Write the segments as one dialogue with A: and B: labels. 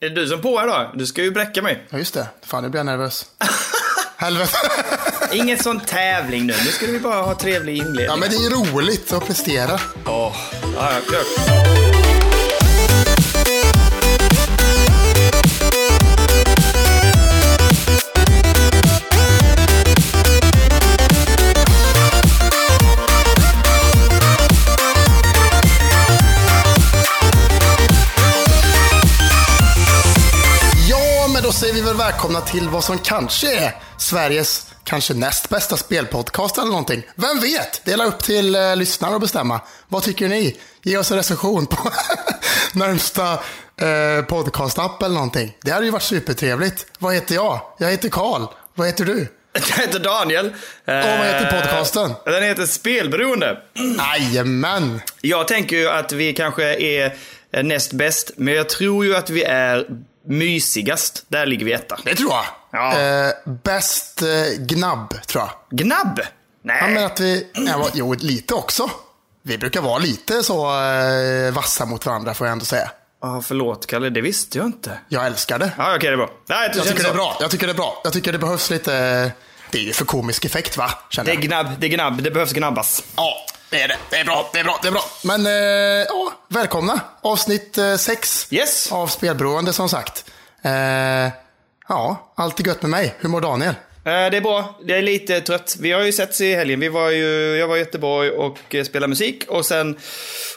A: Är det du som påar då? Du ska ju bräcka mig.
B: Ja, just det. Fan, nu blir jag nervös. Helvete.
A: Ingen sån tävling nu. Nu skulle vi bara ha trevlig inledning.
B: Ja, men det är roligt att prestera.
A: Åh. Ja, ja, kör.
B: Ja, men då säger vi väl välkomna till vad som kanske är Sveriges kanske näst bästa spelpodcast eller någonting. Vem vet? Dela upp till eh, lyssnare och bestämma. Vad tycker ni? Ge oss en recension på närmsta eh, podcastapp eller någonting. Det hade ju varit supertrevligt. Vad heter jag? Jag heter Karl. Vad heter du?
A: Jag heter Daniel. Och
B: Och vad heter podcasten?
A: Den heter Spelberoende.
B: Mm. Jajamän!
A: Jag tänker ju att vi kanske är eh, näst bäst, men jag tror ju att vi är mysigast. Där ligger vi etta.
B: Det tror jag.
A: Ja.
B: Eh, bäst eh, gnabb, tror jag.
A: Gnabb!
B: Ja,
A: Nej.
B: men att vi, nej, vad- jo, lite också. Vi brukar vara lite så eh, vassa mot varandra får jag ändå säga.
A: Ah, förlåt Kalle, det visste jag inte.
B: Jag älskar det.
A: Ja, okej, det är bra. Nej,
B: Jag
A: känns
B: tycker det är
A: så.
B: bra. Jag tycker det är bra. Jag tycker det behövs lite... Det är ju för komisk effekt va? Känner
A: Det är
B: jag.
A: gnabb, det är gnabb, det behövs gnabbas.
B: Ja, det är det. Det är bra, det är bra, det är bra. Men eh, ja, välkomna. Avsnitt 6
A: Yes!
B: av Spelberoende som sagt. Eh, ja, allt är gött med mig. Hur mår Daniel?
A: Eh, Det är bra. Jag är lite trött. Vi har ju setts i helgen. Vi var ju, jag var i Göteborg och eh, spelade musik och sen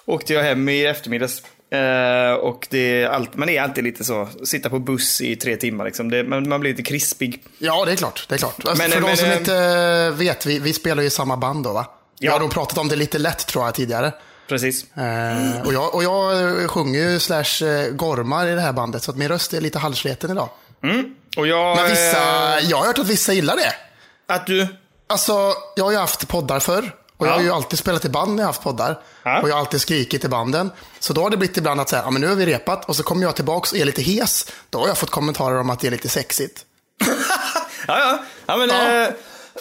A: åkte jag hem i eftermiddags. Eh, Och det är allt, man är alltid lite så, sitta på buss i tre timmar liksom. Det, man, man blir lite krispig.
B: Ja, det är klart. Det är klart. Alltså,
A: Men-
B: för
A: men-
B: de som
A: eh,
B: inte eh, vet, vi, vi spelar ju i samma band då va? Ja.
A: Ja.
B: Jag har nog pratat om det lite lätt tror jag tidigare.
A: Precis.
B: Eh, och, jag, och jag eh, sjunger ju slash eh, gormar i det här bandet, så att min röst är lite halvsleten idag.
A: Och jag...
B: Men
A: eh,
B: vissa, jag har hört att vissa gillar det.
A: Att du...
B: Alltså, jag har ju haft poddar förr. Och jag har
A: Ja.
B: ju alltid spelat i band när jag har haft poddar.
A: Ja.
B: Och jag har alltid skrikit i banden. Så då har det blivit ibland att säga, ja men nu har vi repat. Och så kommer jag tillbaka och är lite hes. Då har jag fått kommentarer om att det är lite sexigt.
A: Ja, ja. ja men...
B: Ja.
A: eh,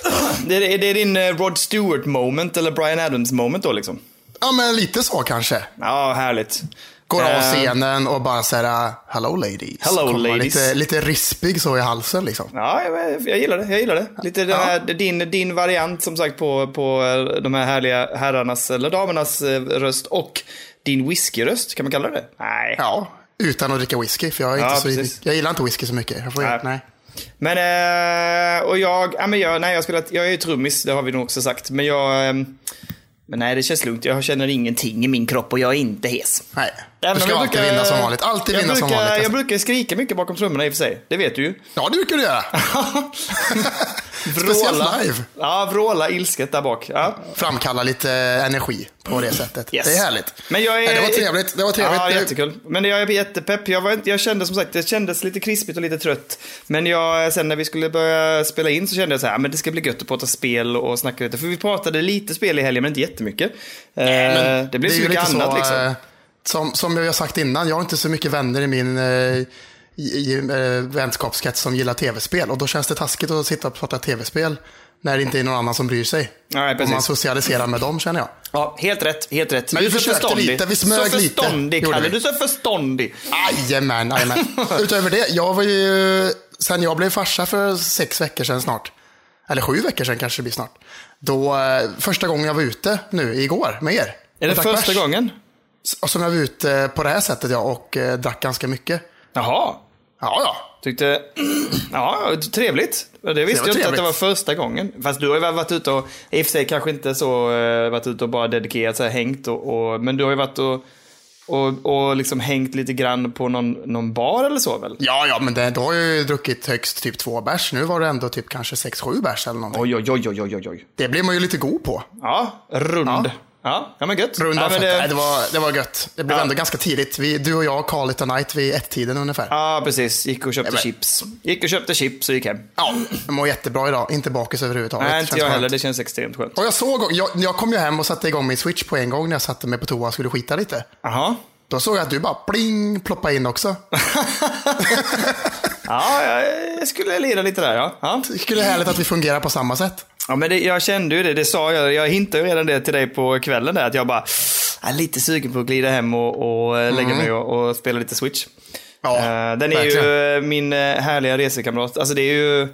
A: Det är, det är din eh, Rod Stewart moment eller Brian Adams moment då liksom.
B: Ja men lite så kanske.
A: Ja, härligt.
B: Går av
A: Eh,
B: scenen och bara säger hello ladies.
A: Hello,
B: Kommer
A: ladies.
B: Lite, lite rispig så i halsen liksom.
A: Ja, jag, jag gillar det. Jag gillar det. Lite den här, din, din variant som sagt på, på eh, de här härliga herrarnas eller damernas eh, röst och din whiskyröst, kan man kalla det Nej.
B: Ja, utan att dricka whisky. För jag, är
A: Ja,
B: inte
A: precis.
B: så, jag gillar inte whisky så mycket. Jag får,
A: Nej.
B: nej. Nej.
A: Men, eh, och jag, ja, men jag, nej, jag, har spelat, jag är ju trummis, det har vi nog också sagt. Men jag, eh, men nej det känns lugnt. Jag känner ingenting i min kropp och jag är inte hes.
B: Du
A: Även om
B: ska
A: jag
B: alltid
A: brukar-
B: vinna som vanligt. Alltid
A: jag
B: vinna
A: brukar,
B: som vanligt. alltså.
A: Jag brukar skrika mycket bakom trummorna i och för sig. Det vet du ju.
B: Ja, det brukar du göra. Speciellt live.
A: Ja, vråla ilsket där bak. Ja.
B: Framkalla lite eh, energi på det sättet.
A: Mm. Yes.
B: Det är härligt.
A: Men jag är...
B: Nej, det var trevligt. Det var trevligt.
A: Ja,
B: Det-
A: jättekul. Men jag är jättepepp. Jag, var inte, jag kände som sagt, det kändes lite krispigt och lite trött. Men jag, sen när vi skulle börja spela in så kände jag så här, men det ska bli gött att prata spel och snacka lite. För vi pratade lite spel i helgen, men inte jättemycket. Eh, det blev
B: är
A: så mycket
B: ju lite
A: annat liksom.
B: eh, Som, som jag har sagt innan, jag har inte så mycket vänner i min eh, i, i, eh, vänskapskrets som gillar tv-spel. Och då känns det taskigt att sitta och prata tv-spel när det inte är någon annan som bryr sig.
A: Nej,
B: Om
A: precis.
B: man socialiserar med dem känner jag.
A: Ja, helt rätt, helt rätt.
B: Men
A: Du
B: vi
A: är så
B: försökte
A: förståndig.
B: lite, vi smög
A: Så
B: lite,
A: förståndig,
B: gjorde
A: Kalle.
B: vi.
A: Du är så förståndig.
B: Jajamän, jajamän. Utöver det, jag var ju, sen jag blev farsa för sex veckor sedan snart, eller sju veckor sedan kanske det blir snart, då eh, första gången jag var ute nu igår med er.
A: Är det
B: Och drack
A: första
B: bärs.
A: gången?
B: Och som jag var ute på det här sättet ja, och eh, drack ganska mycket.
A: Jaha.
B: Ja, ja.
A: Tyckte, ja, trevligt. Och Det visste
B: var
A: jag inte att det var
B: trevligt.
A: första gången. Fast du har ju varit ute och, i och för sig kanske inte så, eh, varit ute och bara dedikerat så här, hängt och, och, men du har ju varit och, och, och liksom hängt lite grann på någon, någon bar eller så väl?
B: Ja, ja, men det, då har jag ju druckit högst typ två bärs. Nu var det ändå typ kanske sex, sju bärs eller någonting.
A: Oj, oj, oj, oj, oj, oj, oj.
B: Det blir man ju lite god på.
A: Ja, rund. Ja, ja, men gött.
B: Runda
A: ja, men
B: fett.
A: det-
B: Nej, det, var, det var gött. Det blev ändå ganska tidigt. Vi, du och jag, Carl It Night, vid ett-tiden ungefär.
A: ja, precis. Gick och köpte
B: men-
A: chips. Gick och köpte chips och gick hem.
B: Ja, jag mår jättebra idag. Inte bakis överhuvudtaget.
A: Nej,
B: Känns
A: inte jag
B: skönt.
A: heller. Det känns extremt skönt.
B: Och jag, såg, jag, jag kom ju hem och satte igång min switch på en gång när jag satte mig på toa och skulle skita lite.
A: Jaha.
B: Då såg jag att du bara pling ploppade in också.
A: Ja, jag- jag skulle lira lite där ja. ja.
B: Det skulle vara härligt att vi fungerar på samma sätt.
A: Ja, men det, jag kände ju det. Det sa jag. Jag hintade ju redan det till dig på kvällen "Ah, där. Att jag bara, jag är lite sugen på att glida hem och, och eh, lägga mig och, och spela lite Switch.
B: Mm. Ja,
A: Eh, den är ju
B: verkligen.
A: eh, min eh, härliga resekamrat. Alltså det är ju...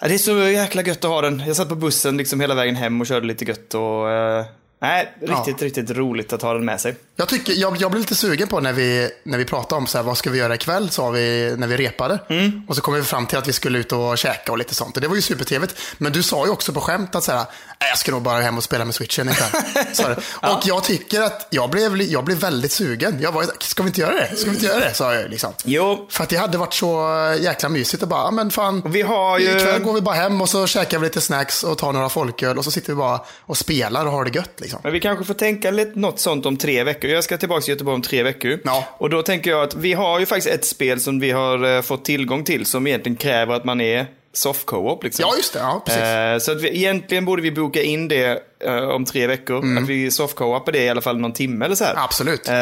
A: Ja, det är så jäkla gött att ha den. Jag satt på bussen liksom hela vägen hem och körde lite gött och... eh, nej, riktigt, riktigt roligt att ha den med sig.
B: Jag, tycker, jag, jag blev lite sugen på när vi, när vi pratade om så här, vad ska vi göra ikväll, sa vi när vi repade.
A: Mm.
B: Och så kom vi fram till att vi skulle ut och käka och lite sånt. Och det var ju supertrevligt. Men du sa ju också på skämt att så här, "Nej, jag ska nog bara hem och spela med switchen ikväll. sa du. Och jag tycker att jag blev, jag blev väldigt sugen. Jag var, ska vi inte göra det? Ska vi inte göra det? Sa jag ju liksom.
A: Jo,
B: För att det hade varit så jäkla mysigt att bara, "Ja, men fan,
A: vi har ju...
B: ikväll går vi bara hem och så käkar vi lite snacks och tar några folköl och så sitter vi bara och spelar och har det gött liksom.
A: Men vi kanske får tänka lite något sånt om tre veckor. Jag ska tillbaka till Göteborg om tre veckor.
B: Ja.
A: Och då tänker jag att vi har ju faktiskt ett spel som vi har eh, fått tillgång till som egentligen kräver att man är soft co-op. Liksom.
B: Ja, just det. Ja, precis.
A: Eh, Så att vi, egentligen borde vi boka in det eh, om tre veckor.
B: Mm.
A: Att vi soft co-opar det i alla fall någon timme eller så här.
B: Absolut.
A: Eh,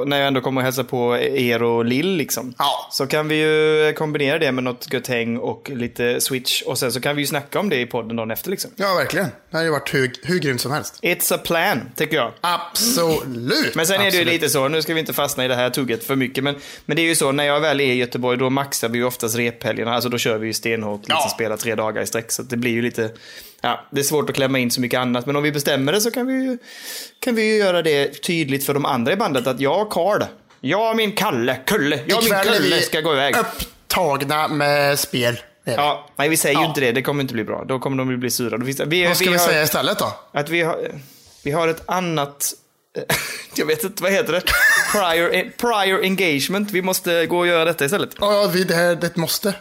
A: och när jag ändå kommer och hälsa på er och Lill liksom.
B: Ja.
A: Så kan vi ju eh, kombinera det med något gött häng och lite switch. Och sen så kan vi ju snacka om det i podden dagen efter liksom.
B: Ja, verkligen. Det hade ju varit hur, hur grymt som helst.
A: It's a plan, tycker jag.
B: Absolut.
A: Men sen är det ju
B: Absolut.
A: lite så, nu ska vi inte fastna i det här tugget för mycket, men, men det är ju så, när jag väl är i Göteborg då maxar vi ju oftast rephelgerna, alltså då kör vi ju stenhårt, liksom,
B: Ja.
A: spelar tre dagar i sträck, så att det blir ju lite, ja, det är svårt att klämma in så mycket annat, men om vi bestämmer det så kan vi ju, kan vi ju göra det tydligt för de andra i bandet att jag, Karl, jag och min Kalle, Kulle, jag och min
B: Ikväll är
A: Kalle
B: vi
A: ska gå iväg.
B: upptagna med spel. är vi.
A: Ja, nej, vi säger ju
B: Ja.
A: inte det, det kommer inte bli bra, då kommer de ju bli sura. Då finns det, vi,
B: Vad ska vi,
A: har,
B: säga istället då?
A: Att vi har, vi har ett annat, jag vet inte, vad heter det? Prior, prior engagement. Vi måste gå och göra detta istället.
B: Ja, ja, vi, det här det är ett måste.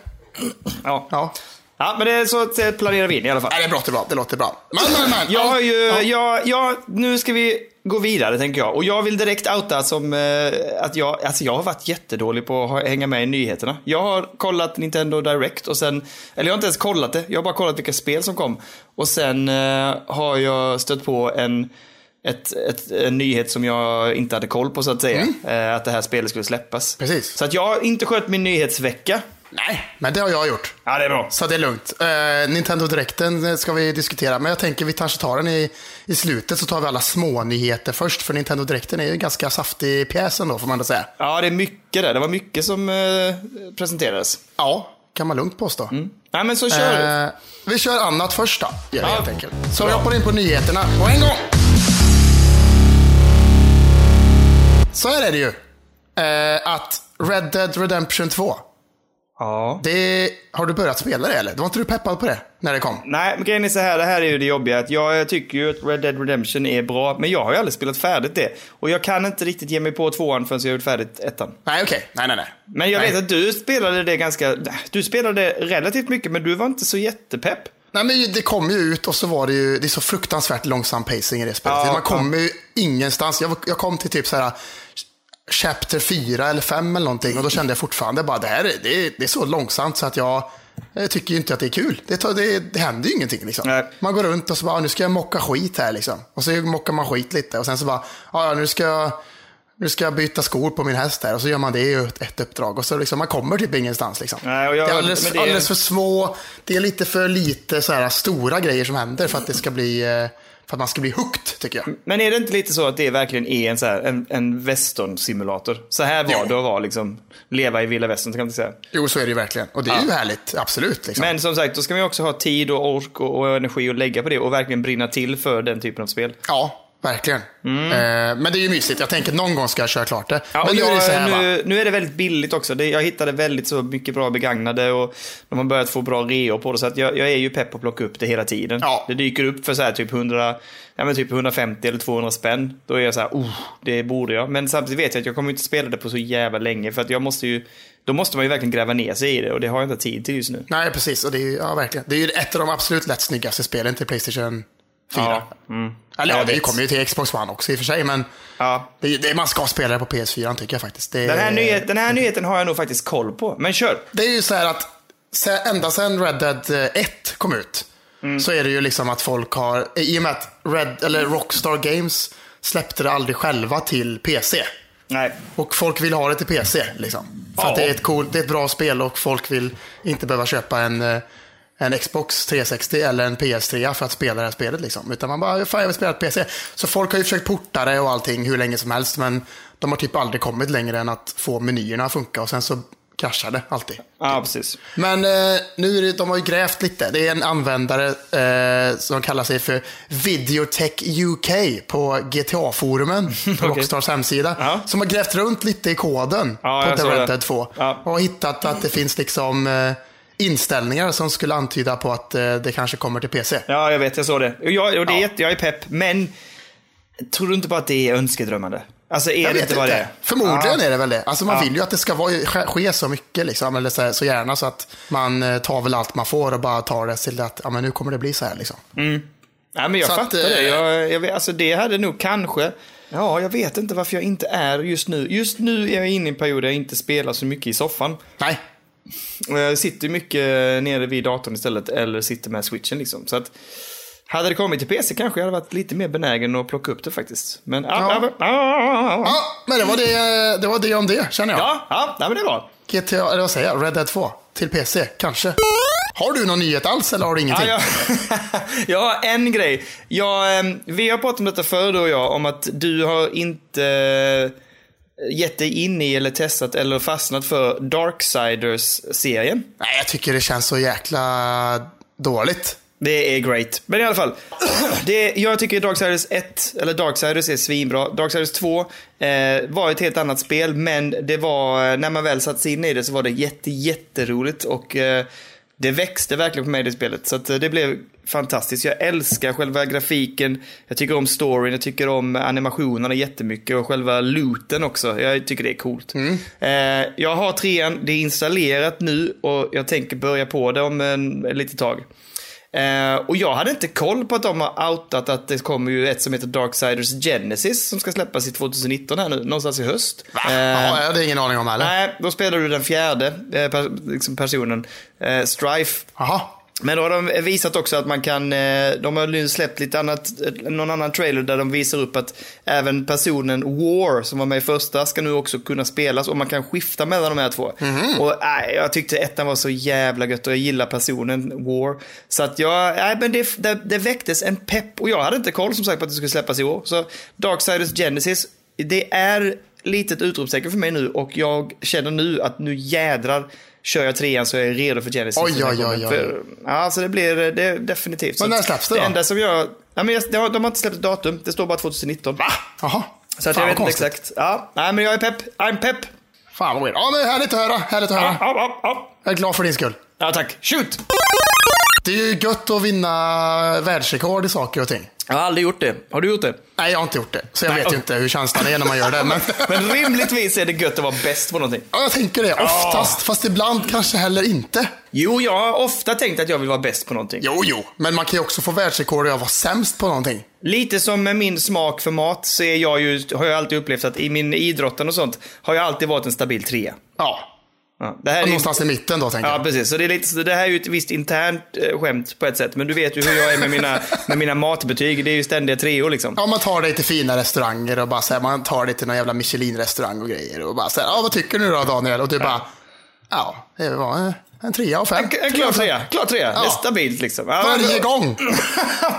A: Ja, ja.
B: Ja.
A: men det är så att eh, planerar vi in i alla fall.
B: Nej, det låter bra. Det låter bra. Men, men, men.
A: Jag har ju,
B: Ja.
A: jag, jag, nu ska vi gå vidare tänker jag. Och jag vill direkt outa som eh, att jag, alltså jag har varit jättedålig på att ha- hänga med i nyheterna. Jag har kollat Nintendo Direct och sen, eller jag har inte ens kollat det, jag har bara kollat vilka spel som kom. Och sen eh, har jag stött på en, ett, ett, en nyhet som jag inte hade koll på så att säga. Eh, att det här spelet skulle släppas.
B: Precis.
A: Så att jag har inte skött min nyhetsvecka.
B: Nej, men det har jag gjort.
A: Ja, det är bra.
B: Så det är lugnt. Eh, Nintendo Directen eh, ska vi diskutera, men jag tänker vi kanske tar den i, i slutet så tar vi alla små nyheter först. För Nintendo Directen är ju en ganska saftig pjäs ändå, får man ändå säga.
A: Ja, det är mycket där. Det var mycket som eh, presenterades.
B: Ja, kan man lugnt påstå.
A: Nej, men så kör vi.
B: Eh, vi kör annat först då, gör vi
A: Ja.
B: helt enkelt. Så vi hoppar in på nyheterna på en gång. Så här är det ju. Eh, att Red Dead Redemption 2,
A: Ja.
B: det, har du börjat spela det eller? Var inte du peppad på det när det kom?
A: Nej, men grejen är så här, det här är ju det jobbiga. Att jag eh, tycker ju att Red Dead Redemption är bra, men jag har ju aldrig spelat färdigt det. Och jag kan inte riktigt ge mig på tvåan förrän jag har gjort färdigt ettan.
B: Nej, okej. Nej, nej, nej.
A: Men jag
B: Nej.
A: vet att du spelade det ganska... Du spelade det relativt mycket, men du var inte så jättepepp.
B: Nej, men det kom ju ut och så var det ju, det är så fruktansvärt långsam pacing i det spelet.
A: Ja,
B: Man kommer ju ingenstans. Jag, jag kom till typ så här Chapter 4 eller 5 eller någonting och då kände jag fortfarande bara det här är, det är, det är så långsamt så att jag, jag tycker ju inte att det är kul. Det, tar, det, det händer ju ingenting liksom.
A: Nej.
B: Man går runt och så bara, "Ah, nu ska jag mocka skit här liksom. Och så mockar man skit lite och sen så bara, "Ah, "Ja, ja, nu ska jag nu ska jag byta skor på min häst här och så gör man det i ett- ett uppdrag och så liksom, man kommer typ ingenstans liksom.
A: Nej, och jag-
B: det är alldeles,
A: men det är-
B: alldeles för små, det är lite för lite så här stora grejer som händer för att det ska bli, eh, för att man ska bli hooked tycker jag.
A: Men är det inte lite så att det verkligen är en, så här, en, en western-simulator? Så här var
B: Jo.
A: det att vara liksom, leva i vilda västern, kan man inte säga.
B: Jo, så är det ju verkligen. Och det är ju härligt, absolut. Liksom.
A: Men som sagt, då ska man ju också ha tid och ork och, och energi att lägga på det och verkligen brinna till för den typen av spel.
B: Ja, verkligen. Eh, men det är ju mysigt. Jag tänker att någon gång ska jag köra klart det.
A: Mm. Ja,
B: men
A: och
B: nu
A: jag,
B: är det så här va?
A: nu, nu är det väldigt billigt också. Det, jag hittade väldigt så mycket bra begagnade och de har börjat få bra reor på det. Så att jag, jag är ju pepp på att plocka upp det hela tiden.
B: Ja.
A: Det dyker upp för så här typ, 100, ja, men typ 150 eller 200 spänn. Då är jag så här, oh, det borde jag. Men samtidigt vet jag att jag kommer inte spela det på så jävla länge. För att jag måste ju, då måste man ju verkligen gräva ner sig i det och det har jag inte tid till just nu.
B: Nej, precis. Och det är ju, ja, verkligen. Det är ju ett av de absolut lätt snyggaste spelen till Playstation 4.
A: Ja, mm.
B: Eller ja,
A: Jag
B: det
A: vet.
B: kommer ju till Xbox One också i och för sig, men
A: Ja.
B: det, är- det, man ska spela det på PS4 tycker jag faktiskt. Det,
A: Den, här nyhet, den här nyheten har jag nog faktiskt koll på. Men kör!
B: Det är ju så här att se- ända sedan Red Dead eh, 1 kom ut så är det ju liksom att folk har, i och med att Red, eller Rockstar Games släppte det aldrig själva till PC.
A: Nej.
B: Och folk vill ha det till PC. Liksom. För
A: Ja.
B: att det är, ett cool, det är ett bra spel och folk vill inte behöva köpa en, eh, en Xbox 360 eller en PS3 för att spela det här spelet. Liksom. Utan man bara, fan jag vill spela ett PC. Så folk har ju försökt porta det och allting hur länge som helst. Men De har typ aldrig kommit längre än att få menyerna att funka och sen så kraschar det alltid.
A: Ja, precis.
B: Men eh, nu är det, de har ju grävt lite. Det är en användare eh, som kallar sig för Videotech UK på GTA-forumen på Rockstars hemsida.
A: Ja.
B: Som har grävt runt lite i koden
A: Ja, jag
B: på
A: såg
B: The Red
A: det.
B: Dead 2.
A: Ja.
B: Och hittat att det finns liksom eh, inställningar som skulle antyda på att eh, det kanske kommer till PC.
A: Ja, jag vet, jag såg det. Och jag, och det är
B: Ja.
A: jätte- jag är pepp, men tror du inte bara att det är önskedrömmande? Alltså, är
B: Jag
A: det
B: vet
A: inte
B: inte.
A: vad det är?
B: Förmodligen
A: ja.
B: är det väl det. Alltså man vill ju att det ska vara, ske- ske så mycket, liksom, eller så, här, så gärna så att man eh, tar väl allt man får och bara tar det till att ja, men nu kommer det bli så här. Liksom.
A: Mm. Nej, men jag
B: Så att,
A: fattar
B: eh,
A: det. Jag, jag, vet- alltså, det hade nog kanske... Ja, jag vet inte varför jag inte är just nu. Just nu är jag inne i en period där jag inte spelar så mycket i soffan.
B: Nej,
A: Och Jag sitter ju mycket eh, nere vid datorn istället, eller sitter med switchen liksom. Så att, hade det kommit till PC kanske jag hade varit lite mer benägen att plocka upp det faktiskt. Men ja, ja, ja,
B: Ja, men det var det, det var det om det, känner jag.
A: ja, ja, nej, men det var.
B: GTA, eller vad säger jag? Red Dead 2. Till PC, kanske. Har du någon nyhet alls eller har du
A: Ja,
B: ingenting?
A: jag, jag har en grej. Jag, ehm, vi har pratat om detta förr du och jag, om att du har inte eh, gett dig in i eller testat eller fastnat för Darksiders-serien.
B: Nej, jag tycker det känns så jäkla dåligt.
A: Det är great. Men i alla fall. Det är, jag tycker Darksiders 1, eller Darksiders är svinbra. Darksiders 2 eh, var ett helt annat spel, men det var, eh, när man väl satt sig in i det så var det jätte, jätteroligt och eh, det växte verkligen på mig det spelet. Så att, eh, det blev fantastiskt. Jag älskar själva grafiken, jag tycker om storyn, jag tycker om animationerna jättemycket och själva looten också. Jag tycker det är coolt. Eh, jag har trean, det är installerat nu och jag tänker börja på det om en, lite tag. Eh, och jag hade inte koll på att de har outat att det kommer ju ett som heter Darksiders Genesis som ska släppas i 2019 här nu, någonstans i höst.
B: Va?
A: Eh,
B: ja, jag hade ingen aning om heller.
A: Nej, då spelar du den fjärde eh, per, liksom personen, eh, Strife.
B: Jaha.
A: Men då har de visat också att man kan, eh, de har nu släppt lite annat, eh, någon annan trailer där de visar upp att även personen War som var med i första ska nu också kunna spelas och man kan skifta mellan de här två.
B: Mhm.
A: Och nej, jag tyckte ettan var så jävla gött och jag gillar personen War. Så att jag, nej men det, det, det väcktes en pepp och jag hade inte koll som sagt på att det skulle släppas i år. Så Darksiders Genesis, det är litet utropstecken för mig nu och jag känner nu att nu jädrar kör jag trean så jag är redo för Genesis.
B: Oj,
A: när den
B: oj,
A: kommer.
B: oj, oj.
A: För Ja, alltså det blir det är definitivt. Så
B: Men när
A: att
B: släpps det då?
A: Det enda som jag... Ja, men jag de har- de har inte släppt ett datum, det står bara 2019. Va?
B: Jaha.
A: Så att jag
B: vad
A: vet inte
B: konstigt.
A: exakt. Ja, nej, men jag är pepp. I'm pepp.
B: Fan vad weird. Ja, men härligt att höra. Härligt att höra.
A: Ja, ja, ja.
B: Jag är glad för din skull.
A: ja, tack. Shoot!
B: Det är ju gött att vinna världsrekord i saker och ting.
A: Jag har aldrig gjort det. Har du gjort det?
B: Nej, jag har inte gjort det. Så jag vet ju
A: och-
B: inte hur känslan är när man gör det. Men...
A: Men rimligtvis är det gött att vara bäst på någonting.
B: ja, jag tänker det. Oftast. Fast ibland kanske heller inte.
A: Jo, jag har ofta tänkt att jag vill vara bäst på någonting.
B: Jo, jo. Men man kan ju också få världsrekord i att vara sämst på någonting.
A: Lite som med min smak för mat så är jag ju, har jag alltid upplevt att i min idrotten och sånt har jag alltid varit en stabil trea.
B: Ja.
A: Ja, det här är ju-
B: Någonstans i mitten då, tänker jag.
A: Ja, precis. Så det, är lite, så det här är ju ett visst internt eh, skämt på ett sätt. Men du vet ju hur jag är med mina, med mina matbetyg. Det är ju ständiga treor liksom.
B: Ja, man tar dig till fina restauranger och bara så här, man tar dig till någon jävla Michelin-restaurang och grejer. Och bara så här, ja, vad tycker du då Daniel? Och du bara, ja, det var en- en trea av fem.
A: En klar trea, klar trea. Det är stabilt liksom. Ja,
B: Varje
A: men-
B: gång.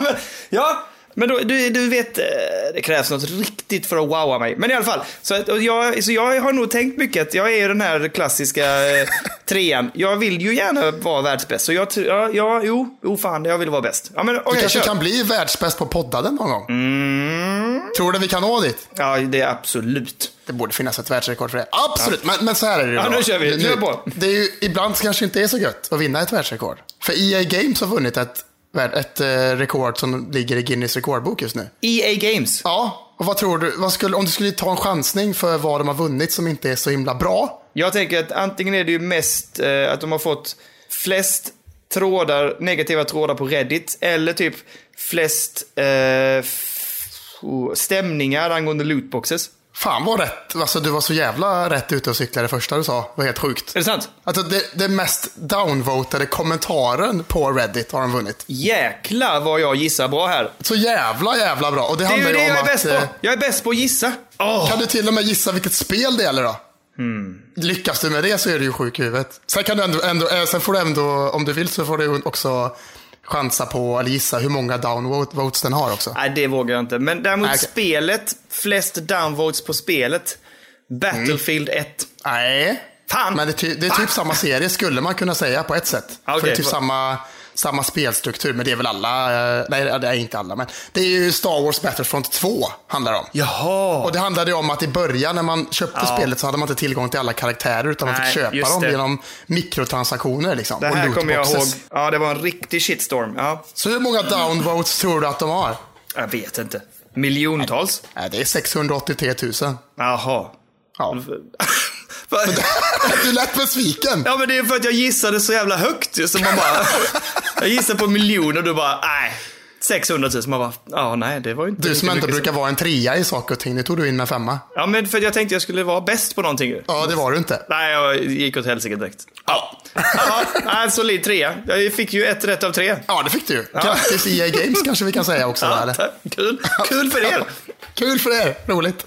A: Men- ja, men då, du, du vet, eh, det krävs något riktigt för att wowa mig. Men i alla fall, så, att, och jag, så jag har nog tänkt mycket att jag är ju den här klassiska eh, trean. Jag vill ju gärna vara världsbäst. Så jag, tr- ja, ja, jo, jo fan, jag vill vara bäst. Ja, men
B: Du
A: okej,
B: kanske
A: kör.
B: kan bli världsbäst på poddaden någon gång.
A: Mm.
B: Tror du vi kan nå dit?
A: Ja, det är absolut.
B: Det borde finnas ett världsrekord för det. Absolut, men, men så här är det ju
A: Ja,
B: då.
A: nu kör vi. Kör på.
B: Det är ju, ibland kanske inte är så gött att vinna ett världsrekord. För EA Games har vunnit ett, värld- ett eh, rekord som ligger i Guinness rekordbok just nu.
A: EA E Games.
B: Ja, och vad tror du? Vad skulle, om du skulle ta en chansning för vad de har vunnit som inte är så himla bra.
A: Jag tänker att antingen är det ju mest eh, att de har fått flest trådar, negativa trådar på Reddit eller typ flest eh, f- oh, stämningar angående lootboxes.
B: Fan vad rätt. Alltså du var så jävla rätt ute och cyklade det första du sa. Det var helt sjukt.
A: Är det sant?
B: Alltså det, det mest downvotade kommentaren på Reddit har de vunnit.
A: Jäklar vad jag gissar bra här.
B: Så jävla jävla bra. Och det,
A: Det är
B: handlar
A: ju det
B: ju
A: jag
B: om
A: är
B: att...
A: bäst på.
B: eh,
A: Jag är bäst på att gissa. Åh.
B: Kan du till och med gissa vilket spel det gäller då? Lyckas du med det så är du ju sjuk i huvudet. Sen, kan du ändå, ändå, eh, sen får du ändå, om du vill så får du också chansa på, eller gissa hur många downvotes den har också.
A: Ah, Nej, det vågar jag inte. Men däremot
B: Nej, okej.
A: spelet, flest downvotes på spelet. Battlefield 1.
B: Nej.
A: Fan!
B: Men det, är ty- det är typ samma serie skulle man kunna säga på ett sätt.
A: Okej,
B: För det är typ
A: förlåt.
B: samma, samma spelstruktur, men det är väl alla, eh, nej det är inte alla, men det är ju Star Wars Battlefront 2 handlar det om.
A: Jaha!
B: Och det handlade ju om att i början när man köpte spelet så hade man inte tillgång till alla karaktärer utan man
A: Nej,
B: fick köpa
A: just
B: dem
A: det.
B: genom mikrotransaktioner liksom.
A: Det
B: och
A: här kommer jag ihåg.
B: lootboxes.
A: Ja, det var en riktig shitstorm. Ja,
B: Så hur många downvotes tror du att de har?
A: jag vet inte. Miljontals?
B: Nej, det är 683 000.
A: Jaha.
B: Ja.
A: Vad-
B: Du lät besviken.
A: ja, men det är för att jag gissade så jävla högt ju, så man bara... jag gissade på miljoner och du bara, nej. 600 000. Man bara, ja, nej, det var ju inte...
B: Du som
A: riktigt
B: inte
A: mycket
B: brukar vara en trea i saker och ting, det tog du in med femma.
A: Ja, men för att jag tänkte jag skulle vara bäst på någonting ju.
B: Ja, det var du inte.
A: Nej, jag gick åt helsike direkt. Ja. ja, nej, solid trea. Jag fick ju ett rätt av tre.
B: Ja, det fick du ju. Grattis EA Games kanske vi kan säga också.
A: Ja,
B: eller?
A: tack. kul. kul för er.
B: Kul för er, roligt.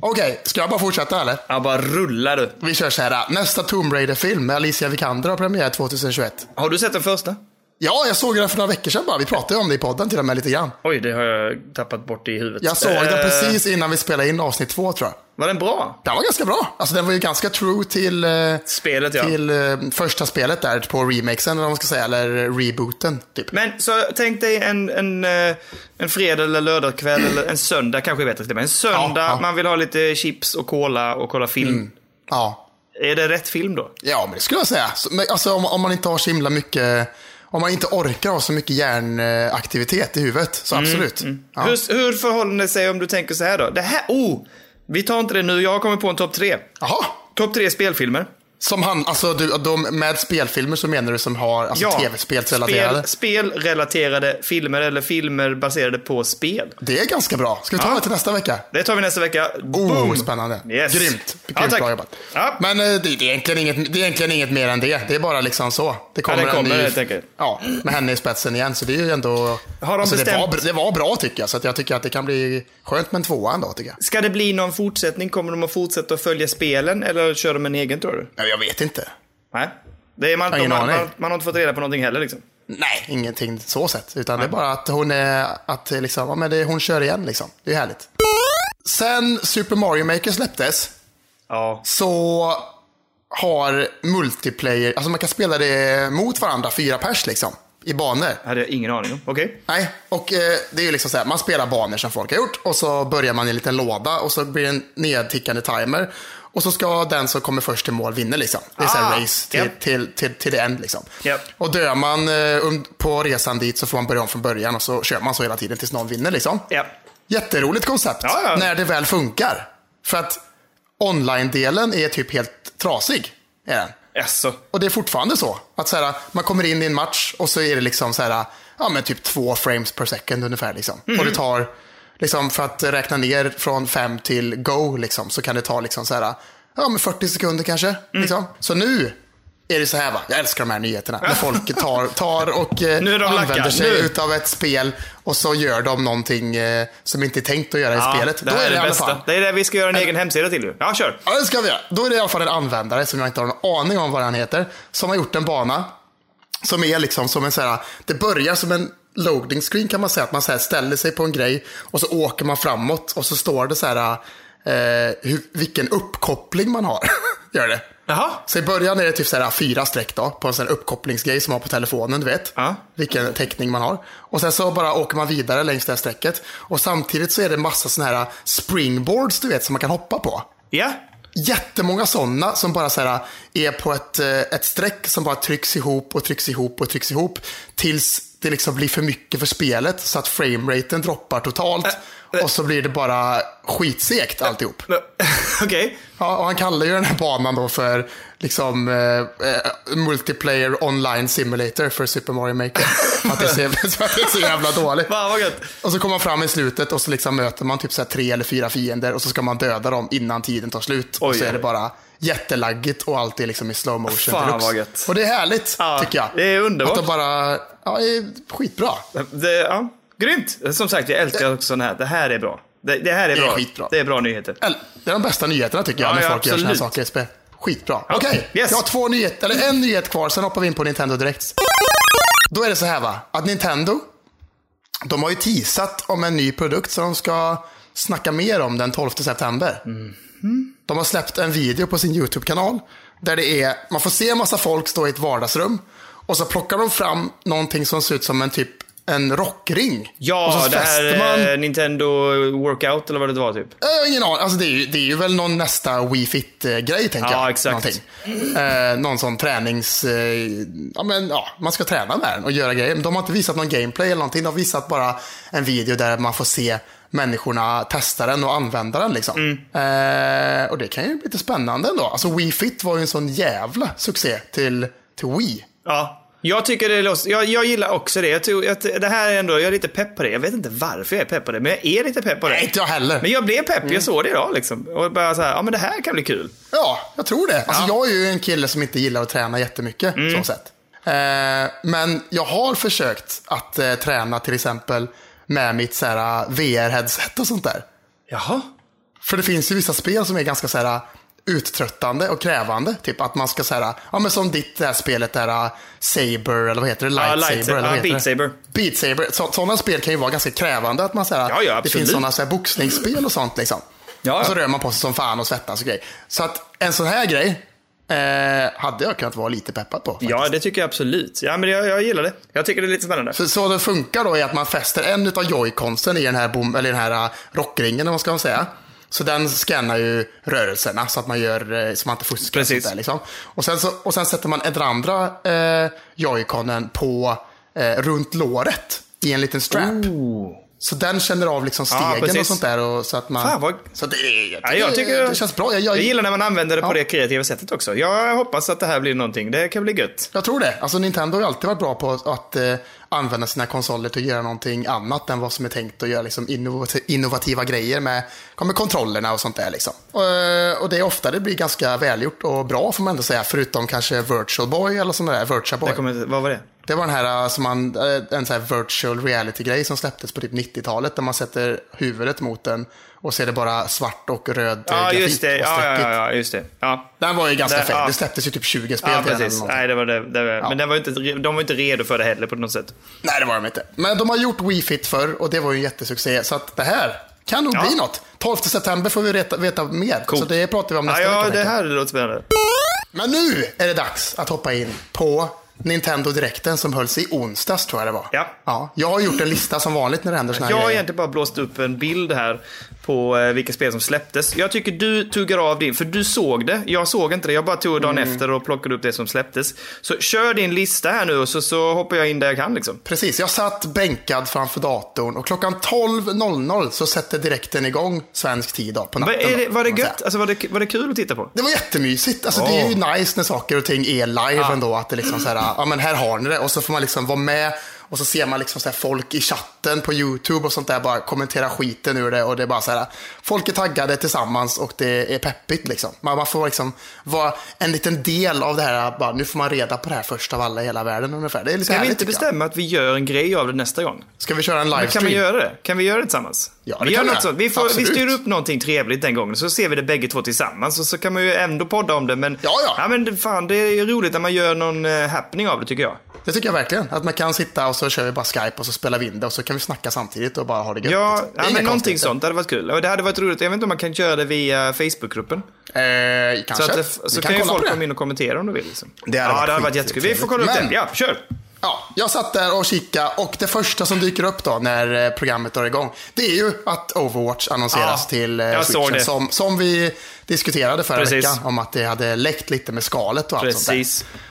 B: Okej, ska jag bara fortsätta eller?
A: Ja, bara rullar du.
B: Vi kör så här. Nästa Tomb Raider-film med Alicia Vikander har premiär 2021.
A: Har du sett den första?
B: Ja, jag såg den för några veckor sedan bara. Vi pratade ju om det i podden till och med lite grann.
A: Oj, det har jag tappat bort i huvudet.
B: Jag såg den
A: Eh,
B: precis innan vi spelade in avsnitt två tror jag.
A: Var den bra?
B: Den var ganska bra. Alltså den var ju ganska true till, eh,
A: Spelet, ja.
B: till eh, första spelet där på remakesen eller vad man ska säga, eller rebooten. Typ.
A: Men så tänk dig en, en, eh, en fredag eller lördagkväll eller en söndag kanske är bättre till och med. En söndag,
B: Ja, Mm. ja.
A: man vill ha lite chips och cola och kolla film.
B: Ja.
A: Är det rätt film då?
B: Ja, men det skulle jag säga. Så- men Alltså, om, om man inte har så himla mycket, om man inte orkar ha så mycket hjärnaktivitet i huvudet, så
A: Mm,
B: absolut. Ja.
A: Hur, hur förhåller det sig om du tänker så här då? Det här, oh! Vi tar inte det nu, jag har kommit på en topp tre.
B: Jaha,
A: Topp tre spelfilmer.
B: som han, alltså du, de, med spelfilmer så menar du som har alltså, tv-spelsrelaterade?
A: spel, spelrelaterade filmer eller filmer baserade på spel.
B: Det är ganska bra. Ska vi ta det till nästa vecka?
A: Det tar vi nästa vecka.
B: Oh,
A: Boom!
B: spännande.
A: Yes.
B: Grymt.
A: Ja,
B: Grymt
A: tack.
B: bra jobbat.
A: Ja.
B: Men eh, det, det, är egentligen inget, det är egentligen inget mer än det. Det är bara liksom så. Det kommer,
A: det kommer
B: en ny,
A: helt enkelt.
B: Ja, med henne i spetsen igen. Så det är ju ändå... Alltså,
A: Har de
B: det,
A: bestämt-
B: var, det var bra tycker jag. Så att jag tycker att det kan bli skönt med en tvåa ändå tycker jag.
A: Ska det bli någon fortsättning? Kommer de att fortsätta att följa spelen eller kör de en egen tror du?
B: Nej, jag vet inte.
A: Nej. Det är man,
B: Jag
A: man,
B: har ingen
A: man,
B: aning.
A: man, har inte fått reda på någonting heller liksom.
B: Nej, ingenting så sett. Utan det är bara att hon är, att det liksom, ja, men det, hon kör igen liksom. Det är härligt. Sen Super Mario Maker släpptes
A: Ja.
B: så har multiplayer, alltså man kan spela det mot varandra, fyra pers liksom, i banor.
A: Hade jag ingen aning om. Okej.
B: Nej, och eh, det är ju liksom så här, man spelar banor som folk har gjort och så börjar man i en liten låda och så blir det en nedtickande timer. Och så ska den som kommer först till mål vinna liksom. Det är så här
A: Ah,
B: race till,
A: japp.
B: till, till, till the end liksom.
A: Japp.
B: Och dör man eh, um- på resan dit så får man börja om från början och så kör man så hela tiden tills någon vinner liksom.
A: Ja.
B: Jätteroligt koncept.
A: Ja, ja.
B: När det väl funkar. För att online-delen är typ helt trasig. Är den.
A: Jaså.
B: Och det är fortfarande så. Att så här, man kommer in i en match och så är det liksom så här, ja, men typ två frames per second ungefär. Liksom. Och
A: Mm.
B: det tar, liksom, för att räkna ner från fem till go, liksom, så kan det ta liksom så här, ja, men 40 sekunder kanske.
A: Mm.
B: Liksom. Så nu är det så här, va? jag älskar de här nyheterna. När folk tar, tar och eh,
A: Nu är de
B: använder
A: lackar.
B: sig
A: Nu.
B: utav ett spel och så gör de någonting eh, som inte är tänkt att göra i spelet.
A: det
B: Då
A: här
B: är det i alla fall
A: bästa. Det är det vi ska göra en egen hemsida till ju. Ja, kör.
B: Ja, det ska vi göra. Då är det i alla fall en användare som jag inte har någon aning om vad han heter. Som har gjort en bana. Som är liksom som en så här, det börjar som en loading screen kan man säga. Att man så här ställer sig på en grej och så åker man framåt och så står det så här eh, hur, vilken uppkoppling man har. Gör det.
A: Jaha.
B: Så i början är det typ så här fyra streck då, på en sån här uppkopplingsgrej som man har på telefonen, du vet.
A: Ja.
B: Vilken täckning man har. Och sen så bara åker man vidare längs det här strecket. Och samtidigt så är det massa såna här springboards, du vet, som man kan hoppa på
A: Ja.
B: jättemånga sådana som bara så här, är på ett, eh, ett streck som bara trycks ihop och trycks ihop och trycks ihop tills det liksom blir för mycket för spelet så att frameraten droppar totalt
A: äh.
B: och så blir det bara skitsegt alltihop.
A: Men- Okej.
B: Ja, och han kallar ju den här banan då för liksom eh, eh, multiplayer online simulator för Super Mario Maker. För att det ser, för att det är så jävla dåligt.
A: Fan vad gött.
B: Och så kommer man fram i slutet och så liksom möter man typ så här tre eller fyra fiender och så ska man döda dem innan tiden tar slut. och
A: Oj,
B: så är det
A: oj.
B: bara jättelaggigt och allt är liksom i slow motion.
A: Fan,
B: deluxe.
A: vad gött.
B: Och det är härligt,
A: Ja,
B: tycker jag.
A: det är underbart.
B: Att de bara, ja, det är skitbra.
A: Det, ja. Grymt. Som sagt, jag älskar också sån här. Det här är bra. Det, det här är
B: Det är
A: bra.
B: skitbra.
A: Det är bra nyheter.
B: Eller, Det är de bästa nyheterna tycker jag,
A: Ja,
B: när
A: ja,
B: folk gör sådana här
A: absolut.
B: saker i spel. Skitbra.
A: Ja,
B: Okej,
A: yes.
B: jag har två nyheter, eller en nyhet kvar, sen hoppar vi in på Nintendo direkt. Då är det så här va, att Nintendo, de har ju
A: Mhm.
B: teasat om en ny produkt som de ska snacka mer om den 12 september. De har släppt en video på sin YouTube-kanal där det är, man får se en massa folk stå i ett vardagsrum och så plockar de fram någonting som ser ut som en typ en rockring. och
A: Ja,
B: så
A: det här
B: fäster man...
A: eh, Nintendo Workout eller vad det var typ.
B: Jag har ingen aning. Alltså det, är ju, det är ju väl någon nästa Wii Fit-grej tänker
A: Ja,
B: jag.
A: exakt.
B: Någonting. Eh, någon sån tränings... Eh, ja, men, ja, man ska träna med den och göra grejer. Men De har inte visat någon gameplay eller någonting. De har visat bara en video där man får se människorna testa den och använda den. Liksom.
A: Mm.
B: Eh, och det kan ju bli lite spännande ändå. Alltså Wii Fit var ju en sån jävla succé till, till Wii.
A: Ja. Jag tycker det låter, jag, jag gillar också det. Jag tror att det här är ändå, jag är lite pepp på det. Jag vet inte varför jag är pepp på det, men jag är lite pepp på det.
B: Nej, inte Mm. jag heller.
A: Men jag blev pepp, jag såg det idag liksom. Och bara så här, ja men det här kan bli kul.
B: Ja, jag tror det. Alltså,
A: Ja. Mm.
B: Jag är ju en kille som inte gillar att träna jättemycket. Så sett. Eh, men jag har försökt att eh, träna till exempel med mitt så här, VR-headset och sånt där.
A: Jaha.
B: För det finns ju vissa spel som är ganska så här, eh, uttröttande och krävande. Typ att man ska så här, ja men som ditt det här spelet där eh, Saber eller vad heter det? Lightsaber
A: Lights-
B: eller vad
A: ja,
B: heter
A: Beat
B: det?
A: Saber.
B: Beat Saber. Så, sådana spel kan ju vara ganska krävande. Att man, så här,
A: Ja, ja,
B: det
A: absolut.
B: finns sådana så här, boxningsspel och sånt. Liksom.
A: ja.
B: Och så rör man på sig som fan och svettas och grejer. Så att en sån här grej eh, hade jag kunnat vara lite peppad på. faktiskt.
A: Ja, det tycker jag absolut. Ja, men jag, jag gillar det. Jag tycker det är lite spännande.
B: För så det funkar då är att man fäster en utav joyconsen i den här, bom, eller i den här eh, rockringen, eller vad ska man säga. Så den scannar ju rörelserna så att man gör eh, så man inte fuskar. och
A: Precis.
B: sånt Där, liksom. och, sen så, och sen sätter man den andra eh, joyconen på eh, runt låret i en liten strap. Så den känner av liksom
A: Ja,
B: stegen och
A: precis.
B: sånt där. Och, så att man,
A: Fan, vad-
B: så det, det,
A: Ja, jag tycker
B: det känns bra. Jag, jag,
A: jag gillar när man använder det på
B: Ja.
A: det kreativa sättet också. Jag hoppas att det här blir någonting. Det kan bli gött.
B: Jag tror det. Alltså Nintendo har ju alltid varit bra på att, att eh, använda sina konsoler till att göra någonting annat än vad som är tänkt att göra liksom innovat- innovativa grejer med, med kontrollerna och sånt där. Liksom. Och, eh, och det är ofta det blir ganska välgjort och bra får man ändå säga, förutom kanske Virtual Boy eller sådana där, Virtual Boy.
A: Jag kommer, inte- vad var det?
B: Det var den här, eh, som man, eh, en sån här virtual reality-grej som släpptes på typ 90-talet där man sätter huvudet mot den och ser det bara svart och röd eh,
A: Ja,
B: grafik
A: just det.
B: och
A: Ja, ja,
B: streckigt.
A: ja, ja, just det. Ja.
B: Den var ju ganska
A: Där,
B: ful.
A: ja.
B: Det släpptes ju typ 20 spel
A: Ja,
B: till den eller
A: precis.
B: någonting.
A: Nej, det var det. det var. Men den var ju inte, de var inte redo för det heller på något sätt.
B: Nej, det var de inte. Men de har gjort Wii Fit förr och det var ju en jättesuccé. Så att det här kan nog
A: Ja.
B: bli något. 12 september får vi veta, veta mer. Så det pratar vi om
A: Ja,
B: nästa
A: ja
B: vecka.
A: det
B: tänker
A: här låter spännande.
B: jag. Men nu är det dags att hoppa in på Nintendo Direkten som hölls i onsdags tror jag det var.
A: Ja.
B: ja jag har gjort en lista som vanligt när det händer såna här
A: Jag har
B: grejer.
A: egentligen bara blåst upp en bild här på eh, vilka spel som släpptes. Jag tycker du tuggar av din, för du såg det. Jag såg inte det. Jag bara tog dagen
B: Mm.
A: efter och plockade upp det som släpptes. Så kör din lista här nu och så, så hoppar jag in där jag kan liksom.
B: Precis, jag satt bänkad framför datorn och klockan 12.00 så sätter Direkten igång svensk tid då, på
A: Var,
B: natten.
A: är det,
B: då,
A: var det
B: kan man säga.
A: gött? Alltså var det, var det kul att titta på?
B: Det var jättemysigt. Alltså, Det är ju nice när saker och ting är live ändå. Att det liksom så här, ja men här har ni det. Och så får man liksom vara med. Och så ser man liksom så här folk i chatten på YouTube och sånt där bara kommentera skiten ur det. Och det är bara så här, folk är taggade tillsammans och det är peppigt liksom. Man, man får liksom vara en liten del av det här. Bara, nu får man reda på det här först av alla i hela världen ungefär. Det är lite
A: Kan vi
B: härligt,
A: inte
B: tycker jag.
A: bestämma att vi gör en grej av det nästa gång?
B: Ska vi köra en
A: Kan vi
B: livestream?
A: göra det? Kan vi göra det tillsammans?
B: Ja, det
A: vi, gör
B: kan
A: något
B: vi göra.
A: sånt. vi, får, vi
B: Absolut.
A: styr upp någonting trevligt den gången, så ser vi det bägge två tillsammans. Och så kan man ju ändå podda om det, men,
B: Ja, ja.
A: men det- fan, det är ju roligt när man gör någon eh, happening av det, tycker jag.
B: Det tycker jag verkligen. Att man kan sitta och så kör vi bara Skype och så spelar vi in det och så kan vi snacka samtidigt och bara ha det gött.
A: Ja,
B: liksom. Det är
A: ja
B: inga
A: men någonting
B: konstigheter.
A: sånt. Det hade varit kul. Och det hade varit roligt. Jag vet inte om man kan köra det via Facebookgruppen.
B: Eh,
A: Så,
B: kanske.
A: att det,
B: Vi
A: så kan, ju
B: kolla på
A: folk
B: det.
A: komma in och kommentera om de vill. Liksom.
B: Det hade
A: ja,
B: varit
A: det hade varit
B: skit-
A: jättekul. Vi får kolla upp
B: trevligt.
A: den. Ja, kör!
B: Ja, jag satt där och kikade och det första som dyker upp då när eh, programmet drar igång, det är ju att Overwatch annonseras
A: Ja,
B: till eh,
A: jag såg
B: Switchen
A: det.
B: som, som vi diskuterade förra
A: Precis.
B: veckan om att det hade läckt lite med skalet och allt
A: Precis.
B: sånt där.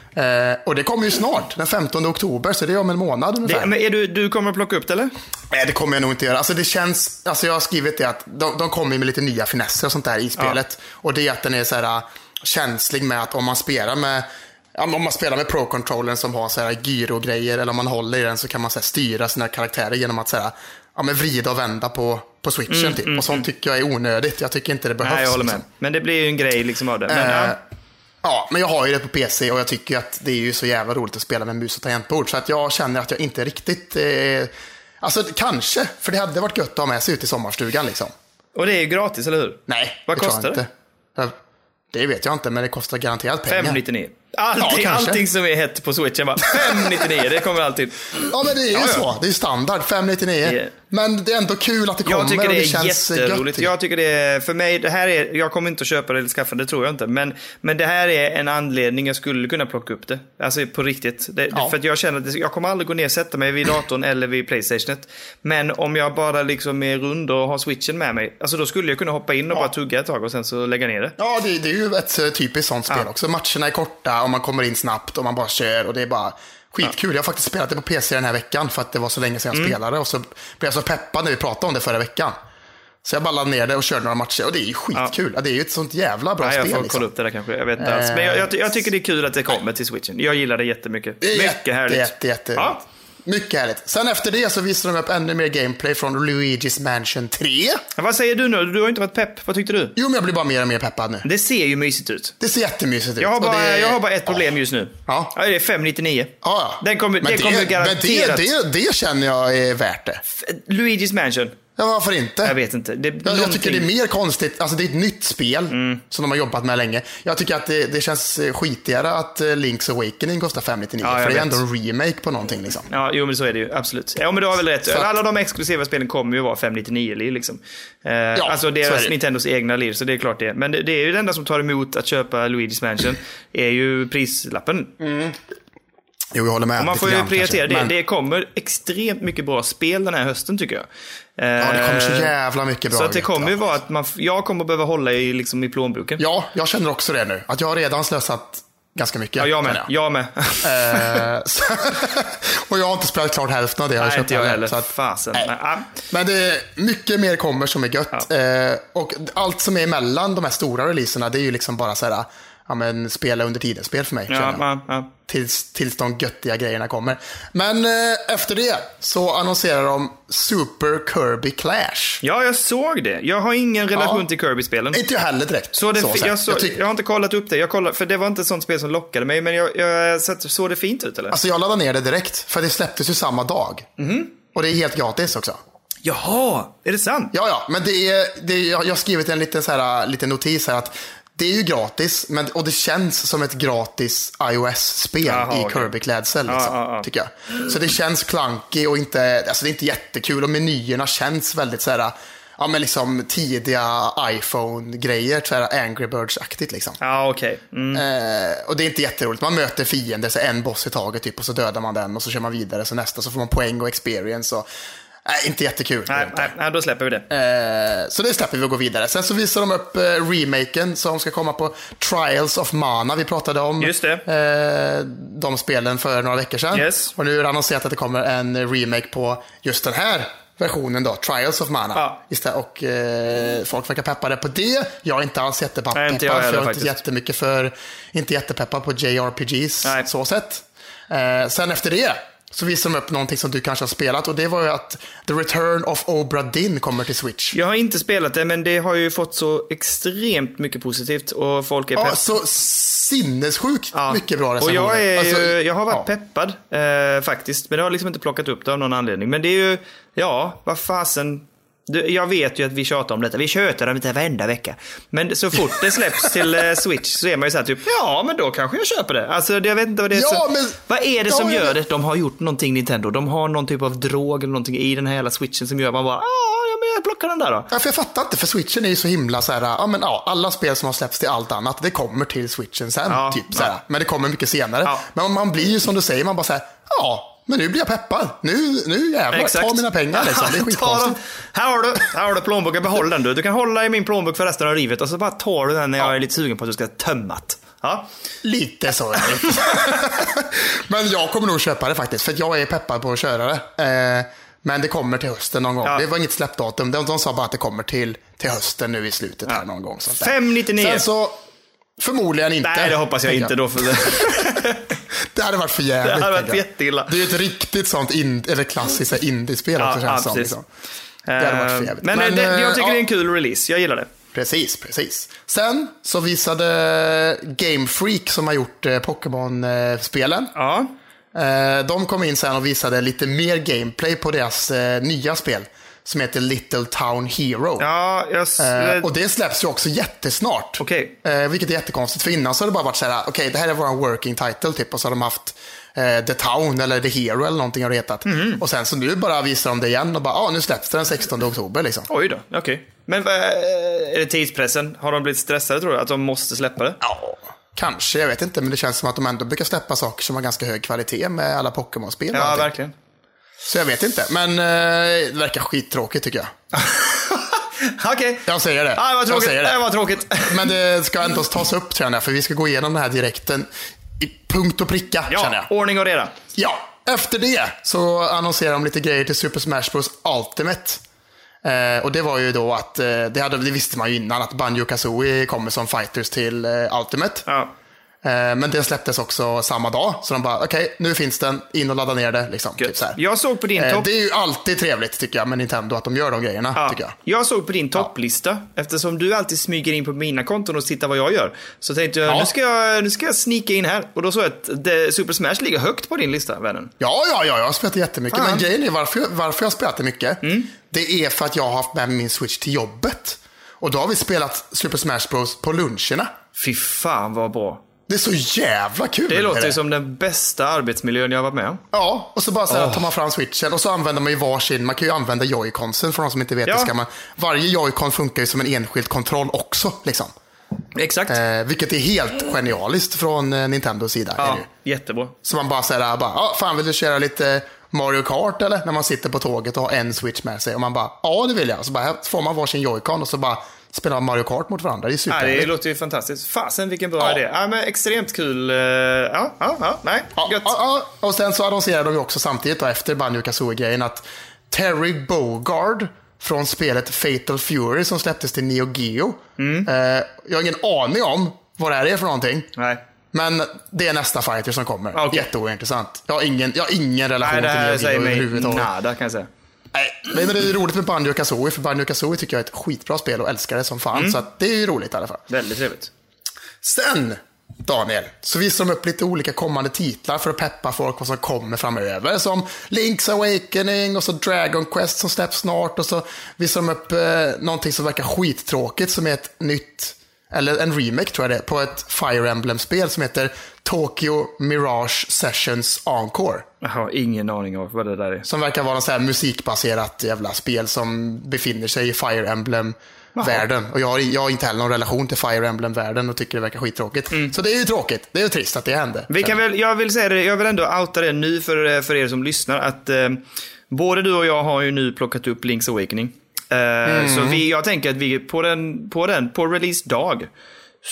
B: Eh, och det kommer ju snart, den 15 oktober, så det är om en månad ungefär.
A: Det, men är du, du kommer plocka upp det, eller?
B: Nej, det kommer jag nog inte göra. Alltså, det känns, alltså, jag har skrivit det att de, de kommer ju med lite nya finesser och sånt där i spelet. Och det är att den är så här äh, känslig med att om man spelar med ja, men om man spelar med pro-controllern som har så här gyro-grejer eller om man håller i den så kan man så här styra sina karaktärer genom att så här, ja, men vrida och vända på, på switchen. typ. och sånt tycker jag är onödigt. Jag tycker inte det behövs.
A: Mm, Nej, jag håller
B: liksom.
A: med. Men det blir ju en grej liksom av det. Men,
B: Eh,
A: ja.
B: Ja, men jag har ju det på PC och jag tycker ju att det är ju så jävla roligt att spela med mus och tangentbord. Så att jag känner att jag inte riktigt... Eh, alltså kanske, för det hade varit gött att ha med sig ut i sommarstugan liksom.
A: Och det är ju gratis, eller hur?
B: Nej,
A: Vad
B: det tror
A: kostar
B: jag
A: det?
B: inte. Jag- Det vet jag inte, men det kostar garanterat pengar.
A: 599. Allting,
B: Ja, kanske.
A: allting som är hett på switchen bara 599, det kommer alltid.
B: Ja, men det är ju
A: Ja, ja.
B: så. Det är ju standard, 599.
A: Det är-
B: Men det är ändå kul att det kommer
A: Jag tycker
B: och
A: det
B: det
A: är
B: känns eh,
A: jätteroligt.
B: gött.
A: Jag tycker det är, för mig, det här är, jag kommer inte att köpa det eller skaffa det, det tror jag inte. Men, men det här är en anledning jag skulle kunna plocka upp det. Alltså på riktigt. Det,
B: Ja.
A: För att jag känner att det- jag kommer aldrig gå ner och sätta mig vid datorn eller vid Playstationet. Men om jag bara liksom är rund och har switchen med mig, alltså då skulle jag kunna hoppa in och bara tugga ett tag och sen så lägga ner det.
B: Ja, det, det är ju ett eh, typiskt sånt spel också. Matcherna är korta och man kommer in snabbt och man bara kör och det är bara skitkul. Jag har faktiskt spelat det på PC den här veckan för att det var så länge sedan
A: Mm.
B: jag spelade och så blev jag så peppad när vi pratade om det förra veckan. Så jag bara laddade ner det och körde några matcher och det är ju skitkul. Ja. Det är ju ett sånt jävla bra
A: Ja, jag
B: spel.
A: får
B: liksom.
A: kolla upp det där kanske, jag vet inte alls. Men jag, jag, jag tycker det är kul att det kommer till switchen. Jag gillar det jättemycket.
B: Det är jätte,
A: Mycket härligt.
B: Jätte, jätte,
A: Ja.
B: Mycket härligt. Sen efter det så visade de upp ännu mer gameplay från Luigi's Mansion 3.
A: Men Vad säger du nu? Du har inte varit pepp. Vad tyckte du?
B: Jo, men jag blir bara mer och mer peppad nu.
A: Det ser ju mysigt ut.
B: Det ser jättemysigt ut.
A: Jag har
B: och
A: bara,
B: det...
A: jag har bara ett problem just nu.
B: Ja.
A: det är 599.
B: Ja, ja.
A: Den kommer,
B: Men
A: det kommer garanterat...
B: Men det, det, det känner jag är värt det.
A: Luigi's Mansion.
B: Ja, varför inte?
A: Jag vet inte. Det,
B: Jag, jag tycker det är
A: någonting- Mm.
B: mer konstigt. Alltså det är ett nytt spel som de har jobbat med länge. Jag tycker att det, det känns eh, skitigare att eh, Link's Awakening kostar 599.
A: Ja, jag
B: för det är
A: vet.
B: ändå en remake på någonting liksom.
A: Ja, jo men så är det ju. Absolut. Ja, men du har väl rätt.
B: att-
A: Alla de exklusiva spelen kommer ju vara 599 lir liksom. Eh, alltså
B: så
A: deras
B: är det.
A: Nintendos egna lir, så det är klart det. Men det, det är ju det enda som tar emot att köpa Luigi's Mansion, är ju prislappen.
B: Jo, jag håller med.
A: Man
B: lite
A: får ju
B: grann
A: prioritera
B: kanske.
A: det.
B: Men,
A: Det kommer extremt mycket bra spel den här hösten tycker jag. Eh,
B: Ja, det kommer så jävla mycket bra
A: Så att det
B: ut,
A: kommer ju
B: ja.
A: vara att man, f- jag kommer behöva hålla i, liksom, i plånboken.
B: Ja, jag känner också det nu. Att jag har redan slösat ganska mycket.
A: Ja, jag med.
B: känner jag.
A: Jag med.
B: Eh, så, och jag har inte spelat klart hälften av det jag har
A: Nej,
B: köpt.
A: inte jag
B: heller,
A: heller.
B: så att-
A: Fasen.
B: nej.
A: Men, ah,
B: Men det är mycket mer kommer som är gött. Eh, och allt som är emellan de här stora releaserna, det är ju liksom bara så här, ja men spela under tiden-spel för mig. känner
A: Ja,
B: jag.
A: ja, ja.
B: Tills, tills de göttiga grejerna kommer. Men eh, efter det så annonserar de Super Kirby Clash.
A: ja, jag såg det. Jag har ingen relation
B: Ja.
A: till Kirby-spelen.
B: Inte jag heller direkt.
A: Så det,
B: sett.
A: jag, så,
B: jag
A: jag,
B: tyck-
A: har inte kollat upp det. Jag kollade, för det var inte ett sånt spel som lockade mig, men jag, jag så, såg det fint ut eller?
B: alltså jag laddade ner det direkt, för det släpptes ju samma dag.
A: Mhm.
B: Och det är helt gratis också.
A: Jaha, är det sant?
B: Ja, ja, men det är, det är, jag jag har skrivit en liten, så här, liten notis här att det är ju gratis men, och det känns som ett gratis iOS-spel
A: Jaha,
B: i
A: okej.
B: Kirby-klädsel. Liksom,
A: ja, ja.
B: Tycker jag. Så det känns klanky och inte, alltså det är inte jättekul och menyerna känns väldigt så här, ja men liksom tidiga iPhone-grejer, så här Angry Birds-aktigt liksom.
A: Ja, okej. Mm.
B: Eh, och det är inte jätteroligt. Man möter fiender, så en boss i taget typ, och så dödar man den och så kör man vidare, så nästa så får man poäng och experience. Och, nej, inte jättekul. Det är
A: Nej,
B: inte.
A: nej, nej, då släpper vi det.
B: Eh, Så det släpper vi och går vidare. Sen så visar de upp eh, remaken som ska komma på Trials of Mana. Vi pratade om
A: Just det.
B: eh, de spelen för några veckor sedan.
A: Yes.
B: Och nu är det annonserat att det kommer en remake på just den här versionen då, Trials of Mana.
A: Ja.
B: Istället, och eh, folk verkar peppade på det. Jag är inte alls jättepeppad.
A: Nej, inte jag
B: för
A: heller
B: jag är inte
A: faktiskt.
B: jättemycket för, inte jättepeppad på JRPGs
A: Nej.
B: så sätt. Eh, sen efter det så visar de upp någonting som du kanske har spelat och det var ju att The Return of Obra Dinn kommer till Switch.
A: Jag har inte spelat det, men det har ju fått så extremt mycket positivt och folk är
B: Ja,
A: pepp.
B: så sinnessjukt
A: Ja.
B: mycket bra
A: och
B: recensioner.
A: jag, är,
B: Alltså,
A: ju- jag har varit
B: ja.
A: peppad eh, faktiskt, men jag har liksom inte plockat upp det av någon anledning. Men det är ju, ja, vad fasen. Du, jag vet ju att vi tjatar om detta. Vi tjötar om det varenda vecka. Men så fort det släpps till eh, Switch så är man ju såhär typ, ja men då kanske jag köper det. Alltså det- jag vet inte vad det är
B: Ja,
A: som,
B: men-
A: Vad är det
B: Ja,
A: som
B: jag
A: gör
B: vet.
A: det? De har gjort någonting Nintendo. De har någon typ av drog eller någonting i den här hela Switchen som gör att man bara, "Ah, ja men jag plockar den där då.
B: Ja, för jag fattar inte, för switchen är ju så himla så här, ja men ja, alla spel som har släppts till allt annat, det kommer till switchen sen.
A: Ja,
B: typ, så här,
A: ja.
B: Men det kommer mycket senare.
A: Ja.
B: Men man blir ju som du säger, man bara så här, ja, men nu blir jag peppad. Nu, nu jävlar, ta mina pengar liksom. Det
A: Ta
B: är
A: dem.
B: skitkonstigt.
A: Här har du, här har du plånboken, behåll den du. Du kan hålla i min plånbok för resten av livet och så bara tar du den när jag är lite sugen på att du ska tömmat. Ja.
B: Lite så. är det. men jag kommer nog köpa det faktiskt, för att jag är peppad på att köra det. Eh, men det kommer till hösten någon gång.
A: Ja.
B: Det var inget släppdatum. De, de sa bara att det kommer till, till hösten nu i slutet här någon gång. sånt där.
A: 599.
B: Sen så, förmodligen inte.
A: Nej, det hoppas jag
B: tänker
A: inte då. För det,
B: Det hade varit för jävligt.
A: det hade varit
B: tänker jag.
A: jätteilla.
B: Det är ju ett riktigt sånt in, eller klassiskt så här indiespel också känns det som. Liksom. Det hade varit för jävligt.
A: Men,
B: Men,
A: eh, det, jag
B: eh,
A: tycker
B: ja.
A: det är en kul release. Jag gillar det.
B: Precis, precis. Sen så visade Game Freak som har gjort eh, Pokémon-spelen.
A: Ja.
B: Eh, De kom in sen och visade lite mer gameplay på deras eh, nya spel. som heter Little Town Hero.
A: Ja, jag... s-
B: Eh, och det släpps ju också jättesnart.
A: Okej.
B: Eh, vilket är jättekonstigt, för innan så har det bara varit så här, okej det här är vår working title typ, och så har de haft eh, The Town eller The Hero eller någonting har det hetat.
A: Mhm.
B: Och sen så nu bara visar de det igen och bara, ja ah, nu släpps det den 16 oktober liksom.
A: Oj då, okej. Men vad- är det tidspressen? Har de blivit stressade tror du? Att de måste släppa det?
B: Ja, kanske, jag vet inte, men det känns som att de ändå brukar släppa saker som har ganska hög kvalitet med alla Pokémon-spel. och
A: Ja,
B: allting.
A: verkligen.
B: så jag vet inte, men eh, det verkar skittråkigt tycker jag.
A: Okej.
B: Jag säger det.
A: Ah, vad
B: jag
A: tråkigt.
B: säger
A: Det
B: det.
A: var tråkigt.
B: Men det ska ändå tas upp känner jag, för vi ska gå igenom den här direkten i punkt och pricka känner jag.
A: Ja, ordning och reda.
B: Ja, efter det så annonserade de lite grejer till Super Smash Bros Ultimate. Eh, och det var ju då att, eh, det, hade, det visste man ju innan, att Banjo Kazooie kommer som fighters till eh, Ultimate.
A: Ja.
B: Eh, men det släpptes också samma dag, så de bara, okej, nu finns den, in och ladda ner det. Liksom, typ så här.
A: Jag såg på din
B: Eh,
A: topp...
B: det är ju alltid trevligt tycker jag med Nintendo, att de gör de grejerna.
A: Ja.
B: tycker jag.
A: Jag såg på din topplista, eftersom du alltid smyger in på mina konton och tittar vad jag gör. Så tänkte jag,
B: Ja.
A: nu, ska jag nu ska jag snika in här. Och då såg jag att det, Super Smash ligger högt på din lista, vännen.
B: Ja, ja, ja, jag har spelat jättemycket.
A: Fan. Mm.
B: Men grejen är varför, jag- varför jag har spelat det mycket. Det är för att jag har haft med mig min Switch till jobbet. Och då har vi spelat Super Smash Bros på luncherna.
A: Fy fan vad bra.
B: Det är så jävla kul.
A: Det
B: är
A: låter ju som den bästa arbetsmiljön jag har varit med om.
B: Ja, och så bara så här, tar man fram switchen och så använder man ju varsin. Man kan ju använda joyconsen för de som inte vet.
A: Ja.
B: Det ska man, varje joycon funkar ju som en enskild kontroll också. Liksom.
A: Exakt.
B: Eh, vilket är helt genialiskt från eh, Nintendos sida. Är
A: ja,
B: det ju.
A: jättebra.
B: Så man bara säger bara, ah, fan vill du köra lite Mario Kart eller? När man sitter på tåget och har en switch med sig. Och man bara, ja det vill jag. Så bara, här får man varsin joycon och så bara spelar man Mario Kart mot varandra. Det är
A: Ja, det
B: superhärligt.
A: låter ju fantastiskt. Fasen vilken bra
B: Ja.
A: idé. Ja, men extremt kul. eh, Ja, ja, ja. Nej,
B: Ja, ja,
A: gött.
B: ja. Och sen så annonserade de ju också samtidigt då, efter Banjo Kazooie-grejen att Terry Bogard från spelet Fatal Fury som släpptes till Neo Geo. Eh, jag har ingen aning om vad det här är för någonting.
A: Mm. Nej. Ah,
B: Men det är nästa fighter som kommer.
A: Okej.
B: Jätteointressant. Jag har ingen, jag har ingen relation
A: Nej, det här
B: till Neo
A: säger
B: Geo
A: mig
B: överhuvudtaget.
A: nada kan jag säga.
B: Nej, men det är ju roligt med Banjo Kazooie, för Banjo Kazooie tycker jag är ett skitbra spel och älskar det som fan. Så att det är ju roligt i alla fall.
A: Väldigt trevligt.
B: Sen, Daniel, så visar de upp lite olika kommande titlar för att peppa folk vad som kommer framöver. Som Link's Awakening och så Dragon Quest som släpps snart. Och så visar de upp eh, någonting som verkar skittråkigt som är ett nytt, eller en remake tror jag det är, på ett Fire Emblem-spel som heter Tokyo Mirage Sessions Encore.
A: Jag har ingen aning om vad det där är.
B: Som verkar vara något så här musikbaserat jävla spel som befinner sig i Fire Emblem-världen. Och jag har, jag har inte heller någon relation till Fire Emblem-världen och tycker det verkar skittråkigt.
A: Mm.
B: Så det är ju tråkigt. Det är ju trist att det hände.
A: Vi kan väl, jag vill säga det, jag vill ändå outa det nu för, för er som lyssnar att eh, både du och jag har ju nu plockat upp Link's Awakening. Eh,
B: Mm.
A: Så vi, jag tänker att vi på den, på den, på release-dag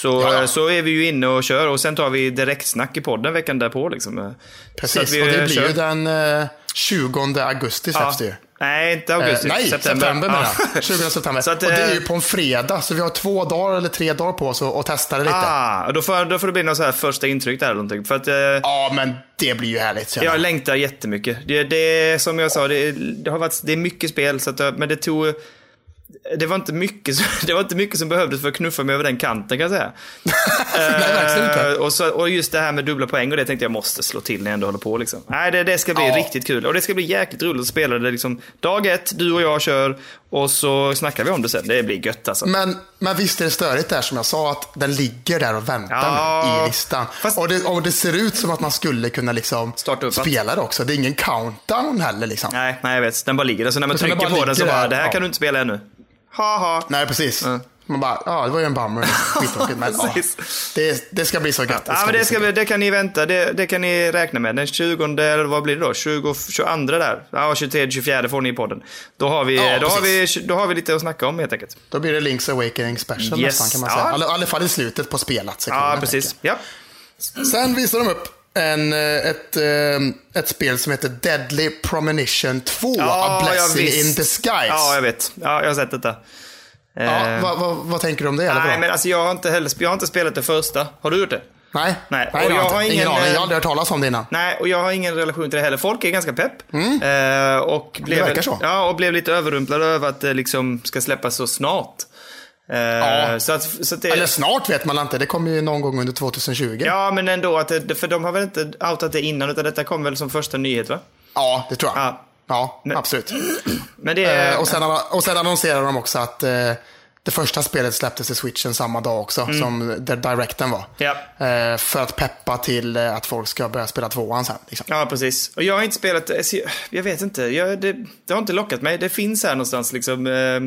A: så,
B: Ja.
A: eh, så är vi ju inne och kör och sen tar vi direktsnack i podden veckan därpå liksom. Eh, så att
B: Precis,
A: vi,
B: och
A: eh,
B: det blir
A: kör.
B: ju den eh, 20 augusti släpps det ju.
A: Nej, inte
B: Eh,
A: augusti.
B: nej, september, menar
A: Ja.
B: jag. 20 september.
A: Så att,
B: och det är
A: eh,
B: ju på en fredag, så vi har två dagar eller tre dagar på oss att att testa det lite.
A: Ah, då, får, då får det bli något så här första intryck där eller någonting. För att, eh,
B: Ja, men det blir ju härligt. känner
A: Jag
B: jag.
A: längtar jättemycket. Det, det är som jag sa, det, det har varit, det är mycket spel, så att, jag- men det tog... Det var, inte mycket, som- det var inte mycket som behövdes för att knuffa mig över den kanten kan jag säga.
B: Nej, verkligen inte.
A: Eh, och, så, och just det här med dubbla poäng och det tänkte jag måste slå till när jag ändå håller på. Liksom. Nej, det, det ska bli
B: Ja.
A: riktigt kul. Och det ska bli jäkligt roligt att spela det. Liksom, dag ett, du och jag kör och så snackar vi om det sen. Det blir gött alltså.
B: Men, men visst är det störigt där som jag sa, att den ligger där och väntar
A: Ja,
B: nu i listan.
A: fast-
B: Och, det, och det ser ut som att man skulle kunna liksom
A: Starta upp
B: spela det också. Det är ingen countdown heller. Liksom. Nej.
A: Nej, nej, jag vet. Den bara ligger där. Så när man
B: Utan den
A: trycker
B: bara
A: på den så
B: ligger
A: bara,
B: där.
A: det här
B: Ja.
A: kan du inte spela ännu. Haha.
B: precis. Man bara, ja, det var ju en bummer. Skittråkigt, men ja,
A: Precis.
B: det, det ska bli så gött.
A: Ja, men
B: bli
A: det,
B: så
A: ska,
B: gött.
A: bli- det kan ni vänta. Det, det kan ni räkna med. Den 20, eller vad blir det då? 20, 22 där. Ja, 23, 24 får ni i podden. Då har vi,
B: Ja,
A: då har vi,
B: precis.
A: då har vi lite att snacka om helt enkelt.
B: Då blir det Link's Awakening Special
A: Yes.
B: nästan kan man
A: Ja.
B: säga. I alla- i alla fall i slutet på spelat.
A: Ja, precis. Ja.
B: Sen visar de upp en, eh, ett, eh, ett spel som heter Deadly Premonition 2,
A: Ja,
B: A Blessing
A: ja, visst.
B: in Disguise.
A: Ja, jag vet. Ja, jag har sett detta.
B: Ja,
A: Eh,
B: vad, vad, vad tänker du om det? Eller
A: nej,
B: vadå?
A: men alltså jag har inte heller, jag har inte spelat det första. Har du gjort det?
B: nej,
A: nej,
B: nej
A: och
B: det
A: jag har
B: inte.
A: ingen,
B: aning. Jag
A: eh,
B: har aldrig hört talas om det innan.
A: Nej, och jag har ingen relation till det heller. Folk är ganska pepp. Eh, och blev,
B: Mm. verkar så.
A: Ja, och blev lite överrumplade över att det liksom ska släppas så snart. Eh,
B: Ja.
A: så att, så att det,
B: Eller snart vet man inte. Det kommer ju någon gång under 2020. Ja,
A: Ja, men ändå. Att det, för de har väl inte outat det innan, utan detta kom väl som första nyhet, va?
B: det tror jag.
A: Ja. Eh.
B: Ja, absolut.
A: Men det är...
B: Eh, och, sen, och sen annonserade de också att eh, det första spelet släpptes till switchen samma dag också, som där directen var.
A: Mm. Ja.
B: Eh, för att peppa till eh, att folk ska börja spela tvåan sen. Liksom.
A: Ja, precis. Och jag har inte spelat... alltså, jag- Jag vet inte. Jag, det, det har inte lockat mig. Det finns här någonstans liksom... Eh,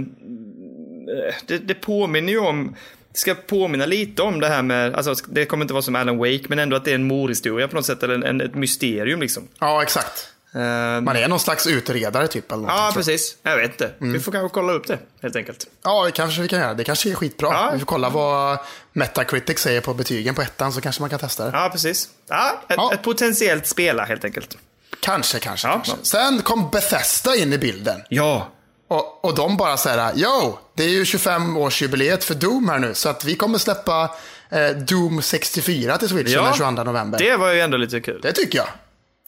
A: eh, det, det påminner ju om... Det ska påminna lite om det här med... Alltså, det kommer inte vara som Alan Wake, men ändå att det är en mordhistoria på något sätt. Eller en, en, ett mysterium liksom.
B: Ja, exakt.
A: Eh,
B: Man är någon slags utredare typ. Eller någonting,
A: ja,
B: tror jag.
A: precis. Jag vet inte.
B: Mm.
A: Vi får kanske kolla upp det, helt enkelt.
B: Ja, det kanske vi kan göra. Det kanske är skitbra.
A: Ja.
B: Vi får kolla vad Metacritic säger på betygen på ettan så kanske man kan testa det.
A: Ja, precis. Ja, ett,
B: Ja.
A: ett potentiellt spela, helt enkelt.
B: Kanske, kanske,
A: Ja.
B: kanske. Sen kom Bethesda in i bilden.
A: Ja.
B: Och, och de bara så här, yo, det är ju 25-årsjubileet för Doom här nu, så att vi kommer släppa eh, Doom 64 till Switchen
A: Ja.
B: den 22 november. Det,
A: Det var ju ändå lite kul.
B: tycker jag.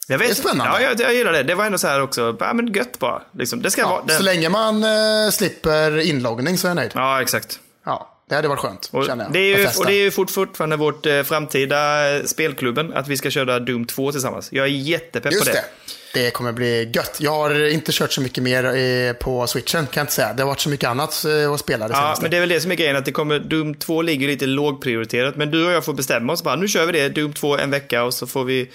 A: Jag vet,
B: Det är
A: Ja,
B: spännande.
A: jag, jag gillar det. Det var ändå så här också, ja men gött bara. Liksom. Det ska vara...
B: Ja,
A: Det,
B: Så länge man eh, slipper inloggning så är jag nöjd. Ja,
A: ja, exakt.
B: det hade varit skönt,
A: Och
B: känner jag.
A: det är ju,
B: Bethesda.
A: och det är ju fort, fortfarande vårt eh, framtida eh, spelklubben, att vi ska köra Doom 2 tillsammans. Jag är jättepepp
B: Just
A: på det.
B: det. Det kommer bli gött. Jag har inte kört så mycket mer eh, på switchen, kan jag inte säga. Det har varit så mycket annat eh, att spela det
A: Ja,
B: senaste.
A: men det är väl det som är grejen, att det kommer, Doom 2 ligger lite lågprioriterat, men du och jag får bestämma oss bara, nu kör vi det, Doom 2 en vecka och så får vi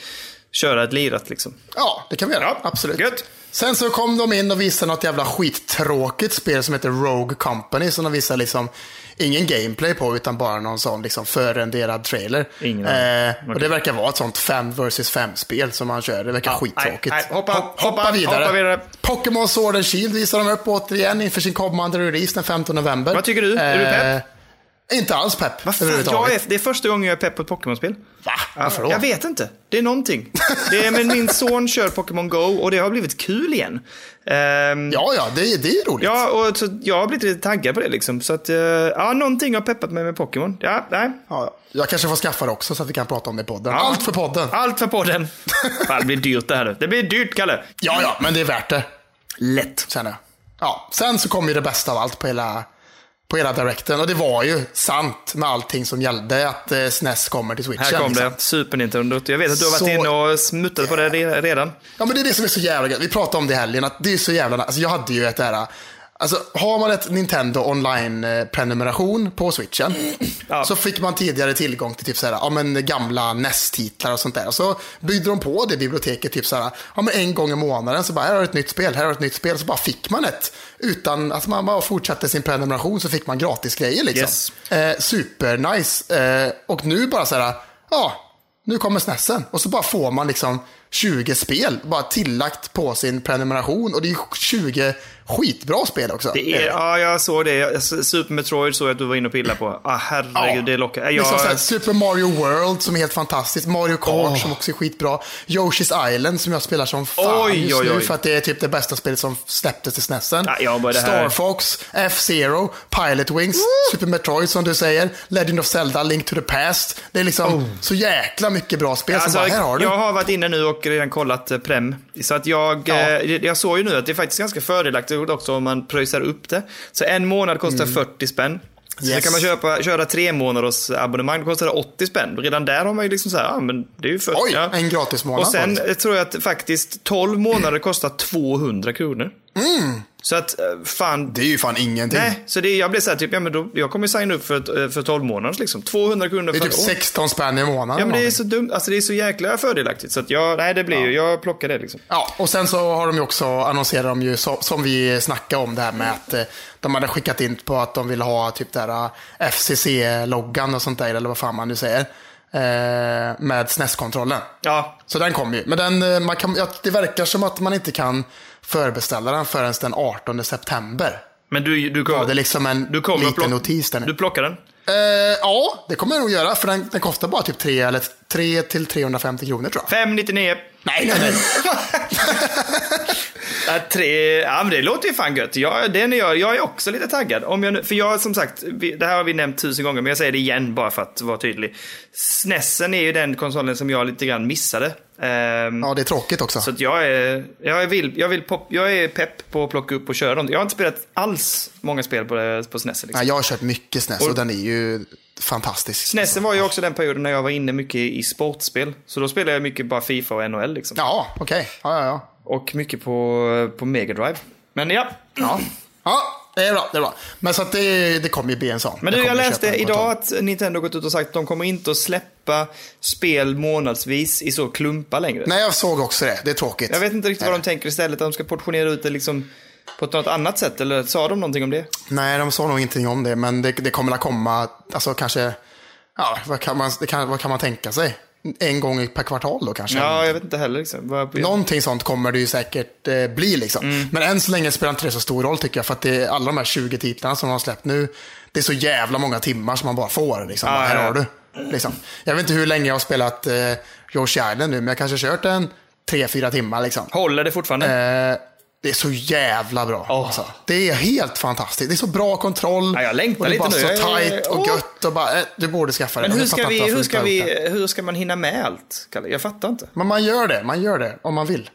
A: köra ett lirat liksom.
B: Ja, det kan vi göra.
A: Ja,
B: Absolut.
A: gött.
B: Sen så kom de in och visade något jävla skittråkigt spel som heter Rogue Company som de visade liksom ingen gameplay på utan bara någon sån liksom förrenderad trailer.
A: Ingen aning.
B: eh, Och det verkar vara ett sånt 5 vs 5 spel som man kör. Det verkar skittråkigt.
A: nej, nej. Hoppa,
B: Hop-
A: hoppa,
B: vidare.
A: hoppa vidare.
B: Pokémon Sword and Shield visar de upp återigen inför sin kommande release den 15 november.
A: Vad tycker du? Är du pepp?
B: Eh, inte alls pepp
A: Vad fan, jag är, det är första gången jag är pepp på ett Pokémon-spel.
B: Va? Varför då?
A: Jag vet inte. Det är någonting. Det är, men min son kör Pokémon Go och det har blivit kul igen. Ehm,
B: Ja, ja, det, det är roligt.
A: Ja, och så jag har blivit lite taggad på det liksom. Så att, eh, ja, någonting har peppat mig med Pokémon. Ja, nej.
B: Ja, jag kanske får skaffa det också så att vi kan prata om det i podden.
A: Ja.
B: Allt för podden.
A: Allt för podden. Fan, det blir dyrt det här nu. Det blir dyrt, Kalle.
B: Ja, ja, men det är värt det,
A: Lätt.
B: känner jag. Ja, sen så kom ju det bästa av allt på hela, på hela direkten. Och det var ju sant med allting som gällde att eh, SNES kommer till Switchen.
A: Här kom
B: liksom.
A: det. Super Nintendo. Jag vet att du har varit
B: Så-
A: inne och smuttat på det re- redan.
B: Ja, men det är det som är så jävla gött. Vi pratade om det i helgen, att det är så jävla Alltså jag hade ju ett där... Alltså har man ett Nintendo online-prenumeration på switchen
A: Ja.
B: så fick man tidigare tillgång till typ så här, ja, men gamla NES-titlar och sånt där. Och så byggde de på det biblioteket typ så här, ja, men en gång i månaden så bara här har du ett nytt spel, här har du ett nytt spel. Så bara fick man ett. Utan att man bara fortsatte sin prenumeration så fick man gratis grejer liksom.
A: Yes.
B: Eh, super nice. Eh, och nu bara så här, ja, nu kommer snessen. Och så bara får man liksom 20 spel bara tillagt på sin prenumeration. Och det är ju 20 skitbra spel också.
A: Det är, ja, jag såg det. Jag- Super Metroid såg jag att du var inne och pillade på. Ah, herregud, det lockar. Jag,
B: Liksom så här, Super Mario World som är helt fantastiskt. Mario Kart som också är skitbra. Yoshi's Island som jag spelar som fan
A: Oj,
B: just
A: oj,
B: nu
A: oj.
B: för att det är typ det bästa spelet som släpptes till snessen.
A: Ja, ja, bara det här.
B: Star Fox, F-Zero, Pilot Wings, Super Metroid som du säger, Legend of Zelda, Link to the Past. Det är liksom så jäkla mycket bra spel
A: Oh. Alltså,
B: som bara, här har du.
A: jag har varit inne nu och redan kollat eh, Prem. Så att jag, eh, jag såg ju nu att det är faktiskt ganska fördelaktigt också om man pröjsar upp det. Så en månad kostar 40 spänn. Sen
B: Mm. Yes.
A: kan man köpa, köra tre månaders abonnemang, då kostar det 80 spänn. Redan där har man ju liksom så här, ja men det är ju 40.
B: Oj,
A: ja.
B: en gratis månad.
A: Och sen eh, tror jag att faktiskt 12 månader kostar 200 kronor. Så att, eh, fan,
B: Mm. Det är ju fan ingenting.
A: Nej, så det, jag blev så här, typ, ja, men då, jag kommer signa upp för, ett, eh, för 12 månaders liksom. 200 kronor
B: Det är
A: för
B: typ
A: ett år.
B: 16 spänn i månaden.
A: Ja, men det är
B: någonting.
A: så dumt. Alltså det är så jäkla fördelaktigt. Så att jag, nej, det blir ju, jag plockar det liksom.
B: Ja, och sen så har de ju också, annonserar de ju, så, som vi snackade om det här med att eh, de hade skickat in på att de vill ha typ där eh, FCC-loggan och sånt där, eller vad fan man nu säger. Eh, med SNES-kontrollen.
A: Ja,
B: Så den kommer ju. Men den, eh, man kan, ja, det verkar som att man inte kan förbeställa den förrän den 18 september.
A: men du, du kommer,
B: Det är liksom en
A: du kommer att
B: liten
A: plocka-
B: notis där nu.
A: Du plockar den?
B: Eh, ja, det kommer jag nog göra, för den, den kostar bara typ 3 eller 3 till 350 kronor tror jag.
A: 599.
B: Nej, nej, nej.
A: Ja, tre, ja, men det låter ju fan gött. Jag, den är jag, jag är också lite taggad. Om jag, nu- för jag, som sagt, vi, det här har vi nämnt tusen gånger, men jag säger det igen bara för att vara tydlig. Snessen är ju den konsolen som jag lite grann missade. Ehm,
B: Ja, det är tråkigt också.
A: Så att jag är, jag, vill, jag, vill pop, jag är pepp på att plocka upp och köra dem. Jag har inte spelat alls många spel på, på Snessen. Liksom.
B: Nej, jag har kört mycket SNES och, den är ju fantastisk.
A: Snessen E var ju också den perioden när jag var inne mycket i sportspel. Så då spelade jag mycket bara Fifa och NHL liksom.
B: Ja, okej. Ja, ja, ja.
A: Och mycket på, på Mega Drive. Men ja.
B: Ja. ja, det är bra. Det är bra. Men så att det, det kommer ju bli en sån.
A: Men du,
B: kommer
A: jag
B: vi
A: läste
B: köpa en
A: idag
B: kvartal.
A: att Nintendo gått ut och sagt att de kommer inte att släppa spel månadsvis i så klumpar längre.
B: Nej, jag såg också det. Det är tråkigt.
A: Jag vet inte riktigt vad de tänker istället, att de ska portionera ut det liksom på ett något annat sätt, eller sa de någonting om
B: Mm.
A: det?
B: Nej, de sa nog ingenting om det, men det, det kommer att komma, alltså kanske, ja, vad kan, man, det kan, vad kan man tänka sig? En gång per kvartal då kanske?
A: Ja, jag vet inte heller liksom. Vad-
B: Någonting sånt kommer det ju säkert eh, bli liksom.
A: Mm.
B: Men än så länge spelar inte det så stor roll tycker jag, för att det är alla de här 20 titlarna som de har släppt nu, det är så jävla många timmar som man bara får. Liksom.
A: Ah,
B: här
A: ja.
B: har du. Liksom. Jag vet inte hur länge jag har spelat eh, Yoshi Island nu, men jag kanske har kört en 3-4 timmar liksom.
A: Håller det fortfarande?
B: Eh, det är så jävla bra.
A: Åh.
B: Alltså. Det är helt fantastiskt. Det är så bra kontroll.
A: Ja, jag längtar
B: och det
A: lite
B: är bara
A: nu. Jag-
B: så tight och
A: Åh.
B: gött. Och bara, eh, du borde skaffa det.
A: Men
B: Jag
A: hur
B: fattar
A: ska,
B: inte
A: vi,
B: varför du
A: hur,
B: inte
A: ska
B: har gjort det.
A: vi, hur ska man hinna med allt, Kalle? Jag fattar inte.
B: Men man gör det. Man gör det om man vill.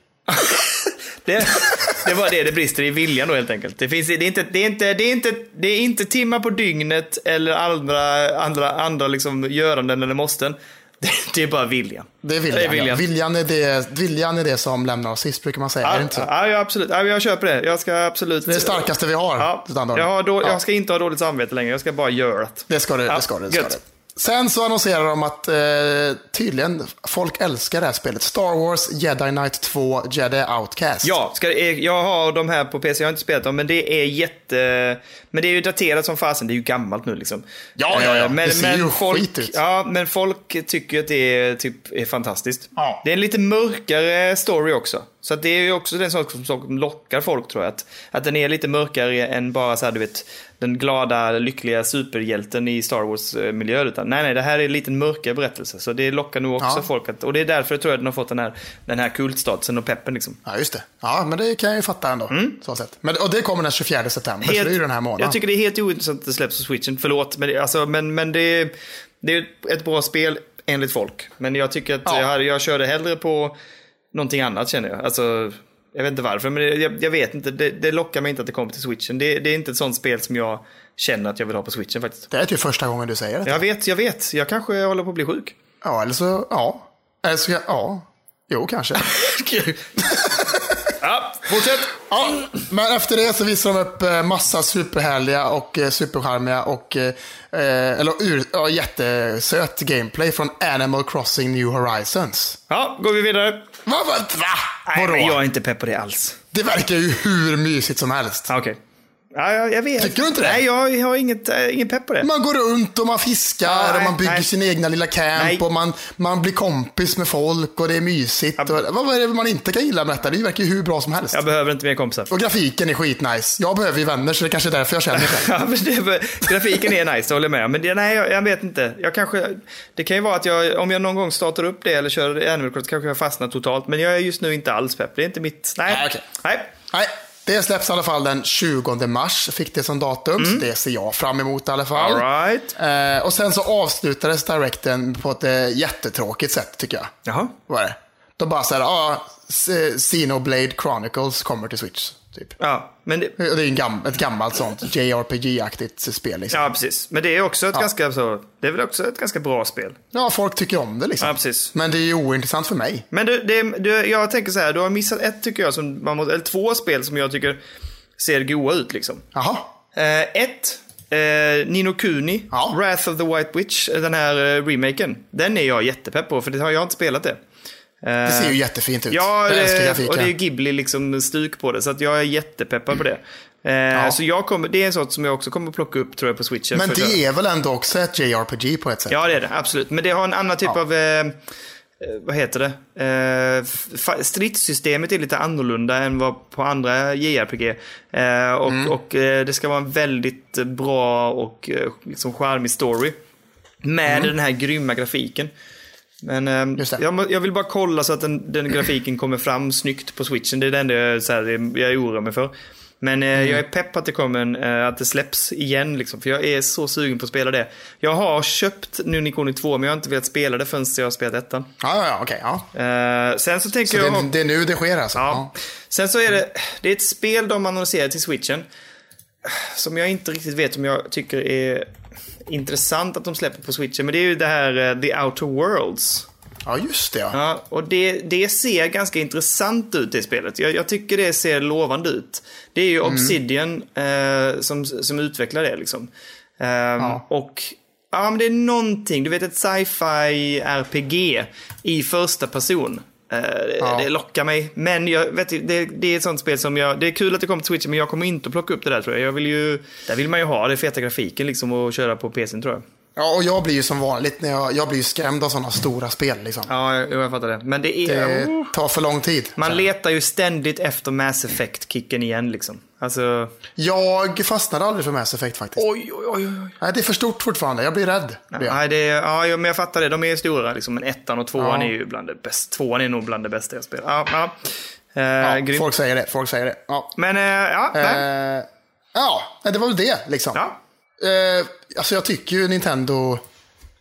A: Det, det var det det brister i viljan då helt enkelt. Det, finns, det, är inte, det, är inte, det, är inte, det är inte timmar på dygnet eller andra, andra, andra liksom göranden eller måsten. Det, det är bara viljan.
B: Det är viljan.
A: Det är viljan.
B: Ja. Viljan, är det, viljan är det som lämnar oss sist, brukar man säga. är det inte så?
A: Ja, ja, absolut. Ja, jag köper det. Jag ska absolut...
B: Det är det starkaste vi har.
A: Ja, jag,
B: standarden.
A: har då,
B: Ja.
A: jag ska inte ha dåligt samvete längre. Jag ska bara göra det.
B: Det ska du.
A: Ja,
B: det ska du, det ska
A: gött.
B: du. Sen så annonserar de att eh, tydligen folk älskar det här spelet. Star Wars Jedi Knight 2 Jedi Outcast.
A: Ja, ska, eh, jag har de här på PC, jag har inte spelat dem, men det är jätte... Men det är ju daterat som fasen, det är ju gammalt nu liksom.
B: Ja, ja, ja.
A: Eh, Men,
B: Det ser
A: men
B: ju
A: folk,
B: skit ut.
A: Ja, men folk tycker att det är, typ, är fantastiskt.
B: Ja.
A: Det är en lite mörkare story också. Så att det är ju också den sak som, som lockar folk tror jag. Att, att den är lite mörkare än bara så här, du vet, den glada, lyckliga superhjälten i Star Wars-miljö. Utan nej, nej, det här är en liten mörkare berättelse. Så det lockar nog också
B: Ja.
A: folk. Att, och det är därför tror jag den har fått den här, den här kultstatusen och peppen liksom.
B: Ja, just det. Ja, men det kan jag ju fatta ändå. Så sätt. Men, och det kommer den 24 september, så det är ju den här månaden.
A: Mm. Jag tycker det är helt ointressant att det släpps på switchen. Förlåt, men, det- alltså, men, men det, det är ett bra spel enligt folk. Men jag tycker att
B: Ja.
A: jag, hade- jag körde hellre på någonting annat känner jag. Alltså, jag vet inte varför, men det- jag, jag vet inte. Det, det lockar mig inte att det kommer till switchen. Det, det är inte ett sånt spel som jag känner att jag vill ha på switchen faktiskt.
B: Det är typ första gången du säger det. Ja,
A: Jag vet, jag vet. Jag kanske håller på att bli sjuk.
B: eller så, ja. Eller så, ja. Jo, kanske.
A: Ja, fortsätt!
B: ja, men efter det så visar de upp eh, massa superhärliga och eh, supercharmiga och eh, eh, eller ur, ja, jättesöt gameplay från Animal Crossing New Horizons.
A: Ja, går vi vidare.
B: Va? va, va?
A: Nej,
B: Vadå?
A: men jag är inte pepp på det alls.
B: Det verkar ju hur mysigt som helst.
A: Ja, Ah, Okej. Ja, jag, jag vet.
B: Tycker du inte det?
A: Nej, jag, jag har inget, äh, ingen pepp på det.
B: Man går runt och man fiskar
A: Nej,
B: och man bygger
A: nej.
B: sin egna lilla camp
A: Nej.
B: och man, man blir kompis med folk och det är mysigt. Och, vad, vad är det man inte kan gilla med detta? Det verkar ju hur bra som helst.
A: Jag behöver inte mer kompisar.
B: Och grafiken är skitnice. Jag behöver ju vänner så det är kanske är därför jag känner det.
A: Ja, men det, var- grafiken är nice, det håller jag med om. Men det, nej, jag, jag vet inte. Jag kanske, det kan ju vara att jag, om jag någon gång startar upp det eller kör Animal Crossing kanske jag fastnar totalt. Men jag är just nu inte alls pepp. Det är inte mitt... Nej.
B: Nej, okej.
A: nej.
B: Nej, det släpps i alla fall den 20 mars. Fick det som datum, så det ser jag fram emot i alla fall.
A: Mm. All right.
B: eh, och sen så avslutades directen på ett eh, jättetråkigt sätt tycker jag.
A: Jaha.
B: Vad är det? De bara såhär, ja, ah, Xenoblade Chronicles kommer till Switch. Typ.
A: Ja, men det,
B: Det är ju en gam- ett gammalt sånt JRPG-aktigt spel. Liksom. Ja.
A: ja, precis. Men det är också ett ganska så... Det är väl också ett ganska bra spel.
B: folk tycker om det liksom.
A: Ja, precis.
B: Men det är ju ointressant för mig.
A: Men du, det, du, jag tänker så här, du har missat ett tycker jag, som man måste, eller två spel som jag tycker ser goa ut liksom.
B: Jaha.
A: Eh, ett, eh, Nino Kuni,
B: Ja.
A: Wrath of the White Witch, den här eh, remaken. Den är jag jättepepp på, för det har jag inte spelat det.
B: Det ser ju jättefint ut.
A: Eh, Ja,
B: jag älskar
A: eh,
B: grafiken.
A: och det är ju Ghibli liksom stuk på det, så att jag är jättepeppad på det. Eh, Så jag kommer, det är en sort som jag också kommer plocka upp tror jag på switchen.
B: Men
A: för att-
B: det är väl ändå också ett JRPG på ett sätt?
A: Ja, det är det. Absolut. Men det har en annan typ av... Eh, vad heter det? Eh, fa- stridssystemet är lite annorlunda än vad på andra JRPG. Eh, och och eh, det ska vara en väldigt bra och eh, liksom charmig story. Med den här grymma grafiken. Men ehm,
B: Mm. Just det.
A: jag, må- jag vill bara kolla så att den, den grafiken kommer fram snyggt på switchen. Det är det enda jag, så här, ehm, jag oroar mig för. Men eh,
B: Mm.
A: jag är pepp att det, kommer en, eh, att det släpps igen. Liksom, för jag är så sugen på att spela det. Jag har köpt nu Nikoni 2 men jag har inte velat spela det förrän jag har spelat ettan.
B: Ja, ja, ja okej. ja.
A: Eh, sen så tänker
B: Så
A: jag...
B: det, det är nu det sker alltså?
A: Ja. Sen så är det, det är ett spel de annonserar till switchen. Som jag inte riktigt vet om jag tycker är intressant att de släpper på switchen. Men det är ju det här eh, The Outer Worlds.
B: Ja, just det. Ja.
A: Ja, och det, det ser ganska intressant ut i spelet. Jag, jag tycker det ser lovande ut. Det är ju Obsidian eh, som, som utvecklar det liksom. Ehm, Och ja, men det är någonting, du vet ett sci-fi RPG i första person. Eh, det-
B: Ja.
A: Det lockar mig. Men jag vet du, det, det är ett sånt spel som jag, det är kul att det kommer till Switch men jag kommer inte att plocka upp det där tror jag. jag vill ju, där vill man ju ha det feta grafiken liksom och köra på PCn tror jag.
B: ja, och jag blir ju som vanligt när jag, jag blir ju skrämd av sådana stora spel. Liksom.
A: Ja, jag, jag fattar det. Men det är...
B: Det tar för lång tid.
A: Man letar ju ständigt efter Mass Effect-kicken igen liksom. Alltså...
B: Jag fastnade aldrig för Mass Effect faktiskt.
A: Oj, oj, oj. oj.
B: Nej, det är för stort fortfarande. Jag blir rädd. blir jag.
A: Nej, det är, ja, jo, men jag fattar det. De är stora liksom. Men ettan och tvåan
B: Ja.
A: är ju bland det bästa. Tvåan är nog bland det bästa jag spelar. Ja, ja. Eh,
B: Ja,
A: grymt.
B: folk säger det. Folk säger det. Ja.
A: Men, eh, ja. nej.
B: Eh, ja, det var väl det liksom.
A: ja.
B: Eh, alltså jag tycker ju Nintendo,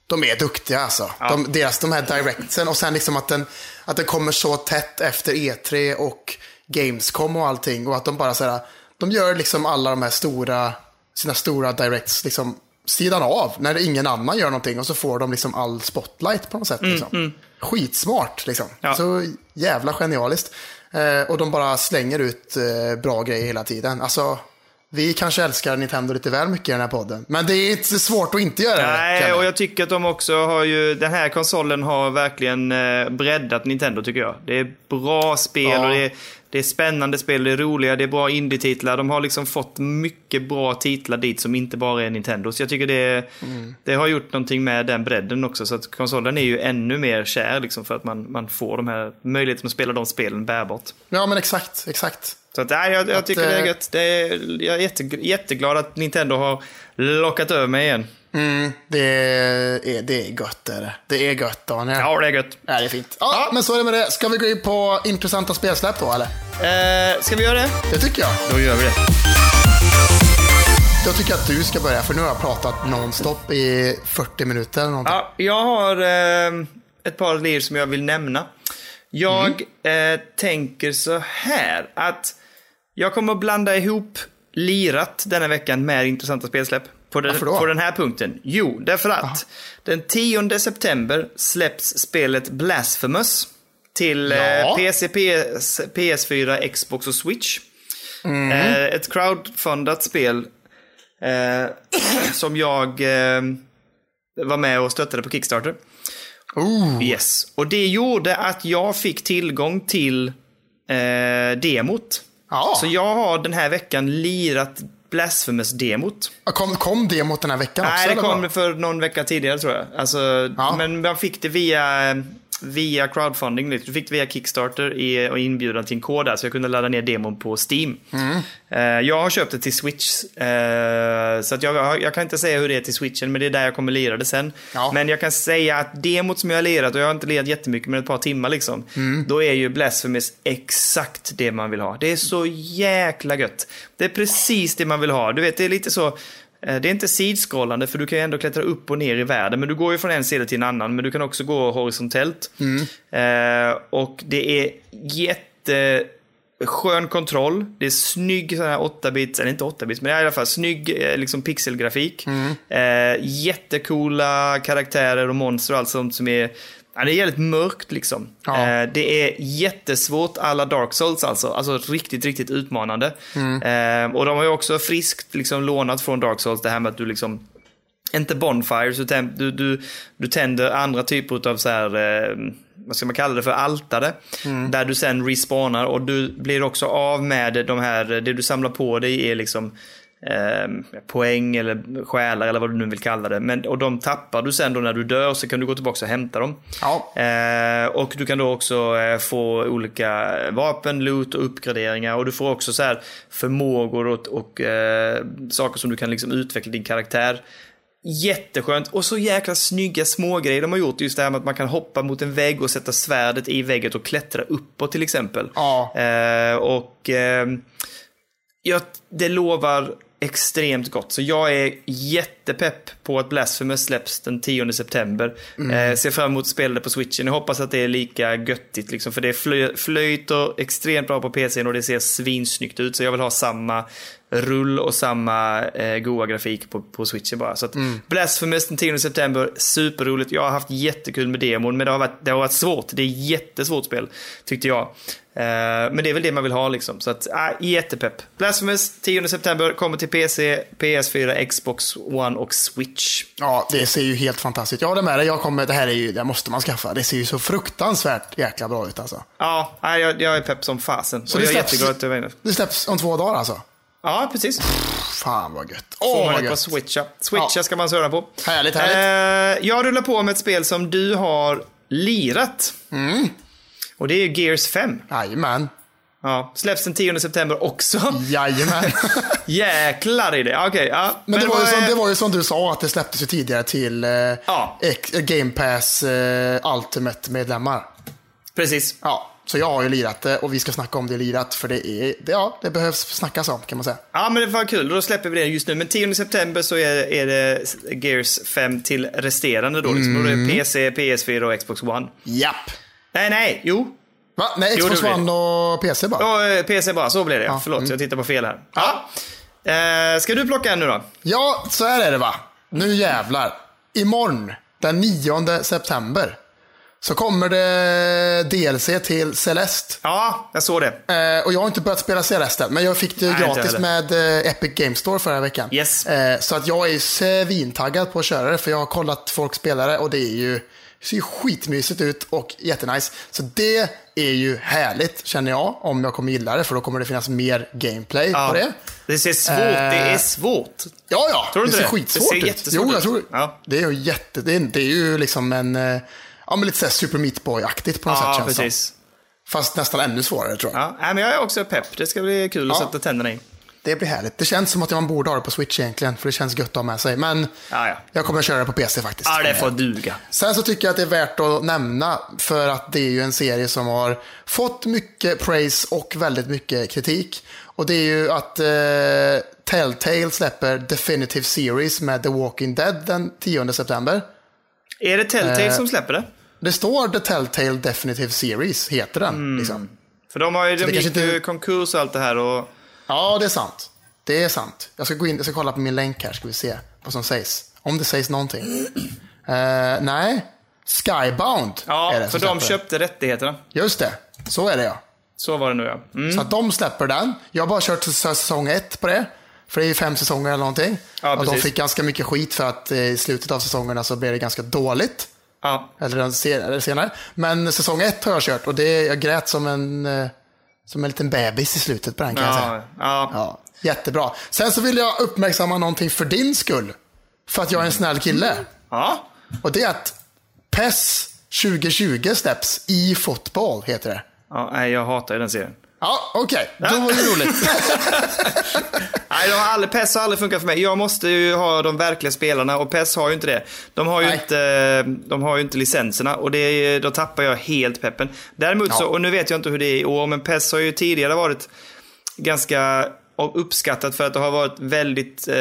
B: de är duktiga alltså. De, deras, de här directsen och sen liksom att den, att den kommer så tätt efter E3 och Gamescom och allting. Och att de bara såhär, de gör liksom alla de här stora, sina stora directs liksom sidan av. När ingen annan gör någonting och så får de liksom all spotlight på något sätt. Liksom. Skitsmart liksom.
A: Ja.
B: Så jävla genialiskt. Eh, och de bara slänger ut eh, bra grejer hela tiden. Alltså, vi kanske älskar Nintendo lite väl mycket i den här podden. Men det är inte så svårt att inte göra det. kan
A: Nej,
B: jag-
A: och jag tycker att de också har ju... Den här konsolen har verkligen eh, breddat Nintendo tycker jag. Det är bra spel
B: Ja.
A: och det är, det är spännande spel, det är roliga, det är bra indie-titlar. De har liksom fått mycket bra titlar dit som inte bara är Nintendo. Så jag tycker det, det har gjort någonting med den bredden också. Så att konsolen är ju ännu mer kär liksom för att man, man får de här möjligheten att spela de spelen bärbart.
B: Ja, men exakt. exakt.
A: Så att, nej, jag, jag tycker det är
B: eh,
A: gött. Det är, jag är jätte, jätteglad att Nintendo har lockat över mig igen.
B: Mm, det, är, det är gött. Är det. det är gött, Daniel.
A: Ja, det är gött.
B: Ja, det är fint. Ja, men så är det med det. Ska vi gå in på intressanta spelsläpp då, eller?
A: Eh, ska vi göra det?
B: Det tycker jag.
A: Då gör vi det.
B: Jag tycker att du ska börja, för nu har jag pratat nonstop i 40 minuter eller någonting.
A: Ja, jag har eh, ett par liv som jag vill nämna. Jag
B: Mm.
A: eh, tänker så här att jag kommer att blanda ihop lirat denna veckan med intressanta spelsläpp. På den,
B: Varför då?
A: på den här punkten. Jo, därför att den 10 september släpps spelet Blasphemous till eh,
B: Ja.
A: PC, PS, PS4, Xbox och Switch.
B: Mm.
A: Eh, ett crowdfundat spel eh, som jag eh, var med och stöttade på Kickstarter.
B: Ooh.
A: Yes. Och det gjorde att jag fick tillgång till eh, demot.
B: Ja.
A: Så jag har den här veckan lirat Blasphemous-demot.
B: Kom, kom det mot den här veckan också?
A: Nej, det
B: eller vad?
A: kom för någon vecka tidigare tror jag. Alltså,
B: Ja.
A: Men man fick det via, via crowdfunding. liksom. Du fick det via Kickstarter i, och inbjudan till en kod där, så jag kunde ladda ner demon på Steam.
B: Mm.
A: Eh, jag har köpt det till Switch, eh, så att jag, har- jag kan inte säga hur det är till Switchen, men det är där jag kommer lira det sen.
B: Ja.
A: Men jag kan säga att demot som jag har lirat, och jag har inte lirat jättemycket, men ett par timmar liksom, då är ju Blasphemous exakt det man vill ha. Det är så jäkla gött. Det är precis det man vill ha. Du vet, det är lite så, eh, det är inte sidskrollande, för du kan ju ändå klättra upp och ner i världen, men du går ju från en sida till en annan, men du kan också gå horisontellt. Eh, och det är jätte skön kontroll. Det är snygg sån här 8-bits, eller inte 8-bits, men i alla fall snygg eh, liksom pixelgrafik. Eh, jättecoola karaktärer och monster och allt sånt som är Ja, det är jävligt mörkt liksom.
B: Ja.
A: Eh, det är jättesvårt alla Dark Souls alltså. Alltså riktigt, riktigt utmanande. Eh, och de har ju också friskt liksom lånat från Dark Souls det här med att du liksom inte bonfires, du, tänd, du, du, du tänder andra typer av så här, eh, vad ska man kalla det för, altare. Där du sen respawnar och du blir också av med de här, eh, det du samlar på dig är liksom eh, poäng eller själar eller vad du nu vill kalla det. Men, och de tappar du sen då när du dör så kan du gå tillbaka och hämta dem.
B: Ja.
A: Eh, och du kan då också eh, få olika vapen, loot och uppgraderingar. Och du får också så här förmågor och, och eh, saker som du kan liksom utveckla din karaktär. Jätteskönt och så jäkla snygga smågrejer de har gjort. Just det här med att man kan hoppa mot en vägg och sätta svärdet i väggen och klättra uppåt till exempel.
B: Ja.
A: Eh, och ehm, jag, det lovar extremt gott. Så jag är jätte lite pepp på att Blasphemous släpps den 10 september. Eh, ser fram emot att spela det på switchen. Jag hoppas att det är lika göttigt liksom, för det flö- flöjter extremt bra på PCn och det ser svinsnyggt ut. Så jag vill ha samma rull och samma eh, goa grafik på, på switchen bara. Så att
B: Mm.
A: Blasphemous den 10 september, superroligt. Jag har haft jättekul med demon, men det har varit, det har varit svårt. Det är jättesvårt spel, tyckte jag. Eh, men det är väl det man vill ha liksom. Så att, ah, jättepepp. Blasphemous 10 september, kommer till PC, PS4, Xbox One och Switch.
B: Ja, det ser ju helt fantastiskt. Jag håller med dig. Jag kommer, det här är ju, det måste man skaffa. Det ser ju så fruktansvärt jäkla bra ut alltså.
A: Ja, ah, jag, jag är pepp som fasen. Så och
B: det
A: jag är
B: släpps-
A: jätteglad att du var inne.
B: Det släpps om två dagar alltså.
A: Ja, precis.
B: Fan vad gött.
A: Får
B: Åh
A: man
B: vad
A: det på
B: gött.
A: Switcha. Switcha
B: Ja.
A: ska man surra på.
B: Härligt,
A: Eh, jag rullar på med ett spel som du har lirat.
B: Mm.
A: Och det är ju Gears 5.
B: Jajamän.
A: Ja, släpps den 10 september
B: Mm.
A: också.
B: Jajamän.
A: Jäklar i det. Okej, ja.
B: Men, det, var ju
A: vad
B: som,
A: är-
B: det var ju som du sa att det släpptes ju tidigare till eh,
A: Ja.
B: X- Game Pass eh, Ultimate-medlemmar.
A: Precis.
B: Ja, så jag har ju lirat det och vi ska snacka om det lirat för det är, det, ja, det behövs snackas om kan man säga.
A: Ja, men det var kul. Då släpper vi det just nu. Men 10 september så är, är det Gears 5 till resterande då. Liksom. Då är
B: Mm.
A: det PC, PS4 och Xbox One.
B: Japp.
A: Nej, nej, jo.
B: Va? Nej,
A: Jo,
B: Xbox
A: det blir
B: One och PC bara.
A: Ja, eh, PC bara. Så blir det. Förlåt,
B: Mm.
A: jag tittar på fel här. Ja. Eh, ska du plocka en nu då?
B: Ja, så här är det va. Nu jävlar. Imorgon, den 9 september, så kommer det DLC till Celeste.
A: Ja, jag såg det.
B: Eh, och jag har inte börjat spela Celeste än, men jag fick det
A: Nej, inte
B: gratis
A: heller.
B: med eh, Epic Game Store förra veckan.
A: Yes.
B: Eh, så att jag är ju svintaggad på att köra det, för jag har kollat folk spela det och det är ju det ser ju skitmysigt ut och jättenice. Så det är ju härligt känner jag, om jag kommer gilla det, för då kommer det finnas mer gameplay
A: Ja.
B: på det.
A: Det ser svårt, det
B: Eh,
A: är svårt.
B: Ja, ja.
A: Tror du
B: det
A: inte
B: ser
A: det?
B: skitsvårt
A: Det ser
B: ut.
A: jättesvårt
B: jo, jag
A: ut.
B: tror
A: Ja.
B: det. Är ju jätte, det, är, det är ju liksom en, eh, ja men lite såhär Super Meat Boy-aktigt på något sätt
A: Ja,
B: känns det som.
A: precis.
B: Fast nästan ännu svårare tror jag.
A: Ja, nej, men jag är också pepp. Det ska bli kul att
B: Ja.
A: sätta tänderna i.
B: Det blir härligt. Det känns som att man borde ha det på Switch egentligen, för det känns gött att ha med sig. Men
A: Ja, ja.
B: jag kommer att köra det på PC faktiskt.
A: Ja, det får duga.
B: Sen så tycker jag att det är värt att nämna, för att det är ju en serie som har fått mycket praise och väldigt mycket kritik. Och det är ju att eh, Telltale släpper Definitive Series med The Walking Dead den 10 september.
A: Är det Telltale
B: Eh,
A: som släpper det?
B: Det står The Telltale Definitive Series, heter den.
A: Mm.
B: Liksom.
A: För de, har ju, de
B: det
A: gick
B: kanske
A: ju
B: inte-
A: konkurs och allt det här. Och...
B: Ja, det är sant. Det är sant. Jag ska gå in, jag ska kolla på min länk här, ska vi se vad som sägs. Om det sägs någonting. Eh, nej, Skybound
A: Ja,
B: är det
A: för
B: som
A: de
B: släpper.
A: köpte rättigheterna.
B: Just det, så är det ja.
A: Så var det nu ja. Mm.
B: Så att de släpper den. Jag har bara kört s- säsong ett på det. För det är ju fem säsonger eller någonting.
A: Ja,
B: och de
A: precis.
B: fick ganska mycket skit för att eh, i slutet av säsongerna så blev det ganska dåligt.
A: Ja.
B: Eller den sen- eller senare. Men säsong ett har jag kört och det, jag grät som en, eh, som en liten bebis i slutet på den kan jag säga.
A: Ja, ja.
B: Ja, jättebra. Sen så vill jag uppmärksamma någonting för din skull. För att jag är en snäll kille.
A: ja.
B: Och det är att PES 2020 släpps i fotboll, heter det.
A: ja nej, jag hatar ju den serien.
B: Ja, okej. Då var det roligt.
A: Nej, de har aldrig, PES har aldrig funkat för mig. Jag måste ju ha de verkliga spelarna och PES har ju inte det. De har ju,
B: Nej.
A: inte, de har ju inte licenserna och det, är- då tappar jag helt peppen. Däremot så, och nu vet jag inte hur det är i år, men PES har ju tidigare varit ganska uppskattat för att det har varit väldigt, eh,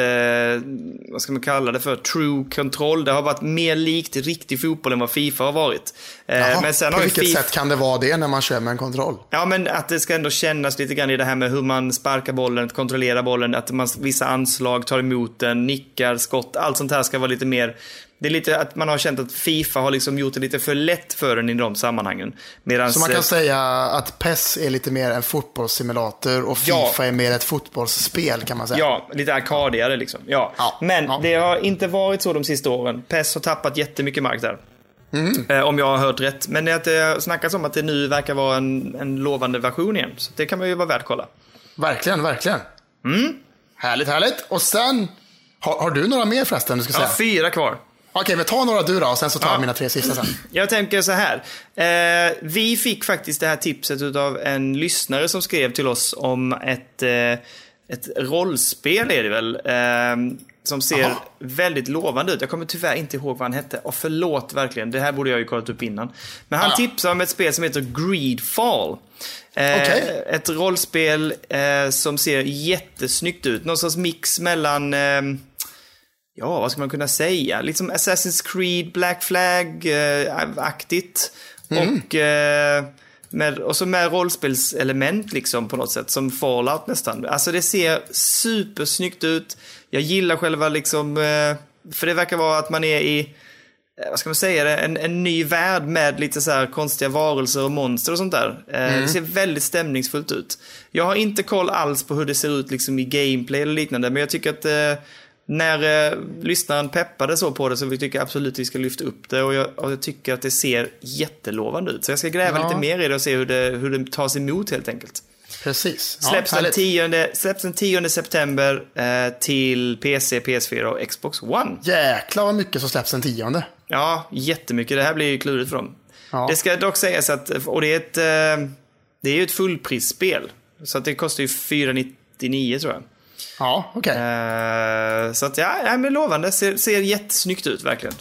A: vad ska man kalla det för, true control. Det har varit mer likt riktig fotboll än vad Fifa har varit. Eh,
B: Jaha,
A: men sen
B: på
A: har ju
B: vilket
A: Fifa...
B: sätt kan det vara det när man kör med en kontroll?
A: Ja, men att det ska ändå kännas lite grann i det här med hur man sparkar bollen, kontrollerar bollen, att man vissa anslag tar emot den, nickar, skott, allt sånt här ska vara lite mer... Det är lite att man har känt att Fifa har liksom gjort det lite för lätt för en i de sammanhangen. Medans,
B: Så man
A: eh,
B: kan säga att PES är lite mer en fotbollssimulator och
A: Ja.
B: Fifa är mer ett fotbollsspel kan man säga.
A: Ja, lite arkadigare liksom. Ja.
B: Ja,
A: Men
B: ja.
A: det har inte varit så de sista åren. PES har tappat jättemycket mark där.
B: Mm.
A: Eh, om jag har hört rätt. Men det är att det snackas om att det nu verkar vara en, en lovande version igen. Så det kan man ju vara värd att kolla.
B: Verkligen, verkligen.
A: Mm.
B: Härligt, härligt. Och sen, har, har du några mer förresten du ska
A: Ja,
B: säga?
A: fyra kvar.
B: Okej, men ta några du då och sen så tar jag mina tre sista sen.
A: Jag tänker så här. Eh, vi fick faktiskt det här tipset av en lyssnare som skrev till oss om ett, eh, ett rollspel är det väl. Eh, som ser
B: Aha.
A: väldigt lovande ut. Jag kommer tyvärr inte ihåg vad han hette. Och förlåt verkligen, det här borde jag ju kollat upp innan. Men han
B: Ah.
A: tipsade om ett spel som heter Greedfall. Eh,
B: Okej.
A: Ett rollspel eh, som ser jättesnyggt ut. Någon sorts mix mellan eh, ja, vad ska man kunna säga? Liksom Assassin's Creed, Black Flag-aktigt. Och, eh, med, och så med rollspelselement liksom på något sätt, som Fallout nästan. Alltså det ser supersnyggt ut. Jag gillar själva liksom, eh, för det verkar vara att man är i, eh, vad ska man säga det, en, en ny värld med lite så här konstiga varelser och monster och sånt där. Eh,
B: Mm.
A: Det ser väldigt stämningsfullt ut. Jag har inte koll alls på hur det ser ut liksom i gameplay eller liknande, men jag tycker att eh, när eh, lyssnaren peppade så på det så vi tycker absolut att vi ska lyfta upp det och jag, och jag tycker att det ser jättelovande ut. Så jag ska gräva
B: Ja.
A: lite mer i det och se hur det, hur det tas emot helt enkelt.
B: Precis. Ja,
A: Släpps, den,
B: härligt.
A: 10, släpps den 10 september eh, till PC, PS4 och Xbox One.
B: Jäklar vad mycket som släpps den tionde.
A: Ja, jättemycket. Det här blir ju klurigt för dem.
B: Ja.
A: Det ska dock sägas att, och det är ett, eh, det är ju ett fullprisspel. Så att det kostar ju 499 tror jag.
B: Ja, okej.
A: Eh, så att ja, nej, men lovande. Ser, ser jättesnyggt ut verkligen.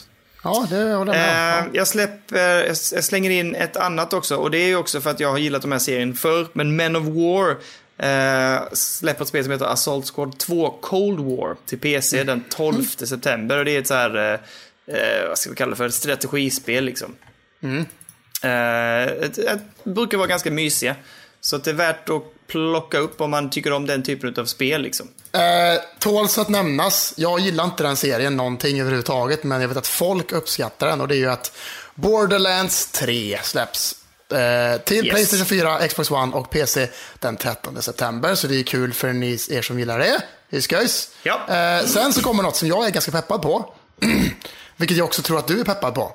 B: Ja, det håller jag med om.
A: Eh, jag, släpper, jag s- jag slänger in ett annat också och det är ju också för att jag har gillat de här serien förr. Men Men of War eh, släpper ett spel som heter Assault Squad 2 Cold War till
B: Mm.
A: PC den 12 september. Och det är ett så här, eh, eh, vad ska vi kalla det för, ett strategispel liksom.
B: Mm.
A: Eh, ett- ett- brukar vara ganska mysiga. Så att det är värt att plocka upp om man tycker om den typen av spel liksom.
B: Ja. Eh, tåls att nämnas, jag gillar inte den serien någonting överhuvudtaget, men jag vet att folk uppskattar den och det är ju att Borderlands 3 släpps eh, till
A: Yes.
B: Playstation 4, Xbox One och PC den 13 september. Så det är kul för ni, er som gillar det. Det är skojs.
A: Ja.
B: Eh, sen så kommer något som jag är ganska peppad på, vilket jag också tror att du är peppad på.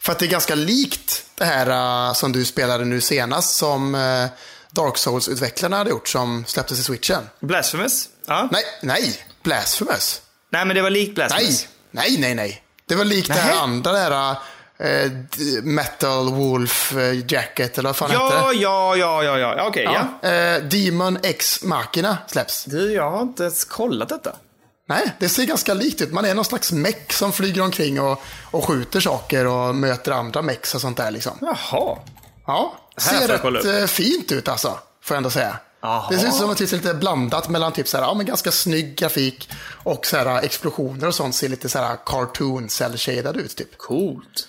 B: För att det är ganska likt det här eh, som du spelade nu senast som eh, Dark Souls-utvecklarna hade gjort som släpptes i switchen.
A: Blasphemous? Ja. Nej.
B: Nej, nej, Blasphemous.
A: men det var likt Blasphemous.
B: Nej, nej, nej, nej. Det var likt det
A: Nähä.
B: här andra, det här eh, d- Metal Wolf eh, Jacket eller vad fan hette
A: Ja,
B: det?
A: ja, ja, ja, ja. Okej, ja.
B: Eh, Demon X Machina släpps.
A: Du, jag har inte ens kollat detta.
B: Nej, det ser ganska likt ut. Man är någon slags meck som flyger omkring och, och skjuter saker och möter andra mecks och sånt där liksom.
A: Jaha.
B: Ja,
A: Här
B: ser
A: får jag kolla
B: rätt
A: upp.
B: eh, fint ut alltså. Får jag ändå säga.
A: Aha.
B: Det ser ut som att det är lite blandat mellan typ så här, ja, men ganska snygg grafik och så här, eh, explosioner och sånt ser lite så här cartoon cell shaded ut typ.
A: Coolt.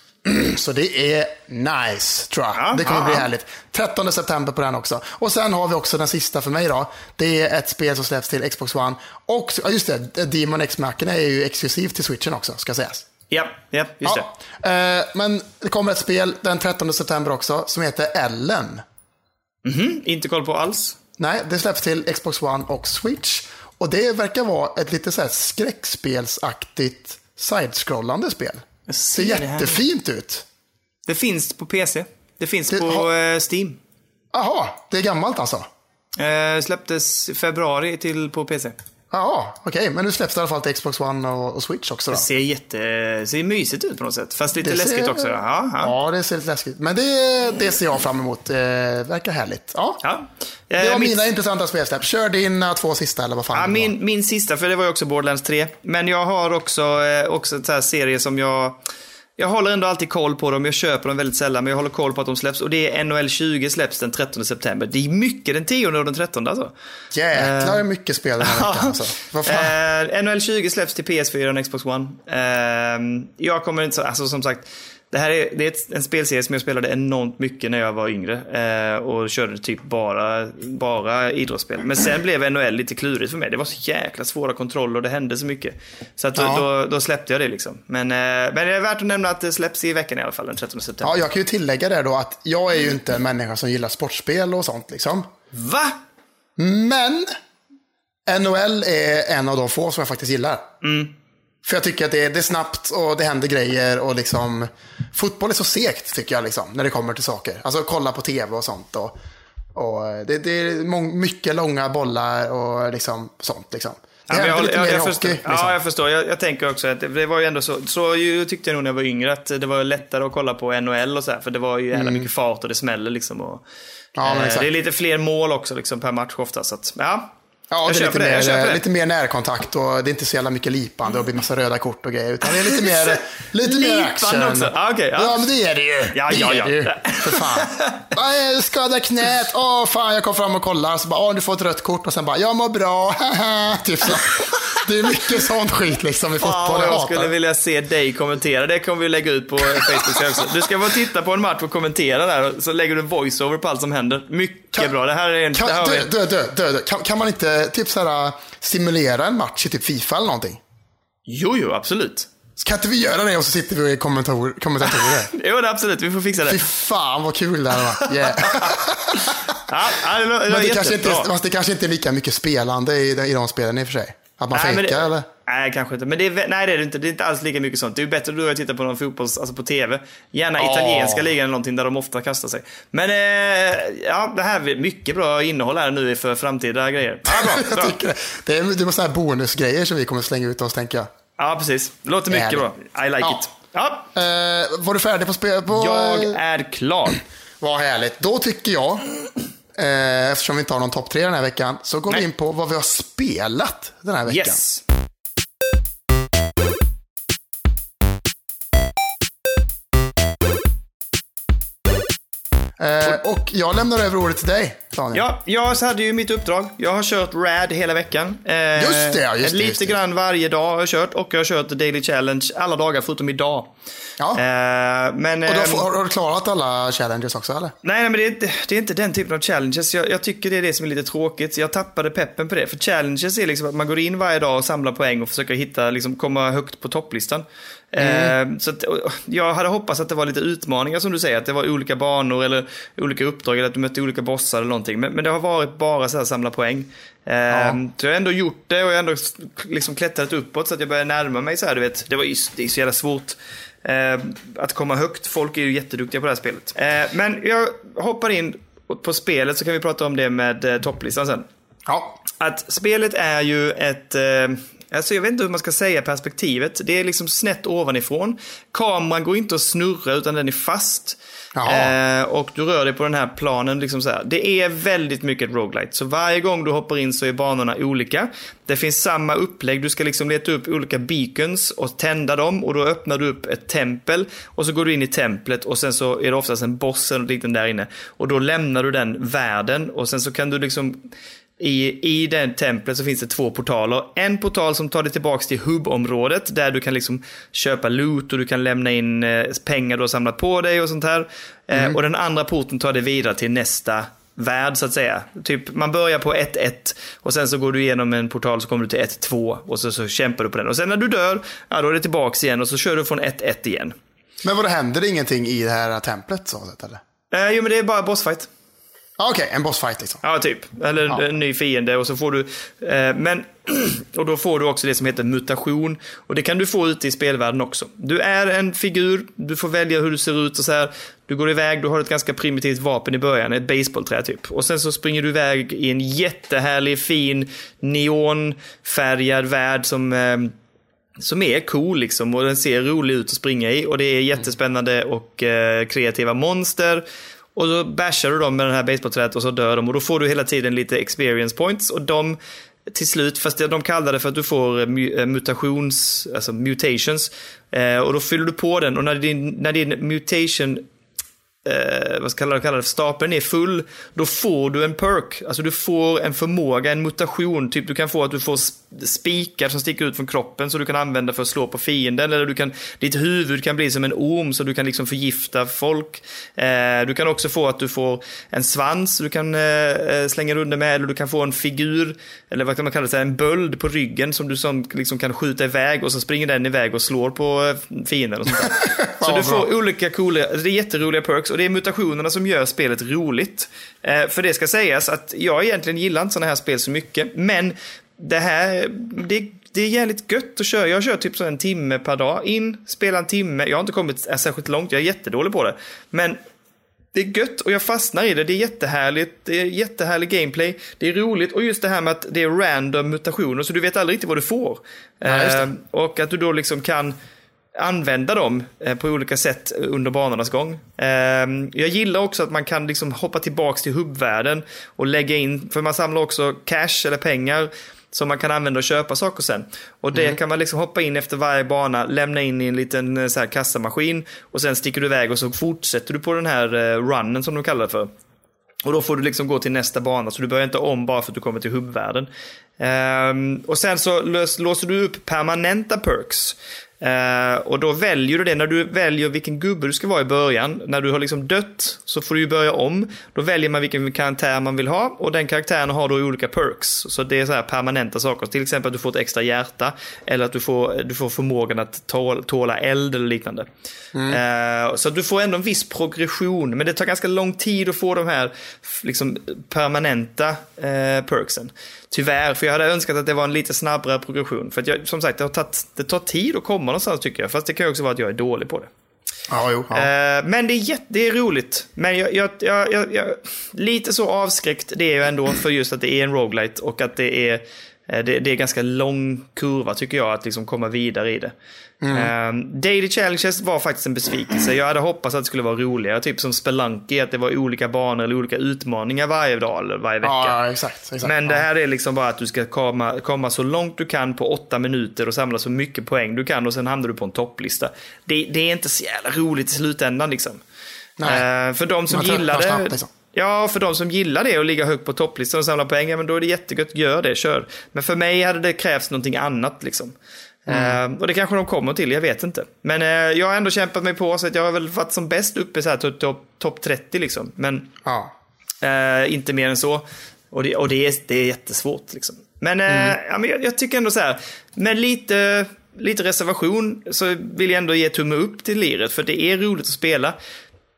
B: Så det är nice tror jag.
A: Ja.
B: det kommer bli
A: Ja.
B: härligt. 13 september på den också. Och sen har vi också den sista för mig då. Det är ett spel som släpps till Xbox One. Och ja, just det, Demon X Machina är ju exklusiv till switchen också ska sägas.
A: Ja, ja, just
B: Ja. Eh, Men det kommer ett spel den 13 september också som heter Ellen.
A: det. Inte koll på alls.
B: Nej, det släpps till Xbox One och Switch. Och det verkar vara ett lite så här skräckspelsaktigt side-scrollande spel.
A: Jag
B: Det
A: ser
B: ser
A: det här.
B: jättefint ut.
A: Det finns på PC. Det finns
B: Det-
A: på
B: ha-
A: eh, Steam.
B: Aha, det är gammalt alltså.
A: Eh, släpptes i februari till på PC.
B: Ja, okej, men nu släpps det i alla fall till Xbox One och, och Switch också då.
A: Ser jätte... Ser mysigt ut på något sätt. Fast lite
B: Det
A: läskigt
B: ser-
A: också. Ja, ja.
B: Ja, det ser lite läskigt Men det, det ser jag fram emot. Eh, verkar härligt. Ja.
A: ja.
B: Det var
A: Eh, mitt-
B: mina intressanta spelsläpp. Kör dina två sista eller vad fan
A: Ja,
B: det var.
A: min, min sista, för det var ju också Borderlands 3. Men jag har också, eh, också en sån här serie som jag... Jag håller ändå alltid koll på dem, jag köper dem väldigt sällan, men jag håller koll på att de släpps. Och det är NHL 20 släpps den 13 september. Det är mycket den 10 och den 13 alltså.
B: Jäklar hur mycket spel den här veckan alltså. Vad fan?
A: Eh, NHL 20 släpps till PS4 och Xbox One. Eh, jag kommer inte, alltså som sagt, det här är, det är ett, en spelserie som jag spelade enormt mycket när jag var yngre. Eh, och körde typ bara, bara idrottsspel. Men sen blev NHL lite klurigt för mig. Det var så jäkla svåra kontroller och det hände så mycket. Så att då,
B: Ja.
A: då, då släppte jag det liksom. Men, eh, men det är värt att nämna att det släpps i veckan i alla fall, den 13 september.
B: Ja, jag kan ju tillägga det då att jag är ju inte en människa som gillar sportspel och sånt liksom.
A: Va?
B: Men NHL är en av de få som jag faktiskt gillar.
A: Mm.
B: För jag tycker att det är, det är snabbt och det händer grejer och liksom fotboll är så segt tycker jag liksom när det kommer till saker. Alltså kolla på tv och sånt. Och, och det, det är mång, mycket långa bollar och liksom sånt liksom.
A: Ja,
B: Det
A: men
B: händer
A: jag,
B: lite
A: jag,
B: mer i
A: jag
B: hockey.
A: förstår.
B: liksom.
A: Ja, jag förstår. Jag, jag tänker också att det, det var ju ändå så. Så ju, tyckte jag nog när jag var yngre att det var lättare att kolla på NHL och så här. För det var ju jävla mycket fart och det smäller liksom. Och,
B: Mm. Ja, men
A: eh,
B: exakt.
A: det är lite fler mål också liksom, per match ofta. Så att, ja,
B: Ja,
A: jag
B: det är
A: köper
B: lite,
A: det. Jag köper
B: mer, eh,
A: det.
B: lite mer närkontakt och det är inte så jävla mycket lipande och blir massa röda kort och grejer. Utan det är lite mer, lite mer
A: Lipande
B: action.
A: också. Ja, okej, ja.
B: men det är det ju.
A: Ja,
B: det
A: ja,
B: är
A: ja.
B: det ju. För fan. Aj, jag skadar knät. Åh, fan, jag kom fram och kollar. Så bara, åh, du får ett rött kort. Och sen bara, jag mår bra. Haha. typ så. Det är mycket sånt skit liksom i fotboll.
A: Fan,
B: jag
A: jag
B: hatar.
A: skulle vilja se dig kommentera. Det kommer vi lägga ut på Facebook också. Du ska bara titta på en match och kommentera där, så lägger du voiceover på allt som händer. Mycket
B: Kan-
A: bra. Det här är en...
B: Kan,
A: det här har vi-
B: du, du, du, du, du. Kan, kan man inte typ så här, simulera en match i typ Fifa eller någonting?
A: Jo, jo, absolut.
B: Så kan inte vi göra det och så sitter vi och är kommentator, kommentatorer?
A: Jo, det, absolut. Vi får fixa
B: Fy
A: det.
B: fan vad kul det här var. Yeah.
A: Ja, ja, det, var- det, var
B: Men det kanske, inte,
A: jättebra.
B: fast det kanske inte är lika mycket spelande i, de- i de spelen i och för sig. Att man
A: Nej, men
B: fejkar
A: det-
B: eller?
A: Nej, kanske inte. Men det är, vä- nej, det är det inte. Det är inte alls lika mycket sånt. Det är ju bättre då jag tittar på någon fotbolls, alltså på TV. Gärna
B: Ja.
A: italienska ligan eller någonting där de ofta kastar sig. Men eh, ja, det här är mycket bra innehåll här nu för framtida grejer. Ja, bra, bra.
B: Jag tycker det. Det är, det är sådana här bonusgrejer som vi kommer slänga ut oss tänker jag.
A: ja precis. Det låter mycket bra.
B: Härligt.
A: I like
B: Ja.
A: it. Ja,
B: Eh, var du färdig på spel? På,
A: jag
B: eh,
A: är klar.
B: Vad härligt. Då tycker jag, eh, eftersom vi inte har någon topp tre den här veckan, så går
A: Nej.
B: vi in på vad vi har spelat den här veckan.
A: Yes.
B: Eh, och jag lämnar över ordet till dig, Daniel.
A: Ja, jag hade ju mitt uppdrag. Jag har kört RAD hela veckan. Eh,
B: Just det, ja, just det,
A: Lite
B: just det.
A: grann varje dag har jag kört och jag har kört Daily Challenge alla dagar förutom idag.
B: Ja.
A: Eh, men,
B: Och då
A: ehm,
B: får, har, har du klarat alla challenges också eller?
A: Nej, nej, men det är, inte, det är inte den typen av challenges. Jag, jag tycker det är det som är lite tråkigt. Jag tappade peppen på det. För challenges är liksom att man går in varje dag och samlar poäng och försöker hitta, liksom, komma högt på topplistan. Eh, så att, och- jag hade hoppats att det var lite utmaningar som du säger. Att det var olika banor eller olika uppdrag eller att du mötte olika bossar eller någonting. Men, men det har varit bara så här samla poäng. Eh, Så jag har ändå gjort det och jag har ändå s- liksom klättrat uppåt så att jag börjar närma mig så här, du vet. Det var ju det är så jävla svårt. Eh, att komma högt. Folk är ju jätteduktiga på det här spelet. Eh, men jag hoppar in på spelet så kan vi prata om det med eh, topplistan sen.
B: Ja.
A: Att spelet är ju ett... Eh, Alltså jag vet inte hur man ska säga perspektivet. Det är liksom snett ovanifrån. Kameran går inte att snurra utan den är fast.
B: Jaha.
A: Eh, och du rör dig på den här planen. Liksom så här. Det är väldigt mycket ett roguelite. Så varje gång du hoppar in så är banorna olika. Det finns samma upplägg. Du ska liksom leta upp olika beacons och tända dem. Och då öppnar du upp ett tempel. Och så går du in i templet och sen så är det oftast en boss eller något liknande där inne. Och då lämnar du den världen. Och sen så kan du liksom i, I den templet så finns det två portaler. En portal som tar dig tillbaks till hubbområdet där du kan liksom köpa loot och du kan lämna in eh, pengar du har samlat på dig och sånt här. Eh, och den andra porten tar dig vidare till nästa värld så att säga. Typ man börjar på 1-1 och sen så går du igenom en portal så kommer du till 1-2 och så, så kämpar du på den. Och sen när du dör, ja då är det tillbaks igen och så kör du från 1-1 igen.
B: Men vad händer det ingenting i det här templet så sett eller?
A: Eh, jo men det är bara bossfight.
B: Ah, Okej, en bossfight liksom.
A: Ja, typ. Eller
B: Ja.
A: en ny fiende och så får du... Eh, men, och då får du också det som heter mutation. Och det kan du få ute i spelvärlden också. Du är en figur, du får välja hur du ser ut och så här. Du går iväg, du har ett ganska primitivt vapen i början, ett baseballträ typ. Och sen så springer du iväg i en jättehärlig, fin, neonfärgad värld som... ehm, som är cool liksom och den ser rolig ut att springa i och det är jättespännande och eh, kreativa monster. Och då bashar du dem med den här baseballträet och så dör de och då får du hela tiden lite experience points och de till slut, fast det- de kallar det för att du får eh, mu- eh, mutations, alltså mutations. Eh, och då fyller du på den och när din, när din mutation eh, vad ska jag kalla det för, stapeln är full, då får du en perk. Alltså du får en förmåga, en mutation. Typ du kan få att du får sp- spikar som sticker ut från kroppen så du kan använda för att slå på fienden. Eller du kan, ditt huvud kan bli som en orm så du kan liksom förgifta folk. Eh, du kan också få att du får en svans du kan eh, eh, slänga runt dig med. Eller du kan få en figur, eller vad kan man kalla det, så här, en böld på ryggen som du som, liksom kan skjuta iväg och så springer den iväg och slår på eh, fienden. Och sånt där. så
B: Ja,
A: du
B: bra.
A: får olika coola, det är jätteroliga perks och det är mutationerna som gör spelet roligt. Eh, för det ska sägas att jag egentligen gillar inte sådana här spel så mycket, men det här, det, det är jävligt gött att köra. Jag kör typ så en timme per dag in, spelar en timme. Jag har inte kommit eh, särskilt långt, jag är jättedålig på det. Men det är gött och jag fastnar i det. Det är jättehärligt. Det är jättehärlig gameplay. Det är roligt och just det här med att det är random mutationer så du vet aldrig riktigt vad du får.
B: just det.
A: Eh, och att du då liksom kan använda dem eh, på olika sätt under banornas gång. Eh, Jag gillar också att man kan liksom hoppa tillbaks till hubbvärlden och lägga in, för man samlar också cash eller pengar som man kan använda och köpa saker sen. Och det kan man liksom hoppa in efter varje bana, lämna in i en liten eh, så här kassamaskin och sen sticker du iväg och så fortsätter du på den här eh, runnen som de kallar det för. Och då får du liksom gå till nästa bana, så du börjar inte om bara för att du kommer till hubbvärlden. Ehm, och sen så lös, låser du upp permanenta perks. Eh, och då väljer du det, när du väljer vilken gubbe du ska vara i början, när du har liksom dött så får du ju börja om. Då väljer man vilken karaktär man vill ha och den karaktären har då olika perks. Så det är så här permanenta saker, till exempel att du får ett extra hjärta eller att du får, du får förmågan att tål, tåla eld eller liknande. Eh, så att du får ändå en viss progression, men det tar ganska lång tid att få de här f- liksom, permanenta eh, perksen. Tyvärr, för jag hade önskat att det var en lite snabbare progression. För att jag, som sagt, det, har tagit, det tar tid att komma någonstans tycker jag. Fast det kan ju också vara att jag är dålig på det.
B: Ja, jo. Ja.
A: Eh, men det är, jätte, det är roligt. Men jag, jag, jag, jag, jag, lite så avskräckt det är jag ändå för just att det är en roguelite och att det är eh, det, det är ganska lång kurva tycker jag att liksom komma vidare i det.
B: Mm.
A: Eh, Daily Challenges var faktiskt en besvikelse. Jag hade hoppats att det skulle vara roligare, typ som Spelunky, att det var olika banor eller olika utmaningar varje dag eller varje vecka.
B: ja, exakt. exakt.
A: Men det
B: ja.
A: här är liksom bara att du ska komma, komma så långt du kan på åtta minuter och samla så mycket poäng du kan och sen hamnar du på en topplista. Det, det är inte så jävla roligt i slutändan liksom.
B: Nej.
A: Eh, för de som
B: Man tröttnar
A: gillar det...
B: snabbt, liksom.
A: Ja, för de som gillar det och ligga högt på topplistan och samla poäng, ja, men då är det jättegött, gör det, kör. Men för mig hade det krävts någonting annat liksom.
B: Mm.
A: Eh, och det kanske de kommer till, jag vet inte. Men eh, jag har ändå kämpat mig på så att jag har väl varit som bäst uppe så här typ topp top, 30 liksom. Men
B: Ja.
A: Eh, inte mer än så. Och det, och det, är, det är jättesvårt. Liksom. Men, eh, ja, men jag, jag tycker ändå så här, med lite, lite reservation så vill jag ändå ge tumme upp till liret, för det är roligt att spela.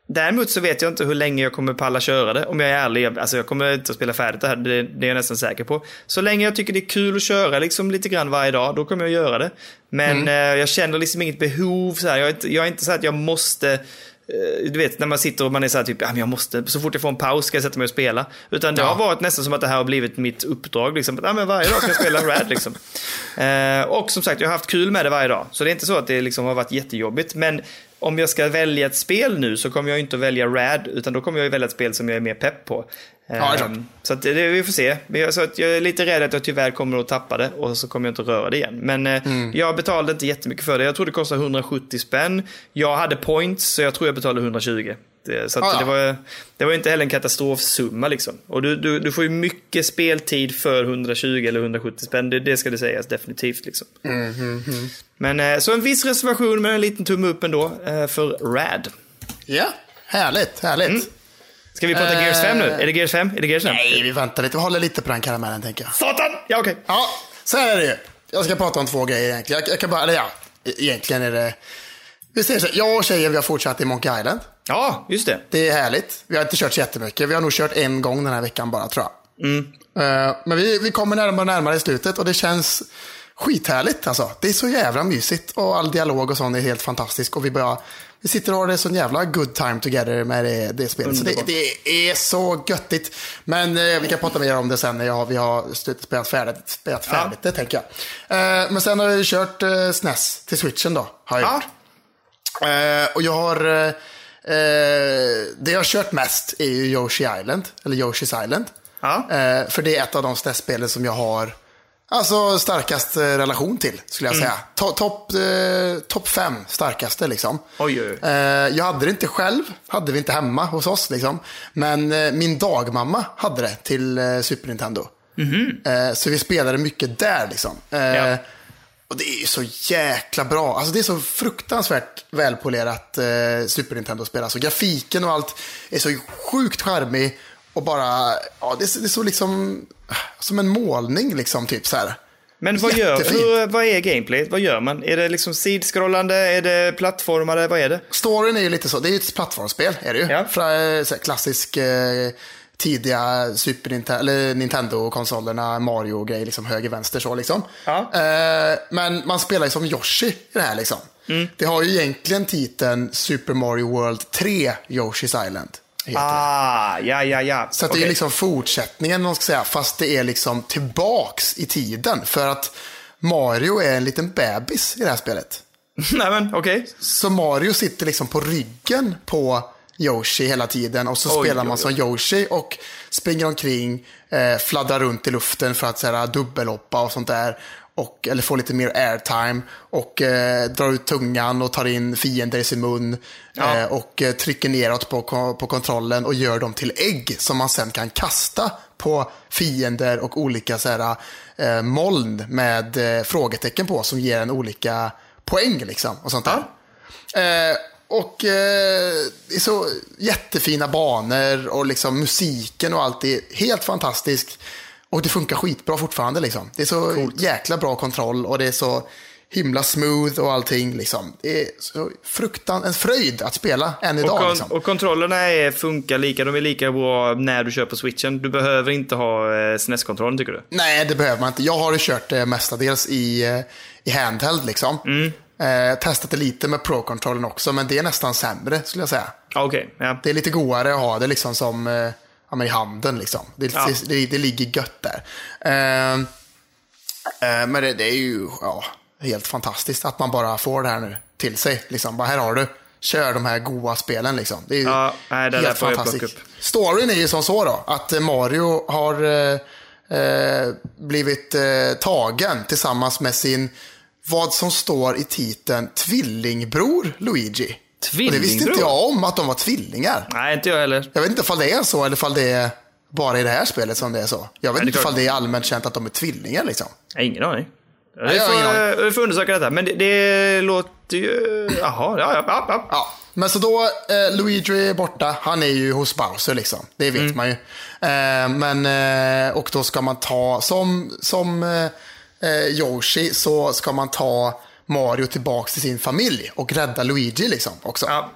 A: Däremot så vet jag inte hur länge jag kommer palla köra det, om jag är ärlig. Jag- Alltså jag kommer inte att spela färdigt det här, det, det är jag nästan säker på. Så länge jag tycker det är kul att köra liksom lite grann varje dag, då kommer jag göra det. Men eh, jag känner liksom inget behov så här. Jag är inte, jag är inte så här att jag måste Eh, du vet när man sitter och man är så här typ, "Ah, men jag måste, så fort jag får en paus ska jag sätta mig och spela. Utan det
B: Ja.
A: har varit nästan som att det här har blivit mitt uppdrag. Liksom. Att, "Ah, men varje dag ska jag spela Rad. Liksom. Eh, och som sagt, jag har haft kul med det varje dag. Så det är inte så att det liksom har varit jättejobbigt. Men om jag ska välja ett spel nu så kommer jag inte att välja Rad, utan då kommer jag ju välja ett spel som jag är mer pepp på. Eh,
B: Ja, det är klart.
A: så att det, det, vi får se. Men jag, så att jag är lite rädd att jag tyvärr kommer att tappa det och så kommer jag inte att röra det igen. Men eh,
B: Mm.
A: jag betalade inte jättemycket för det. Jag tror det kostade 170 spänn. Jag hade points så jag tror jag betalade 120. Det, så att
B: Ah, ja.
A: det, var, det var inte heller en katastrofsumma liksom. Och du, du, du får ju mycket speltid för 120 eller 170 spänn. Det, det ska det sägas definitivt liksom.
B: Mm-hmm.
A: Men eh, så en viss reservation men en liten tumme upp ändå eh, för RAD.
B: Ja, härligt, härligt.
A: Mm. Ska vi prata
B: Eh.
A: Gears 5 nu? Är det Gears 5? Är det Gears 5?
B: Nej, vi väntar lite. Vi håller lite på den karamellen, tänker jag.
A: Satan! Ja, okej.
B: Ja, så här är det ju. Jag ska prata om två grejer egentligen. Jag, jag kan bara, eller ja, e- egentligen är det... Vi säger så här, jag och tjejen vi har fortsatt i Monkey Island.
A: Ja, just det.
B: Det är härligt. Vi har inte kört så jättemycket. Vi har nog kört en gång den här veckan bara, tror jag.
A: Mm.
B: Eh, men vi, vi kommer närmare och närmare i slutet och det känns skithärligt alltså. Det är så jävla mysigt och all dialog och sånt är helt fantastisk. Och vi, bara, vi sitter och har det sån jävla good time together med det, det spelet. Så det,
A: Underbart.
B: det är så göttigt. Men eh, vi kan prata mer om det sen när jag, vi har slutat spelat färdigt. Spelat färdigt det tänker jag. Eh, men sen har jag ju kört eh, SNES till switchen då. Har jag
A: Ja.
B: gjort. Eh, och jag har... Eh, eh, det jag har kört mest är ju Yoshi Island, eller Yoshi's Island.
A: Ja.
B: Eh, för det är ett av de spelen som jag har alltså, starkast eh, relation till, skulle
A: Mm.
B: jag säga. To- Topp eh, top fem starkaste liksom.
A: Oj, oj, oj.
B: Eh, jag hade det inte själv, hade vi inte hemma hos oss. Liksom. Men eh, min dagmamma hade det till eh, Super Nintendo. Eh, så vi spelade mycket där. Liksom. Eh,
A: Ja.
B: Och det är ju så jäkla bra. Alltså, det är så fruktansvärt välpolerat eh, Super Nintendo-spel. Alltså, grafiken och allt är så sjukt charmig. Och bara, ja, det är, så- det är så liksom, som en målning liksom, typ så här.
A: Men vad, gör,
B: Jättefint.
A: hur, vad är gameplayet? Vad gör man? Är det liksom sidskrollande? Är det plattformade? Vad är det?
B: Storyn är ju lite så, det är ju ett plattformsspel. Är det ju.
A: Ja.
B: Fra, så här, klassisk eh, tidiga Super Ninte- eller Nintendo-konsolerna, Mario-grejer, liksom höger, vänster så liksom.
A: Ja.
B: Eh, men man spelar ju som Yoshi i det här liksom.
A: Mm.
B: Det har ju egentligen titeln Super Mario World 3 Yoshi's Island. heter det.
A: Ah, ja, ja, ja.
B: Så att det är
A: Okej.
B: liksom fortsättningen, man ska säga, fast det är liksom tillbaks i tiden. För att Mario är en liten bebis i det här spelet.
A: Nej, men okej.
B: Så Mario sitter liksom på ryggen på Yoshi hela tiden och så
A: Oj,
B: spelar
A: oj,
B: man
A: oj.
B: som Yoshi och springer omkring, eh, fladdrar runt i luften för att så här, dubbelhoppa och sånt där. och, eller får lite mer airtime och eh, drar ut tungan och tar in fiender i sin mun
A: Ja.
B: eh, och eh, trycker neråt på, ko- på kontrollen och gör dem till ägg som man sen kan kasta på fiender och olika så här, eh, moln med eh, frågetecken på som ger en olika poäng liksom och sånt där. Eh, och eh, det är så jättefina banor och liksom musiken och allt är helt fantastiskt. Och det funkar skitbra fortfarande liksom. Det är så jäkla bra kontroll och det är så himla smooth och allting liksom. Det är så fruktan, en fröjd att spela än
A: Och,
B: idag
A: kon-
B: liksom.
A: och kontrollerna är, funkar lika, de är lika bra när du kör på switchen. Du behöver inte ha eh, SNES-kontrollen tycker du?
B: Nej, det behöver man inte. Jag har ju kört det mestadels i, eh, i handheld liksom. Eh, testat det lite med pro-kontrollen också, men det är nästan sämre skulle jag säga.
A: Ja, Okej, ja.
B: Det är lite godare att ha det liksom som eh, ja, men i handen. Liksom. Det,
A: Ja.
B: det, det, det ligger gött där. Eh, eh, men det, det är ju ja, helt fantastiskt att man bara får det här nu till sig. Liksom. Bara, här har du. Kör de här goa spelen liksom. Det är ju
A: Ja, nej, det där
B: helt
A: får jag plocka
B: fantastiskt.
A: upp.
B: Storyn är ju som så då, att eh, Mario har eh, eh, blivit eh, tagen tillsammans med sin, vad som står i titeln, tvillingbror Luigi. Och det visste inte
A: Tvillingbror?
B: jag om, att de var tvillingar.
A: Nej, inte jag heller.
B: Jag vet inte ifall det är så, eller ifall det är bara i det här spelet som det är så. Jag vet
A: det är
B: inte ifall
A: klart.
B: det är allmänt känt att de är tvillingar liksom.
A: Jag har ingen aning.
B: jag
A: Vi
B: har
A: får,
B: ingen aning.
A: eh, vi får undersöka detta, men det, det låter ju... Jaha, ja, ja, ja. ja.
B: Ja, men så då, eh, Luigi är borta. Han är ju hos Bowser liksom. Det vet
A: Mm.
B: man ju. Eh, men, eh, och då ska man ta, som, som eh, eh, Yoshi, så ska man ta Mario tillbaks till sin familj och rädda Luigi liksom också.
A: ja.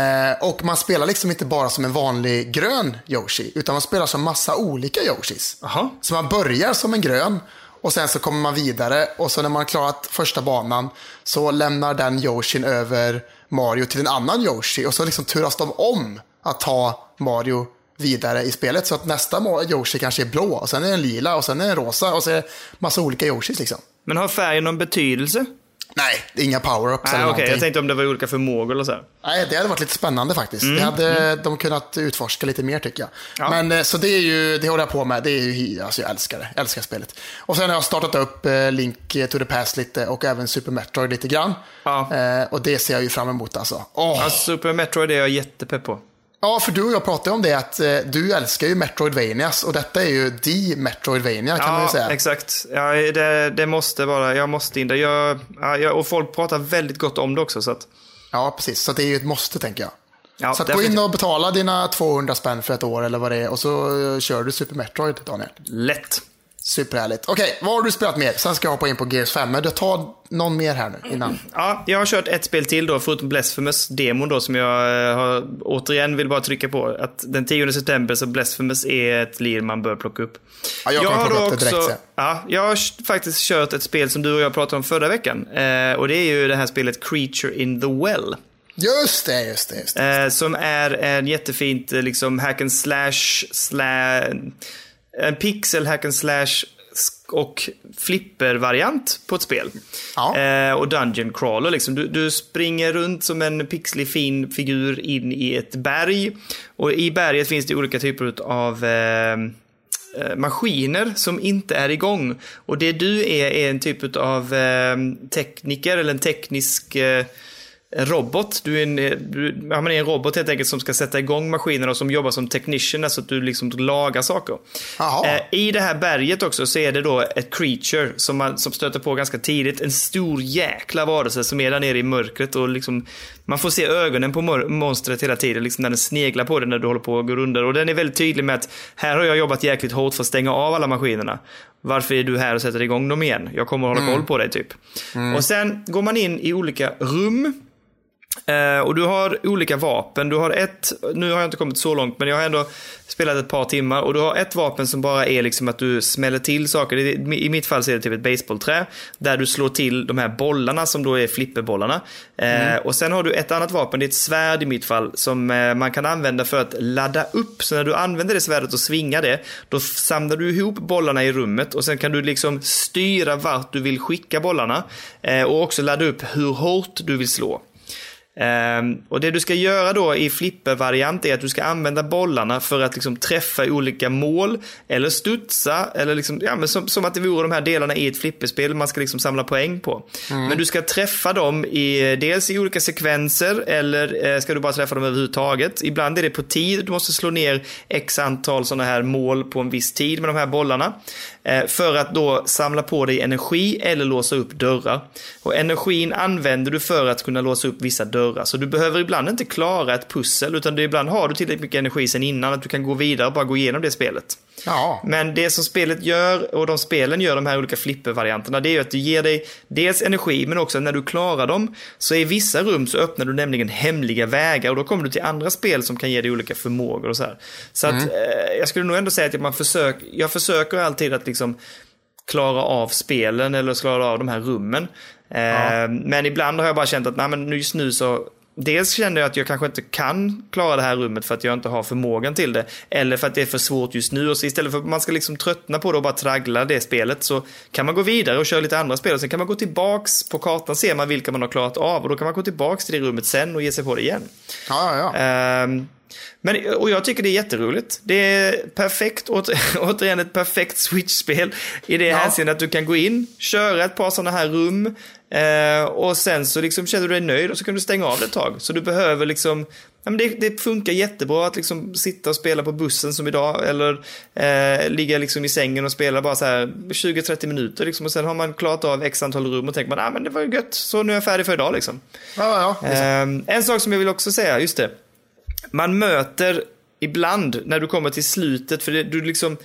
B: Eh, och man spelar liksom inte bara som en vanlig grön Yoshi, utan man spelar som massa olika Yoshis.
A: Jaha.
B: Så man börjar som en grön och sen så kommer man vidare och så när man har klarat första banan så lämnar den Yoshin över Mario till en annan Yoshi och så liksom turas de om att ta Mario vidare i spelet så att nästa Ma- Yoshi kanske är blå och sen är den lila och sen är den rosa och så är det massa olika Yoshis liksom.
A: Men har färgen någon betydelse?
B: Nej, det är inga power-ups
A: Nej,
B: eller
A: okej.
B: någonting.
A: jag tänkte om det var olika förmågor eller så här.
B: Nej, det hade varit lite spännande faktiskt. Det hade de kunnat utforska lite mer tycker jag.
A: Mm. Ja.
B: Men eh, så det är ju, det håller jag på med. Det är ju, alltså jag älskar det. Jag älskar spelet. Och sen har jag startat upp eh, Link to the Past lite och även Super Metroid lite grann.
A: Ja.
B: Eh, Och det ser jag ju fram emot alltså. Åh.
A: Ja, Super Metroid är jag jättepepp på.
B: Ja, för du och jag pratade om det att eh, du älskar ju Metroidvanias och detta är ju the Metroidvania kan man ju säga.
A: exakt. Ja, det, det måste vara, jag måste in där. Jag, ja, jag, och folk pratar väldigt gott om det också. Så att,
B: Ja, precis. Så det är ju ett måste tänker jag.
A: ja,
B: så att gå
A: definitivt.
B: in och betala dina 200 spänn för ett år eller vad det är och så eh, kör du Super Metroid, Daniel.
A: Lätt.
B: Superhärligt. Okej, vad har du spelat mer? Sen ska jag hoppa in på Gears 5, men du tar någon mer här nu innan.
A: Ja, jag har kört ett spel till då, förutom Blasphemous-demon då, som jag eh, har, återigen vill bara trycka på. Att den 10 september så Blasphemous är ett lir man bör plocka upp.
B: Ja, jag kommer plocka
A: då
B: upp det direkt sen.
A: ja, jag har sh- faktiskt kört ett spel som du och jag pratade om förra veckan. Eh, och det är ju det här spelet Creature in the Well.
B: Just det, just det, just det.
A: Eh, som är en jättefint eh, liksom hack and slash, sla, en pixel hack and slash sk- och flipper-variant på ett spel.
B: Ja.
A: Eh, och dungeon crawler liksom. Du, du springer runt som en pixlig fin figur in i ett berg. Och i berget finns det olika typer av eh, maskiner som inte är igång. Och det du är är en typ av eh, tekniker eller en teknisk eh, robot. Du är en, eh, du, ja, men är en robot helt enkelt som ska sätta igång maskinerna och som jobbar som technician, alltså att du liksom lagar saker.
B: Jaha.
A: Eh, I det här berget också så är det då ett creature som man som stöter på ganska tidigt. En stor jäkla varelse som är där nere i mörkret och liksom man får se ögonen på mör- monstret hela tiden, liksom när den sneglar på dig när du håller på att gå under. Och den är väldigt tydlig med att här har jag jobbat jäkligt hårt för att stänga av alla maskinerna. Varför är du här och sätter igång dem igen? Jag kommer att hålla koll på dig typ. Och sen går man in i olika rum. Eh, och du har olika vapen. Du har ett, nu har jag inte kommit så långt, men jag har ändå spelat ett par timmar. Och du har ett vapen som bara är liksom att du smäller till saker. Det är- I mitt fall så är det typ ett baseballträ Där du slår till de här bollarna som då är flipperbollarna. Eh, Och sen har du ett annat vapen, det är ett svärd i mitt fall, som eh, man kan använda för att ladda upp. Så när du använder det svärdet och svingar det, då f- samlar du ihop bollarna i rummet och sen kan du liksom styra vart du vill skicka bollarna. Eh, och också ladda upp hur hårt du vill slå. Ehm, och det du ska göra då i flippervariant är att du ska använda bollarna för att liksom träffa olika mål eller studsa eller liksom, ja, men som, som att det vore de här delarna i ett flipperspel man ska liksom samla poäng på. Men du ska träffa dem i, dels i olika sekvenser eller eh, ska du bara träffa dem överhuvudtaget. Ibland är det på tid, du måste slå ner x antal sådana här mål på en viss tid med de här bollarna. Eh, för att då samla på dig energi eller låsa upp dörrar. Och energin använder du för att kunna låsa upp vissa dörrar. Så du behöver ibland inte klara ett pussel, utan det ibland har du tillräckligt mycket energi sen innan att du kan gå vidare och bara gå igenom det spelet.
B: Ja.
A: Men det som spelet gör och de spelen gör, de här olika flippervarianterna, det är ju att du ger dig dels energi, men också när du klarar dem, så i vissa rum så öppnar du nämligen hemliga vägar och då kommer du till andra spel som kan ge dig olika förmågor och så här. Så att, eh, jag skulle nog ändå säga att man försök, jag försöker alltid att liksom klara av spelen eller klara av de här rummen. Eh, Men ibland har jag bara känt att nej, men just nu så Dels känner jag att jag kanske inte kan klara det här rummet för att jag inte har förmågan till det. Eller för att det är för svårt just nu. Och så istället för att man ska liksom tröttna på det och bara traggla det spelet så kan man gå vidare och köra lite andra spel. Och sen kan man gå tillbaks på kartan ser man vilka man har klarat av. Och då kan man gå tillbaks till det rummet sen och ge sig på det igen.
B: Ja, ja, ja.
A: Ehm, men, och jag tycker det är jätteroligt. Det är perfekt, åter, återigen ett perfekt Switch-spel i det
B: Ja.
A: hänseendet att du kan gå in, köra ett par sådana här rum eh, och sen så liksom känner du dig nöjd och så kan du stänga av det ett tag. Så du behöver liksom Ja, men det, det funkar jättebra att liksom sitta och spela på bussen som idag eller eh, ligga liksom i sängen och spela bara så här 20-30 minuter liksom, och sen har man klarat av x antal rum och tänker man ah, men det var ju gött så nu är jag färdig för idag liksom.
B: ja, ja.
A: Ehm, en sak som jag vill också säga, just det. Man möter ibland när du kommer till slutet, för det, du liksom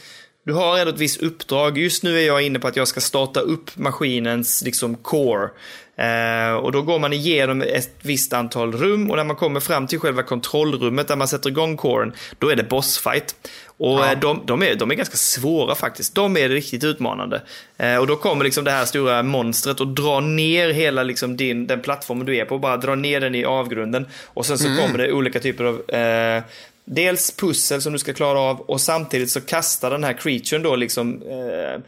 A: du har ändå ett visst uppdrag. Just nu är jag inne på att jag ska starta upp maskinens liksom core. Eh, och då går man igenom ett visst antal rum och när man kommer fram till själva kontrollrummet där man sätter igång coren, då är det bossfight. Och eh, de, de, är, de är ganska svåra faktiskt. De är riktigt utmanande. Eh, och då kommer liksom det här stora monstret och drar ner hela liksom din, den plattformen du är på, bara drar ner den i avgrunden. Och sen så kommer det olika typer av eh, Dels pussel som du ska klara av och samtidigt så kastar den här creaturen då liksom eh,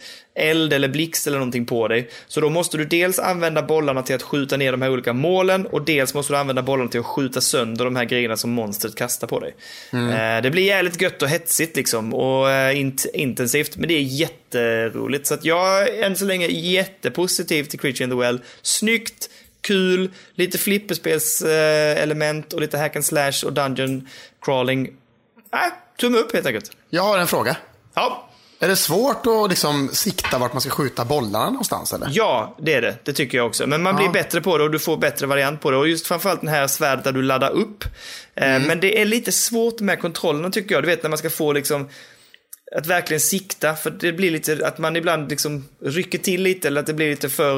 A: eld eller blixt eller någonting på dig. Så då måste du dels använda bollarna till att skjuta ner de här olika målen och dels måste du använda bollarna till att skjuta sönder de här grejerna som monstret kastar på dig. Eh, det blir jävligt gött och hetsigt liksom och eh, int- intensivt men det är jätteroligt. Så att jag är än så länge jättepositiv till Creature in the Well. Snyggt! kul, lite flipperspelselement och lite hack and slash och dungeon crawling. Äh, tumme upp helt enkelt.
B: Jag har en fråga.
A: Ja,
B: Är det svårt att liksom sikta vart man ska skjuta bollarna någonstans eller?
A: ja, det är det. Det tycker jag också. Men man blir bättre på det och du får bättre variant på det. Och just framförallt den här svärdet där du laddar upp. Eh, Men det är lite svårt med kontrollerna tycker jag. Du vet när man ska få liksom att verkligen sikta, för det blir lite att man ibland liksom rycker till lite eller att det blir lite för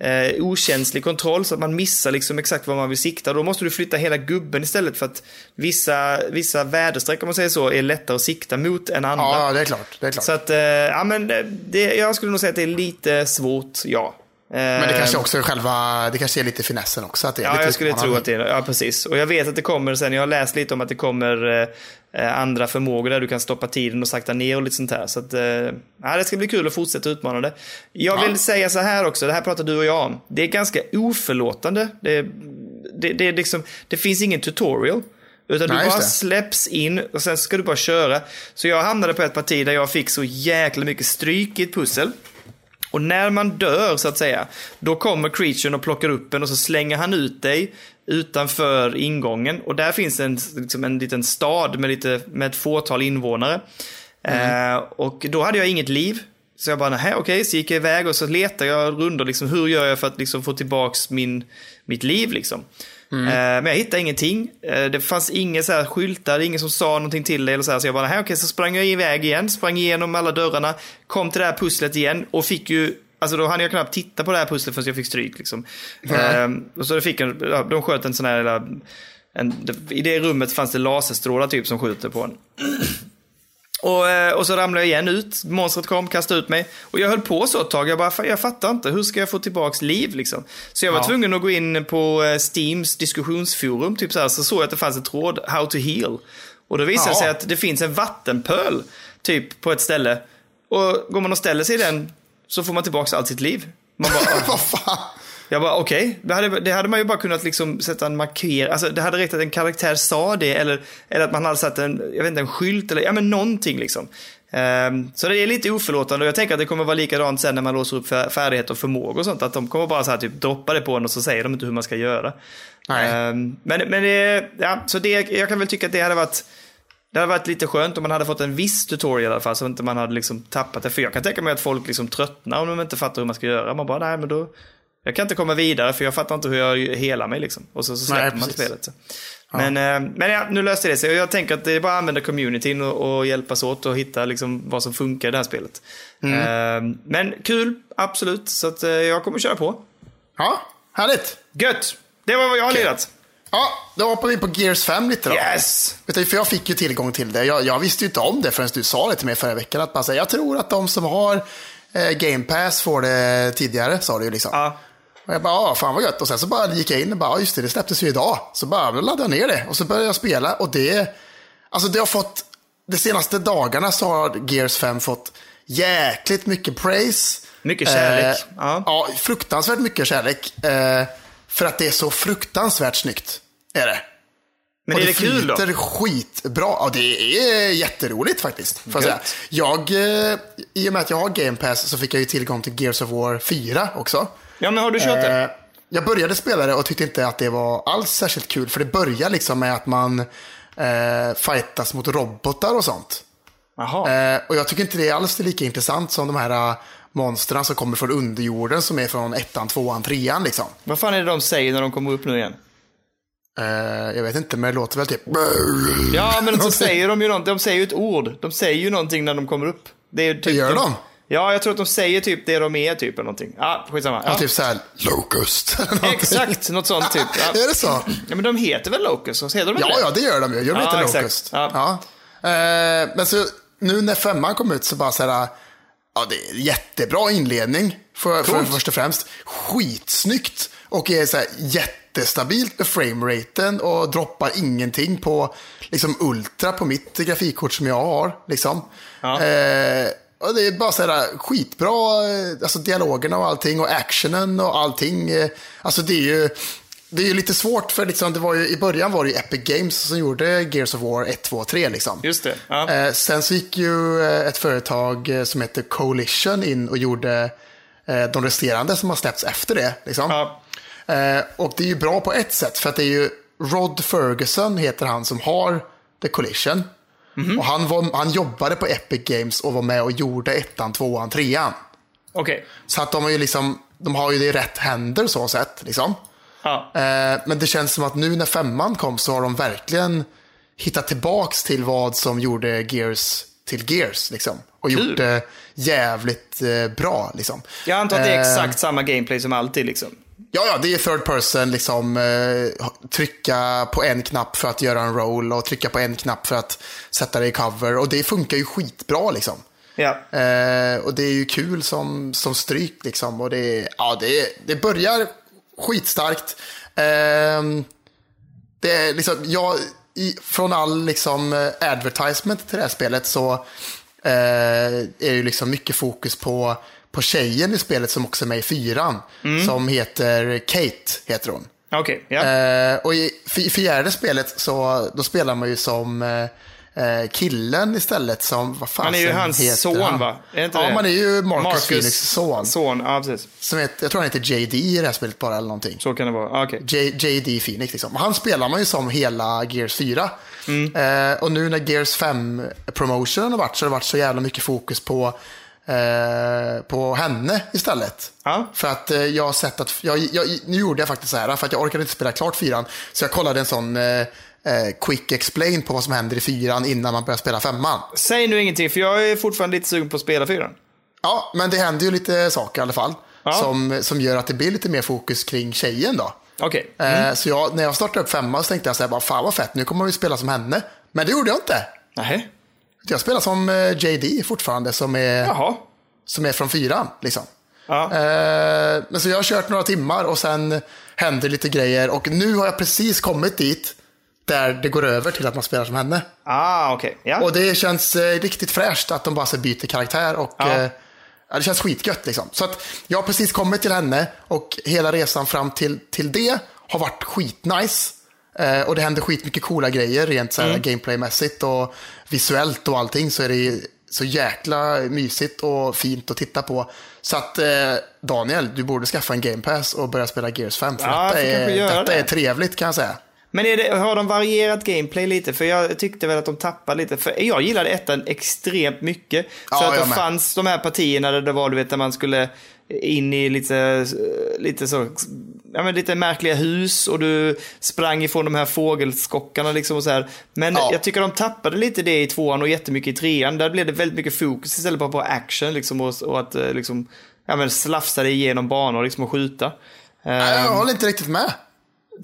A: eh, okänslig kontroll så att man missar liksom exakt vad man vill sikta. Då måste du flytta hela gubben istället för att vissa, vissa väderstreck om man säger så är lättare att sikta mot än andra.
B: Ja, det är klart. Det är klart.
A: Så att, eh, ja men det- det, jag skulle nog säga att det är lite svårt, ja.
B: Men det kanske också är själva, det kanske är lite finessen också. Att det är
A: Eh, Ja,
B: lite
A: jag skulle tro
B: utmanande.
A: att det är Ja, precis. Och jag vet att det kommer sen. Jag har läst lite om att det kommer eh, eh, andra förmågor där du kan stoppa tiden och sakta ner och lite sånt här. Så att, eh, ja, det ska bli kul att fortsätta utmana det. Jag vill säga så här också, det här pratar du och jag om. Det är ganska oförlåtande. Det, det, det, är liksom, det finns ingen tutorial. Utan
B: Nej,
A: du
B: just
A: bara
B: det.
A: släpps in och sen ska du bara köra. Så jag hamnade på ett parti där jag fick så jäkla mycket stryk i ett pussel. Och när man dör så att säga, då kommer creaturen och plockar upp en och så slänger han ut dig utanför ingången. Och där finns en, liksom en liten stad med, lite, med ett fåtal invånare.
B: Mm.
A: Eh, och då hade jag inget liv. Så jag bara, nähä, okej, så gick jag iväg och så letade jag runt och liksom, hur gör jag för att liksom få tillbaks min, mitt liv liksom. Eh, Men jag hittade ingenting. Eh, Det fanns inga så här skyltar, ingen som sa någonting till dig eller så här. Så jag bara, "Nähä, okej, så sprang jag iväg igen, sprang igenom alla dörrarna, kom till det här pusslet igen och fick ju, alltså då hann jag knappt titta på det här pusslet förrän jag fick stryk liksom. Ehm, och så fick jag, ja, de sköt en sån här, jävla- en, i det rummet fanns det laserstrålar typ som skjuter på en. Och, eh, och så ramlade jag igen ut, monstret kom, kastade ut mig. Och jag höll på så ett tag, jag bara, "Fan, jag fattar inte, hur ska jag få tillbaks liv liksom? Så jag var tvungen att gå in på eh, Steams diskussionsforum, typ så här, så såg jag att det fanns en tråd, How to heal. Och då visade det sig
B: Ja.
A: att det finns en vattenpöl, typ på ett ställe. Och går man och ställer sig i den så får man tillbaks allt sitt liv. Man bara,
B: Vad fan?
A: Jag bara okej, det, hade, det hade man ju bara kunnat liksom sätta en marker, alltså det hade räckt att en karaktär sa det eller, eller att man hade satt en, jag vet inte, en skylt eller, ja men någonting liksom. Ehm, så det är lite oförlåtande och jag tänker att det kommer vara likadant sen när man låser upp fär- färdigheter och förmågor och sånt, att de kommer bara så här typ droppa det på en och så säger de inte hur man ska göra.
B: Nej.
A: Ehm, men men det, ja, så det, jag kan väl tycka att det hade varit det hade varit lite skönt om man hade fått en viss tutorial i alla fall så inte man hade liksom tappat det. För jag kan tänka mig att folk liksom tröttnar om de inte fattar hur man ska göra. Man bara, nej men då. Jag kan inte komma vidare för jag fattar inte hur jag helar mig liksom. Och så, så släpper
B: Nej,
A: man
B: precis.
A: spelet. Så. Men, eh, men ja, nu löste det sig. Och jag tänker att det är bara att använda communityn och, och hjälpas åt och hitta liksom vad som funkar i det här spelet.
B: Mm.
A: Eh, men kul, absolut. Så att, eh, jag kommer köra på.
B: Ja, härligt.
A: Gött! Det var vad jag har
B: Okej.
A: lirat.
B: Ja, då hoppar vi på Gears 5 lite då.
A: Yes!
B: Vet du, för jag fick ju tillgång till det. Jag, jag visste ju inte om det förrän du sa det till mig förra veckan. Att man säger, jag tror att de som har eh, Game Pass får det tidigare, sa du ju liksom.
A: Ja.
B: Och jag bara, ah, fan vad gött. Och sen så bara gick jag in och bara, ah, just det, det släpptes ju idag. Så bara laddade jag ner det och så började jag spela och det, alltså det har fått, de senaste dagarna så har Gears 5 fått jäkligt mycket praise.
A: Mycket kärlek.
B: Eh,
A: Ja.
B: ja. fruktansvärt mycket kärlek. Eh, för att det är så fruktansvärt snyggt, är det.
A: Men
B: Och
A: är det kul då?
B: flyter skitbra. Ja, det är jätteroligt faktiskt. Får jag, säga.
A: Gött.
B: jag, eh, I och med att jag har Game Pass så fick jag ju tillgång till Gears of War 4 också.
A: Ja, men har du kört det?
B: Eh, Jag började spela det och tyckte inte att det var alls särskilt kul. För det börjar liksom med att man eh, fightas mot robotar och sånt.
A: Jaha.
B: Eh, och jag tycker inte det är alls lika intressant som de här eh, monstren som kommer från underjorden som är från ettan, tvåan, trean liksom.
A: Vad fan är det de säger när de kommer upp nu igen?
B: Eh, jag vet inte, men det låter väl typ...
A: Ja, men så säger de ju något, de säger ju ett ord. De säger ju någonting när de kommer upp. Det är typ,
B: Gör de?
A: Ja, jag tror att de säger typ det de är, typ eller någonting. Ja, skitsamma. Ja,
B: Ja. Typ så här, Locust. eller någonting.
A: Exakt, något sånt typ. Ja.
B: Är det så?
A: ja, men de heter väl Locus? Heter de inte
B: Ja,
A: det?
B: ja, det gör de ju. Gör de
A: Ja,
B: inte
A: exakt.
B: Locust?
A: Ja.
B: Ja. Eh, men så nu när femman kom ut så bara så här, ja det är jättebra inledning för, för,
A: Coolt.
B: först och främst. Skitsnyggt och är så här jättestabilt med frameraten och droppar ingenting på liksom ultra på mitt grafikkort som jag har. Liksom.
A: Ja.
B: Eh, och det är bara så här skitbra, eh, alltså dialogerna och allting och actionen och allting. eh, Alltså det är ju, det är ju lite svårt för liksom, det var ju, i början var det ju Epic Games som gjorde Gears of War 1, 2, 3 liksom.
A: Just det. Ja.
B: Eh, sen så gick ju eh, ett företag eh, som heter Coalition in och gjorde eh, de resterande som har släppts efter det. Liksom.
A: Ja.
B: Eh, och det är ju bra på ett sätt för att det är ju Rod Ferguson heter han som har The Coalition.
A: Mhm.
B: Och han, var, han jobbade på Epic Games och var med och gjorde ettan, tvåan, trean.
A: Okej.
B: Så att de har ju liksom, de har ju det i rätt händer så sett. Liksom.
A: Ja.
B: Eh, Men det känns som att nu när femman kom så har de verkligen hittat tillbaks till vad som gjorde Gears till Gears. Liksom. Och
A: Kul.
B: gjort det jävligt eh, bra. Liksom.
A: Jag antar att det är
B: Eh,
A: exakt samma gameplay som alltid liksom.
B: Ja, ja, det är third person, liksom eh, trycka på en knapp för att göra en roll och trycka på en knapp för att sätta dig i cover. Och det funkar ju skitbra liksom.
A: Ja.
B: Eh, och det är ju kul som, som stryk liksom. Och det, ja, det, det börjar skitstarkt. Ehm, det är liksom, jag, i, från all liksom eh, advertisement till det här spelet så eh, är ju liksom mycket fokus på, på tjejen i spelet som också är med i fyran. Som heter Kate, heter hon.
A: Okej, ja.
B: Eh, och i f- i fjärde spelet så då spelar man ju som eh, eh, killen istället som, vad fan
A: han är ju
B: sen Alltså, heter
A: hans son
B: han?
A: va? Är inte
B: ja,
A: det?
B: man är ju Marcus, Phoenix son.
A: Son, ja precis.
B: Som heter, jag tror han heter JD i det här spelet bara eller någonting.
A: Så kan det vara. Ja, Okej.
B: J- JD Phoenix liksom. Han spelar man ju som hela Gears 4. Eh, och nu när Gears 5 promotionen har varit så har det varit så jävla mycket fokus på, eh, på henne istället.
A: Ja.
B: För att eh, jag har sett att, jag, jag, nu gjorde jag faktiskt så här för att jag orkade inte spela klart fyran. Så jag kollade en sån eh, eh, quick explain på vad som händer i fyran innan man börjar spela femman.
A: Säg nu ingenting för jag är fortfarande lite sugen på att spela fyran.
B: Ja, men det händer ju lite saker i alla fall.
A: Ja.
B: Som, som gör att det blir lite mer fokus kring tjejen då.
A: Okej.
B: Eh, Så jag, när jag startade upp femman så tänkte jag så här, bara, fan vad fett, nu kommer vi spela som henne. Men det gjorde jag inte.
A: Nähä.
B: Jag spelar som eh, JD fortfarande, som är,
A: Jaha.
B: som är från fyran. Liksom.
A: Ja.
B: Eh, Men så jag har kört några timmar och sen händer lite grejer. Och nu har jag precis kommit dit där det går över till att man spelar som henne.
A: Ah, okej. Ja.
B: Och det känns eh, riktigt fräscht att de bara så byter karaktär. Och,
A: Ja.
B: eh, Ja, det känns skitgött liksom. Så att jag har precis kommit till henne och hela resan fram till, till det har varit skitnice. Eh, och det händer skitmycket coola grejer rent så här
A: Mm.
B: gameplaymässigt och visuellt och allting så är det ju så jäkla mysigt och fint att titta på. Så att eh, Daniel, du borde skaffa en game pass och börja spela Gears 5. För
A: Ja,
B: detta,
A: jag får kanske
B: är,
A: göra
B: detta
A: det.
B: är trevligt kan jag säga.
A: Men är det, har de varierat gameplay lite? För jag tyckte väl att de tappade lite. För jag gillade ettan extremt mycket. så
B: Ja,
A: att
B: jag
A: det
B: med.
A: fanns de här partierna där det var, du vet, där man skulle in i lite, lite så, ja men lite märkliga hus och du sprang ifrån de här fågelskockarna liksom och så här. Men
B: Ja.
A: jag tycker de tappade lite det i tvåan och jättemycket i trean. Där blev det väldigt mycket fokus istället bara på action liksom och, och att eh, liksom, ja men slafsa dig igenom banor liksom och skjuta. Eh,
B: Nej, Jag håller inte riktigt med.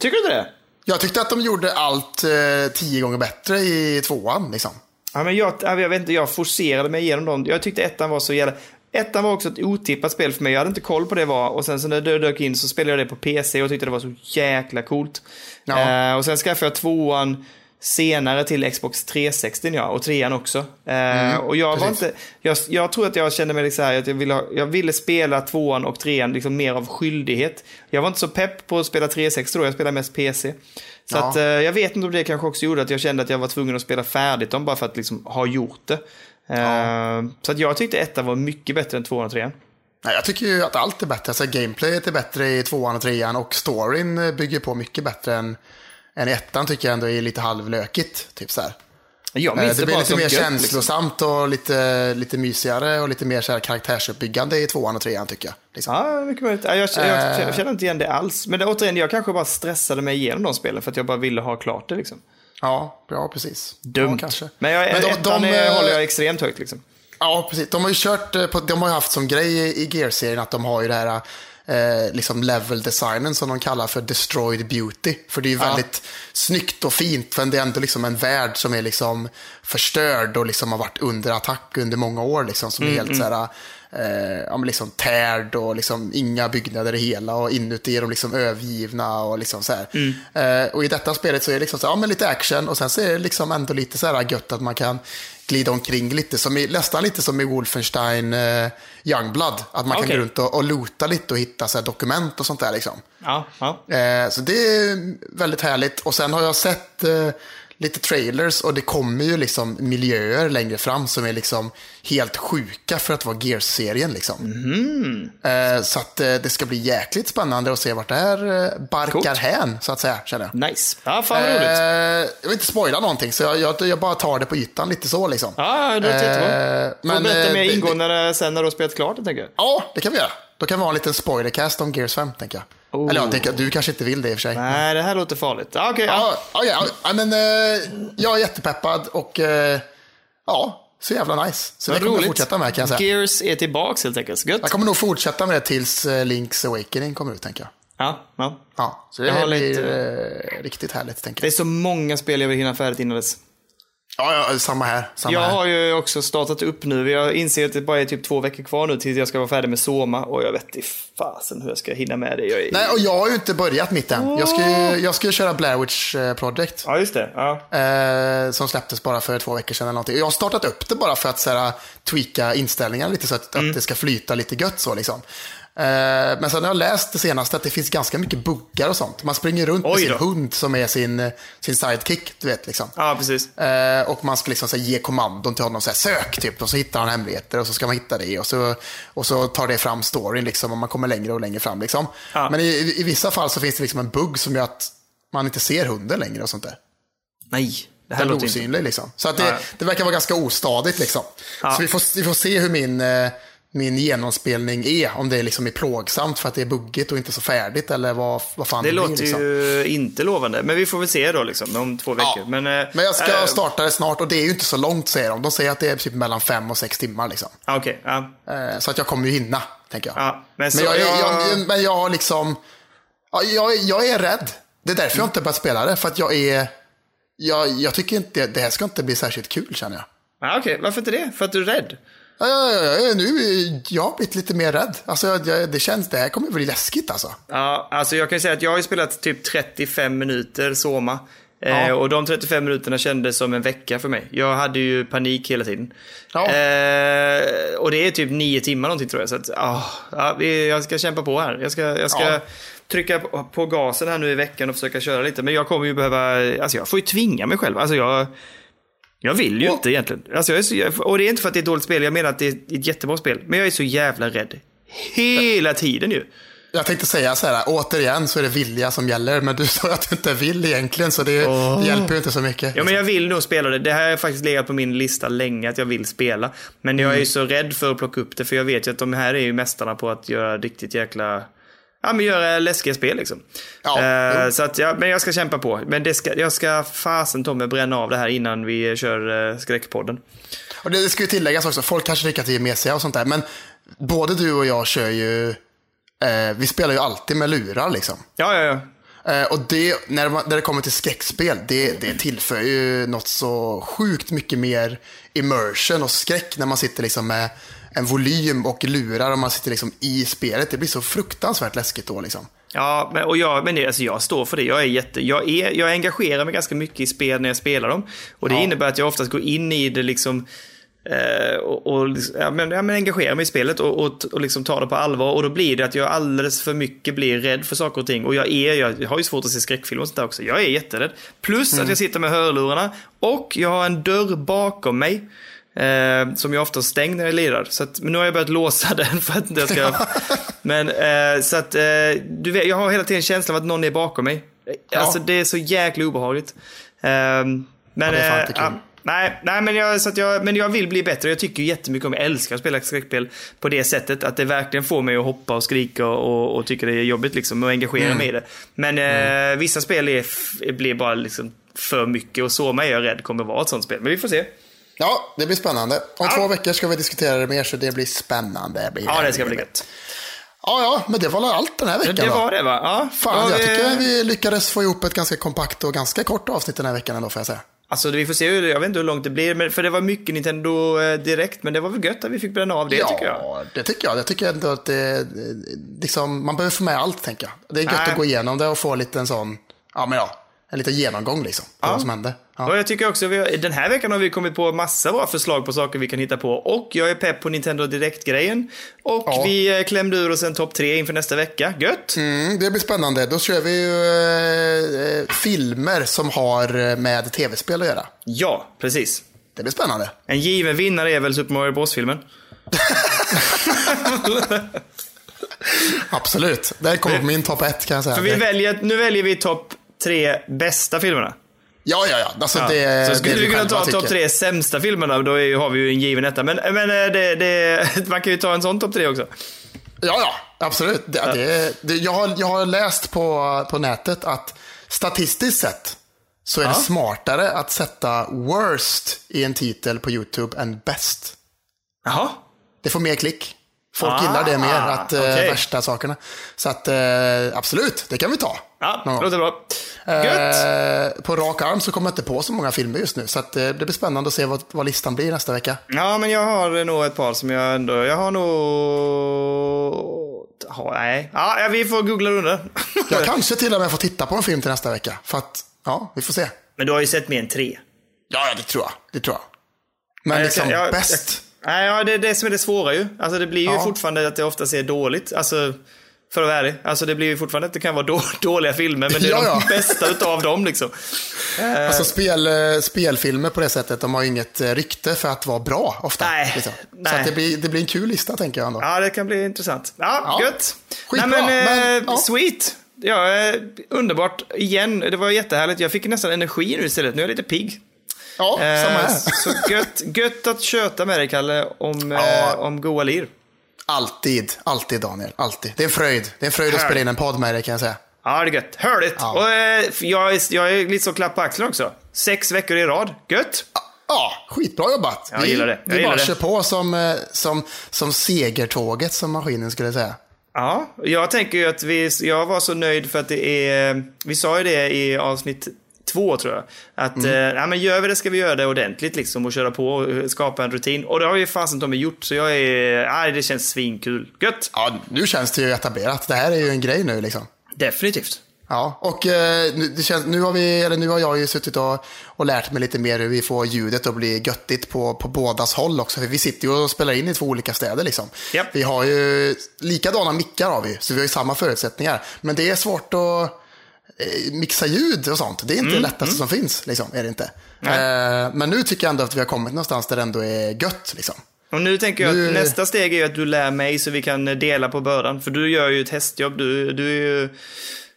A: Tycker du inte det?
B: Jag tyckte att de gjorde allt eh, tio gånger bättre i tvåan. Liksom.
A: Ja, men jag, ja, jag vet inte, jag forcerade mig igenom dem. Jag tyckte ettan var så jävla... Ettan var också ett otippat spel för mig. Jag hade inte koll på det var. Och sen så när det dök in så spelade jag det på PC och tyckte det var så jäkla coolt.
B: Ja.
A: Eh, och sen skaffade jag tvåan senare till Xbox 360 ja, och trean också. Eh, och jag var
B: Mm, precis.
A: inte... Jag, jag tror att jag kände mig så här att jag ville, ha- jag ville spela tvåan och trean liksom mer av skyldighet. Jag var inte så pepp på att spela 360 då, jag spelade mest PC. Så
B: Ja.
A: att, eh, jag vet inte om det kanske också gjorde att jag kände att jag var tvungen att spela färdigt dem bara för att liksom ha gjort det. Eh, Så att jag tyckte ettan var mycket bättre än tvåan och trean.
B: Nej, jag tycker ju att allt är bättre. Alltså, gameplayet är bättre i tvåan och trean och storyn eh, bygger på mycket bättre än, än i ettan tycker jag ändå är lite halvlökigt. Typ så här.
A: Jag
B: Eh,
A: minns
B: Det blir
A: bara
B: lite
A: som
B: mer
A: gött, liksom.
B: känslosamt och lite, lite mysigare och lite mer så här karaktärsuppbyggande i tvåan och trean tycker jag. Liksom.
A: Ja, mycket möjligt. Ja, Jag, jag,
B: Eh.
A: jag känner inte igen det alls. Men det, återigen, jag kanske bara stressade mig igenom de spelen för att jag bara ville ha klart det liksom.
B: Ja, bra precis. Ja,
A: Dumt.
B: kanske.
A: Men, jag,
B: Men de-
A: ettan
B: de,
A: eh,
B: eh,
A: håller jag extremt högt liksom.
B: Ja, precis. De har ju kört, eh, på, de har ju haft som grej i- i Gear-serien att de har ju det här eh, liksom level-designen som de kallar för destroyed beauty. För det är ju väldigt snyggt och fint, men det är ändå liksom en värld som är liksom förstörd och liksom har varit under attack under många år. Liksom, som är helt så här, eh, ja, men liksom tärd och liksom inga byggnader är hela och inuti är de liksom övergivna och liksom så här. Eh, och i detta spelet så är det liksom så här, ja, men lite action och sen så är det liksom ändå lite så här gött att man kan glida omkring lite, som i, nästan lite som i Wolfenstein eh, Youngblood. Att man
A: Okej.
B: kan gå runt och, och lota lite och hitta så här dokument och sånt där. Liksom.
A: Ja, ja.
B: Eh, så det är väldigt härligt. Och sen har jag sett eh, lite trailers och det kommer ju liksom miljöer längre fram som är liksom helt sjuka för att vara Gears-serien. Liksom.
A: Mhm.
B: Eh, så att eh, det ska bli jäkligt spännande att se vart det här eh, barkar
A: Coolt.
B: hän, så att säga, känner jag.
A: Nice. Ja, fan vad roligt.
B: Eh, jag vill inte spoila någonting, så jag, jag, jag bara tar det på ytan lite så liksom.
A: Ja, ja, det låter
B: Eh,
A: jättebra. Får
B: men,
A: berätta
B: eh,
A: mer
B: det-
A: ingående när- sen när du har spelat klart, tänker jag.
B: Ja, det kan vi göra. Då kan vi ha en liten spoilercast om Gears 5, tänker jag.
A: Oh.
B: Eller jag tänker, du kanske inte vill det i och för sig.
A: Nej, det här låter farligt. Ja, Okej, ja.
B: Ja, ja, ja, ja, men eh, jag är jättepeppad och eh, ja, så jävla nice. Så det
A: Vad
B: kommer jag
A: roligt.
B: fortsätta med kan jag säga.
A: Gears är tillbaks helt enkelt. Gött.
B: Jag kommer nog fortsätta med det tills eh, Link's Awakening kommer ut, tänker jag.
A: Ja, ja.
B: Ja, så
A: Jag
B: det
A: har
B: blir
A: lite-
B: eh, riktigt härligt, tänker
A: Det
B: jag.
A: är så många spel jag vill hinna färdigt innan dess.
B: Ja, ja, samma här. Samma
A: Jag
B: här.
A: har ju också startat upp nu. Jag inser att det bara är typ två veckor kvar nu tills jag ska vara färdig med Soma. Och jag vet i fasen hur jag ska hinna med det. Jag är...
B: Nej, och jag har ju inte börjat mitt än. Jag ska ju, jag ska ju köra Blair Witch eh, Project.
A: Ja, just det. Ja.
B: Eh, som släpptes bara för två veckor sedan eller någonting. Och Jag har startat upp det bara för att så här, tweaka inställningarna lite så att, att
A: Mm.
B: det ska flyta lite gött så liksom. Eh, men sen har jag läst det senaste att det finns ganska mycket buggar och sånt. Man springer runt med
A: Oj
B: sin
A: då.
B: hund som är sin, sin sidekick, du vet liksom.
A: ja, precis.
B: Eh, och man ska liksom så här, ge kommandon till honom, så här, sök typ, och så hittar han hemligheter och så ska man hitta det och så, och så tar det fram storyn liksom, och man kommer längre och längre fram. Liksom.
A: Ja.
B: Men i, i vissa fall så finns det liksom en bugg som gör att man inte ser hunden längre och sånt där.
A: Nej, det här
B: Den är
A: låter inte...
B: osynlig liksom. Så att det,
A: Ja.
B: det verkar vara ganska ostadigt liksom. Så vi får, vi får se hur min, eh, min genomspelning är. Om det liksom är plågsamt för att det är buggigt och inte så färdigt eller vad, vad fan det,
A: Det
B: blir.
A: låter
B: liksom.
A: ju inte lovande. Men vi får väl se då liksom om två veckor.
B: Ja.
A: Men, eh,
B: Men jag ska
A: eh,
B: starta det snart och det är ju inte så långt säger de. De säger att det är typ mellan fem och sex timmar liksom.
A: ja, Okej, ja.
B: Eh, Så att jag kommer ju hinna, tänker jag.
A: Ja, men
B: men,
A: så-
B: jag, är-
A: jag-
B: jag, men jag har liksom... Ja, jag, är- jag är rädd. Det är därför jag inte har börjat spela det. För att jag är... Jag, jag tycker inte... Det här ska inte bli särskilt kul känner jag.
A: Ja, Okej, varför inte det? För att du är rädd?
B: Ja, ja, ja, ja, nu, är- jag har blivit lite mer rädd. Alltså, jag, jag, det känns, det här kommer bli läskigt alltså.
A: Ja, alltså jag kan ju säga att jag har ju spelat typ 35 minuter Soma. Eh, och de 35 minuterna kändes som en vecka för mig. Jag hade ju panik hela tiden.
B: Ja.
A: Eh, och det är typ nio timmar någonting tror jag. Så att, ah, ja, vi- jag ska kämpa på här. Jag ska, jag ska
B: Ja.
A: trycka på- på gasen här nu i veckan och försöka köra lite. Men jag kommer ju behöva, alltså jag får ju tvinga mig själv. Alltså jag, jag vill ju inte egentligen. Alltså jag är så, jag- och det är inte för att det är ett dåligt spel, jag menar att det är ett jättebra spel. Men jag är så jävla rädd. Hela tiden ju.
B: Jag tänkte säga så här, återigen så är det vilja som gäller, men du sa ju att du inte vill egentligen, så det, det hjälper ju inte så mycket.
A: Ja, men jag vill nog spela det. Det här har faktiskt legat på min lista länge, att jag vill spela. Men jag är ju så rädd för att plocka upp det, för jag vet ju att de här är ju mästarna på att göra riktigt jäkla... Ja, men göra läskiga spel liksom.
B: Ja,
A: Eh,
B: jo.
A: så att, ja, men jag ska kämpa på. Men det ska, jag ska fasen ta mig bränna av det här innan vi kör eh, skräckpodden.
B: Och det ska ju tilläggas också, folk kanske tycker att vi är mesiga och sånt där, men både du och jag kör ju, eh, vi spelar ju alltid med lurar liksom.
A: Ja, ja, ja.
B: Eh, och det, när, man, när det kommer till skräckspel, det, det tillför ju något så sjukt mycket mer immersion och skräck när man sitter liksom med en volym och lurar och man sitter liksom i spelet. Det blir så fruktansvärt läskigt då liksom.
A: Ja, men, och jag, men det, alltså jag står för det. Jag, är jätte, jag, är, jag engagerar mig ganska mycket i spel när jag spelar dem. Och det innebär att jag oftast går in i det liksom eh, och, och liksom- ja, men, ja, men engagerar mig i spelet och, och, och liksom tar det på allvar. Och då blir det att jag alldeles för mycket blir rädd för saker och ting. Och jag, är, jag har ju svårt att se skräckfilmer och sånt där också. Jag är jätterädd. Plus att jag sitter med hörlurarna och jag har en dörr bakom mig. Eh, som jag ofta stänger när jag lirar. Så att, men nu har jag börjat låsa den för att jag ska... men eh, så att eh, du vet, jag har hela tiden känslan av att någon är bakom mig. Alltså det är så jäkla obehagligt. Eh, men
B: det är fan
A: eh,
B: inte kul.
A: ja, Nej, nej men, jag, så att jag, men jag vill bli bättre. Jag tycker ju jättemycket om, jag älskar att spela skräckspel på det sättet. Att det verkligen får mig att hoppa och skrika och, och, och tycka det är jobbigt liksom och engagera
B: Mm.
A: mig i det. Men eh, vissa spel är, f- blir bara liksom för mycket och Soma är jag rädd kommer vara ett sånt spel. Men vi får se.
B: Ja, det blir spännande. Om två veckor ska vi diskutera det mer, så det blir spännande. Det blir
A: Ja, det ska bli gött.
B: Ja, ja, men det var väl allt den här veckan
A: Det
B: då?
A: var det va? Ja. Ja,
B: Fan, jag
A: vi-
B: tycker vi lyckades få ihop ett ganska kompakt och ganska kort avsnitt den här veckan ändå, får jag säga.
A: Alltså vi får se, hur, jag vet inte hur långt det blir, men, för det var mycket Nintendo eh, direkt, men det var väl gött att vi fick bränna av det
B: ja,
A: tycker jag.
B: det tycker jag. Jag tycker ändå att det, det- liksom, man behöver få med allt, tänker jag. Det är gött
A: Nej.
B: att gå igenom det och få lite en sån, ja men ja, en liten genomgång liksom, på vad som hände. Ja.
A: Och jag tycker också, vi har, den här veckan har vi kommit på massa bra förslag på saker vi kan hitta på. Och jag är pepp på Nintendo Direkt-grejen. Och
B: Ja.
A: vi eh, klämde ur oss en topp tre inför nästa vecka. Gött!
B: Mm, det blir spännande. Då kör vi ju eh, eh, filmer som har eh, med tv-spel att göra.
A: Ja, precis.
B: Det blir spännande.
A: En given vinnare är väl Super Mario Bros-filmen.
B: Absolut. Det kommer på min topp ett kan jag säga.
A: För vi
B: Det-
A: väljer, nu väljer vi topp tre bästa filmerna.
B: Ja, ja, ja. Alltså,
A: Ja.
B: Det,
A: så skulle
B: det
A: vi kunna
B: själva
A: ta topp
B: tycker.
A: tre sämsta filmerna, då är, ju- har vi ju en given etta. Men, men eh, det, det, man kan ju ta en sån topp tre också.
B: Ja, ja, absolut. Det, det, det, jag, har, jag har läst på, på nätet att statistiskt sett så är det smartare att sätta worst i en titel på YouTube än bäst.
A: Jaha.
B: Det får mer klick. Folk
A: Ah,
B: gillar det mer, att eh,
A: okej.
B: värsta sakerna. Så att eh, absolut, det kan vi ta.
A: Ja,
B: någon gång.
A: låter bra. Gött!
B: Eh, på rak arm så kommer jag inte på så många filmer just nu. Så att, eh, det blir spännande att se vad, vad listan blir nästa vecka.
A: Ja, men jag har nog ett par som jag ändå... Jag har nog... Har, nej. Ja, ja, vi får googla under.
B: Jag kanske till och med får titta på en film till nästa vecka. För att, ja, vi får se.
A: men du har ju sett mer än tre.
B: Ja, ja, det tror jag. Det tror jag. Men
A: Jag ska-
B: liksom
A: jag-
B: bäst.
A: jag- Nej, ja, det är det som är det svåra ju. Alltså det blir ju fortfarande att det oftast är dåligt. Alltså, för att vara ärlig. Alltså det blir ju fortfarande att det kan vara då, dåliga filmer, men det är
B: Ja, ja.
A: de bästa utav dem liksom.
B: Alltså spel, eh, spelfilmer på det sättet, de har ju inget eh, rykte för att vara bra ofta.
A: Nej,
B: liksom.
A: nej.
B: Så att det, blir, det blir en kul lista tänker jag ändå.
A: Ja, det kan bli intressant. Ja,
B: Ja.
A: gött.
B: Skitbra,
A: Nej, men,
B: men,
A: eh,
B: ja.
A: Sweet. Ja, eh, underbart. Igen, det var jättehärligt. Jag fick nästan energi nu istället. Nu är jag lite pigg.
B: Ja, samma
A: Eh,
B: här.
A: så gött, gött att köta med dig, Kalle, om,
B: Ja.
A: eh, om goa lir.
B: Alltid, alltid Daniel. Alltid. Det är en fröjd. Det är en fröjd att spela in en podd med dig kan jag säga.
A: Ja, det är gött. Härligt.
B: Ja.
A: Och, eh, jag, är, jag är lite så klapp på axeln också. Sex veckor i rad. Gött.
B: Ja, skitbra jobbat.
A: Jag gillar det. Jag
B: vi
A: gillar
B: bara
A: det.
B: kör på som, eh, som, som segertåget som maskinen skulle säga.
A: Ja, jag tänker ju att vi, jag var så nöjd för att det är, vi sa ju det i avsnitt två tror jag, att eh, ja, men gör vi det ska vi göra det ordentligt liksom och köra på och eh, skapa en rutin. Och det har vi fasen ta mig gjort, så jag är, nej det känns svinkul. Gött!
B: Ja, nu känns det ju etablerat. Det här är ju en grej nu liksom.
A: Definitivt.
B: Ja, och eh, nu, det känns, nu, har vi, eller nu har jag ju suttit och, och lärt mig lite mer hur vi får ljudet att bli göttigt på, på bådas håll också. För vi sitter ju och spelar in i två olika städer liksom.
A: Japp.
B: Vi har ju likadana mickar har vi, så vi har ju samma förutsättningar. Men det är svårt att eh, mixa ljud och sånt. Det är inte
A: Mm,
B: det lättaste som finns, liksom, är det inte. Eh, men nu tycker jag ändå att vi har kommit någonstans där det ändå är gött. Liksom.
A: Och nu tänker jag att
B: Nu-
A: nästa steg är ju att du lär mig så vi kan dela på bördan. För du gör ju ett hästjobb. Du, du, är ju-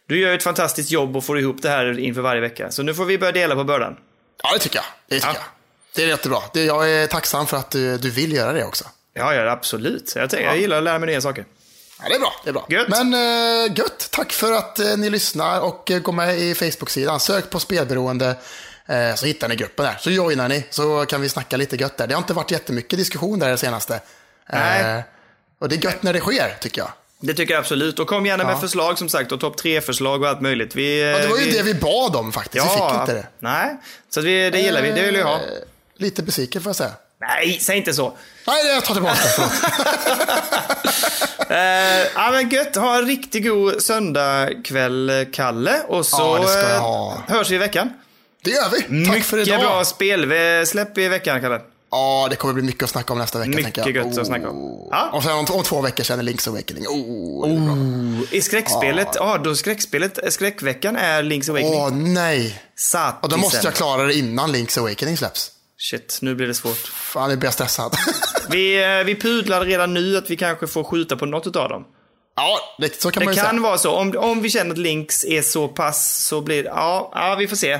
A: du gör ju ett fantastiskt jobb och får ihop det här inför varje vecka. Så nu får vi börja dela på bördan.
B: Ja, det tycker jag. Det tycker
A: Ja.
B: jag. Det är jättebra. Det, jag är tacksam för att du, du vill göra det också.
A: Ja, ja absolut. Jag, tänker, jag gillar att lära mig nya saker.
B: Ja, det är bra. Det är bra.
A: Gött.
B: Men eh, gött. Tack för att eh, ni lyssnar och eh, går med i Facebook-sidan. Sök på spelberoende eh, så hittar ni gruppen där. Så joinar ni så kan vi snacka lite gött där. Det har inte varit jättemycket diskussion där det senaste.
A: Nej.
B: Eh, och det är gött när det sker tycker jag.
A: Det tycker jag absolut. Och kom gärna med
B: Ja.
A: förslag som sagt och topp tre förslag och allt möjligt. Eh, Vi,
B: Ja, det var ju det vi bad om faktiskt. vi fick inte det.
A: Nej, så att vi, det gillar vi. Det vill vi ha.
B: Eh, Lite besviken får jag säga.
A: Nej, säg inte så.
B: Nej, jag tar tillbaka det. Förlåt.
A: Eh, ja, men gött. Ha en riktigt god söndagkväll, Kalle. Och så
B: Ja, det ska jag
A: eh,
B: ha.
A: hörs vi i veckan.
B: Det gör vi. Tack
A: mycket
B: för idag.
A: bra spel. Vi släpp i veckan, Kalle.
B: Ja, det kommer bli mycket att snacka om nästa vecka.
A: Mycket
B: tänker jag.
A: gött att snacka om.
B: Oh.
A: Ja.
B: Och sen om, om två veckor sen är Link's Awakening. Oh, det är bra.
A: I skräckspelet, ja då skräckspelet, skräckveckan är Link's Awakening.
B: Åh nej!
A: Satisen.
B: Och då måste jag klara det innan Link's Awakening släpps.
A: Shit, nu blir det svårt.
B: Fan, nu blir jag stressad.
A: Vi, eh, vi pudlar redan nu att vi kanske får skjuta på något av dem.
B: ja, det, så kan man
A: Det
B: ju
A: kan
B: säga.
A: vara så. Om, om vi känner att Links är så pass så blir det... Ja, ja vi får se.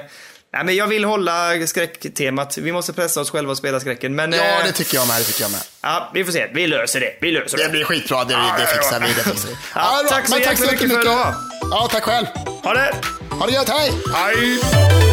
A: Nej, men jag vill hålla skräcktemat. Vi måste pressa oss själva att spela skräcken. Men
B: Ja,
A: eh,
B: det tycker jag med. Det tycker jag med.
A: ja, vi får se. Vi löser det. Vi löser det.
B: Det blir skitbra. Det, det fixar vi. Det fixar vi.
A: Ja,
B: det är bra.
A: tack så
B: Men
A: jäkla mycket för
B: jättemycket.
A: idag.
B: Ja, tack själv.
A: Ha det!
B: Ha det gött. Hej!
A: Hej!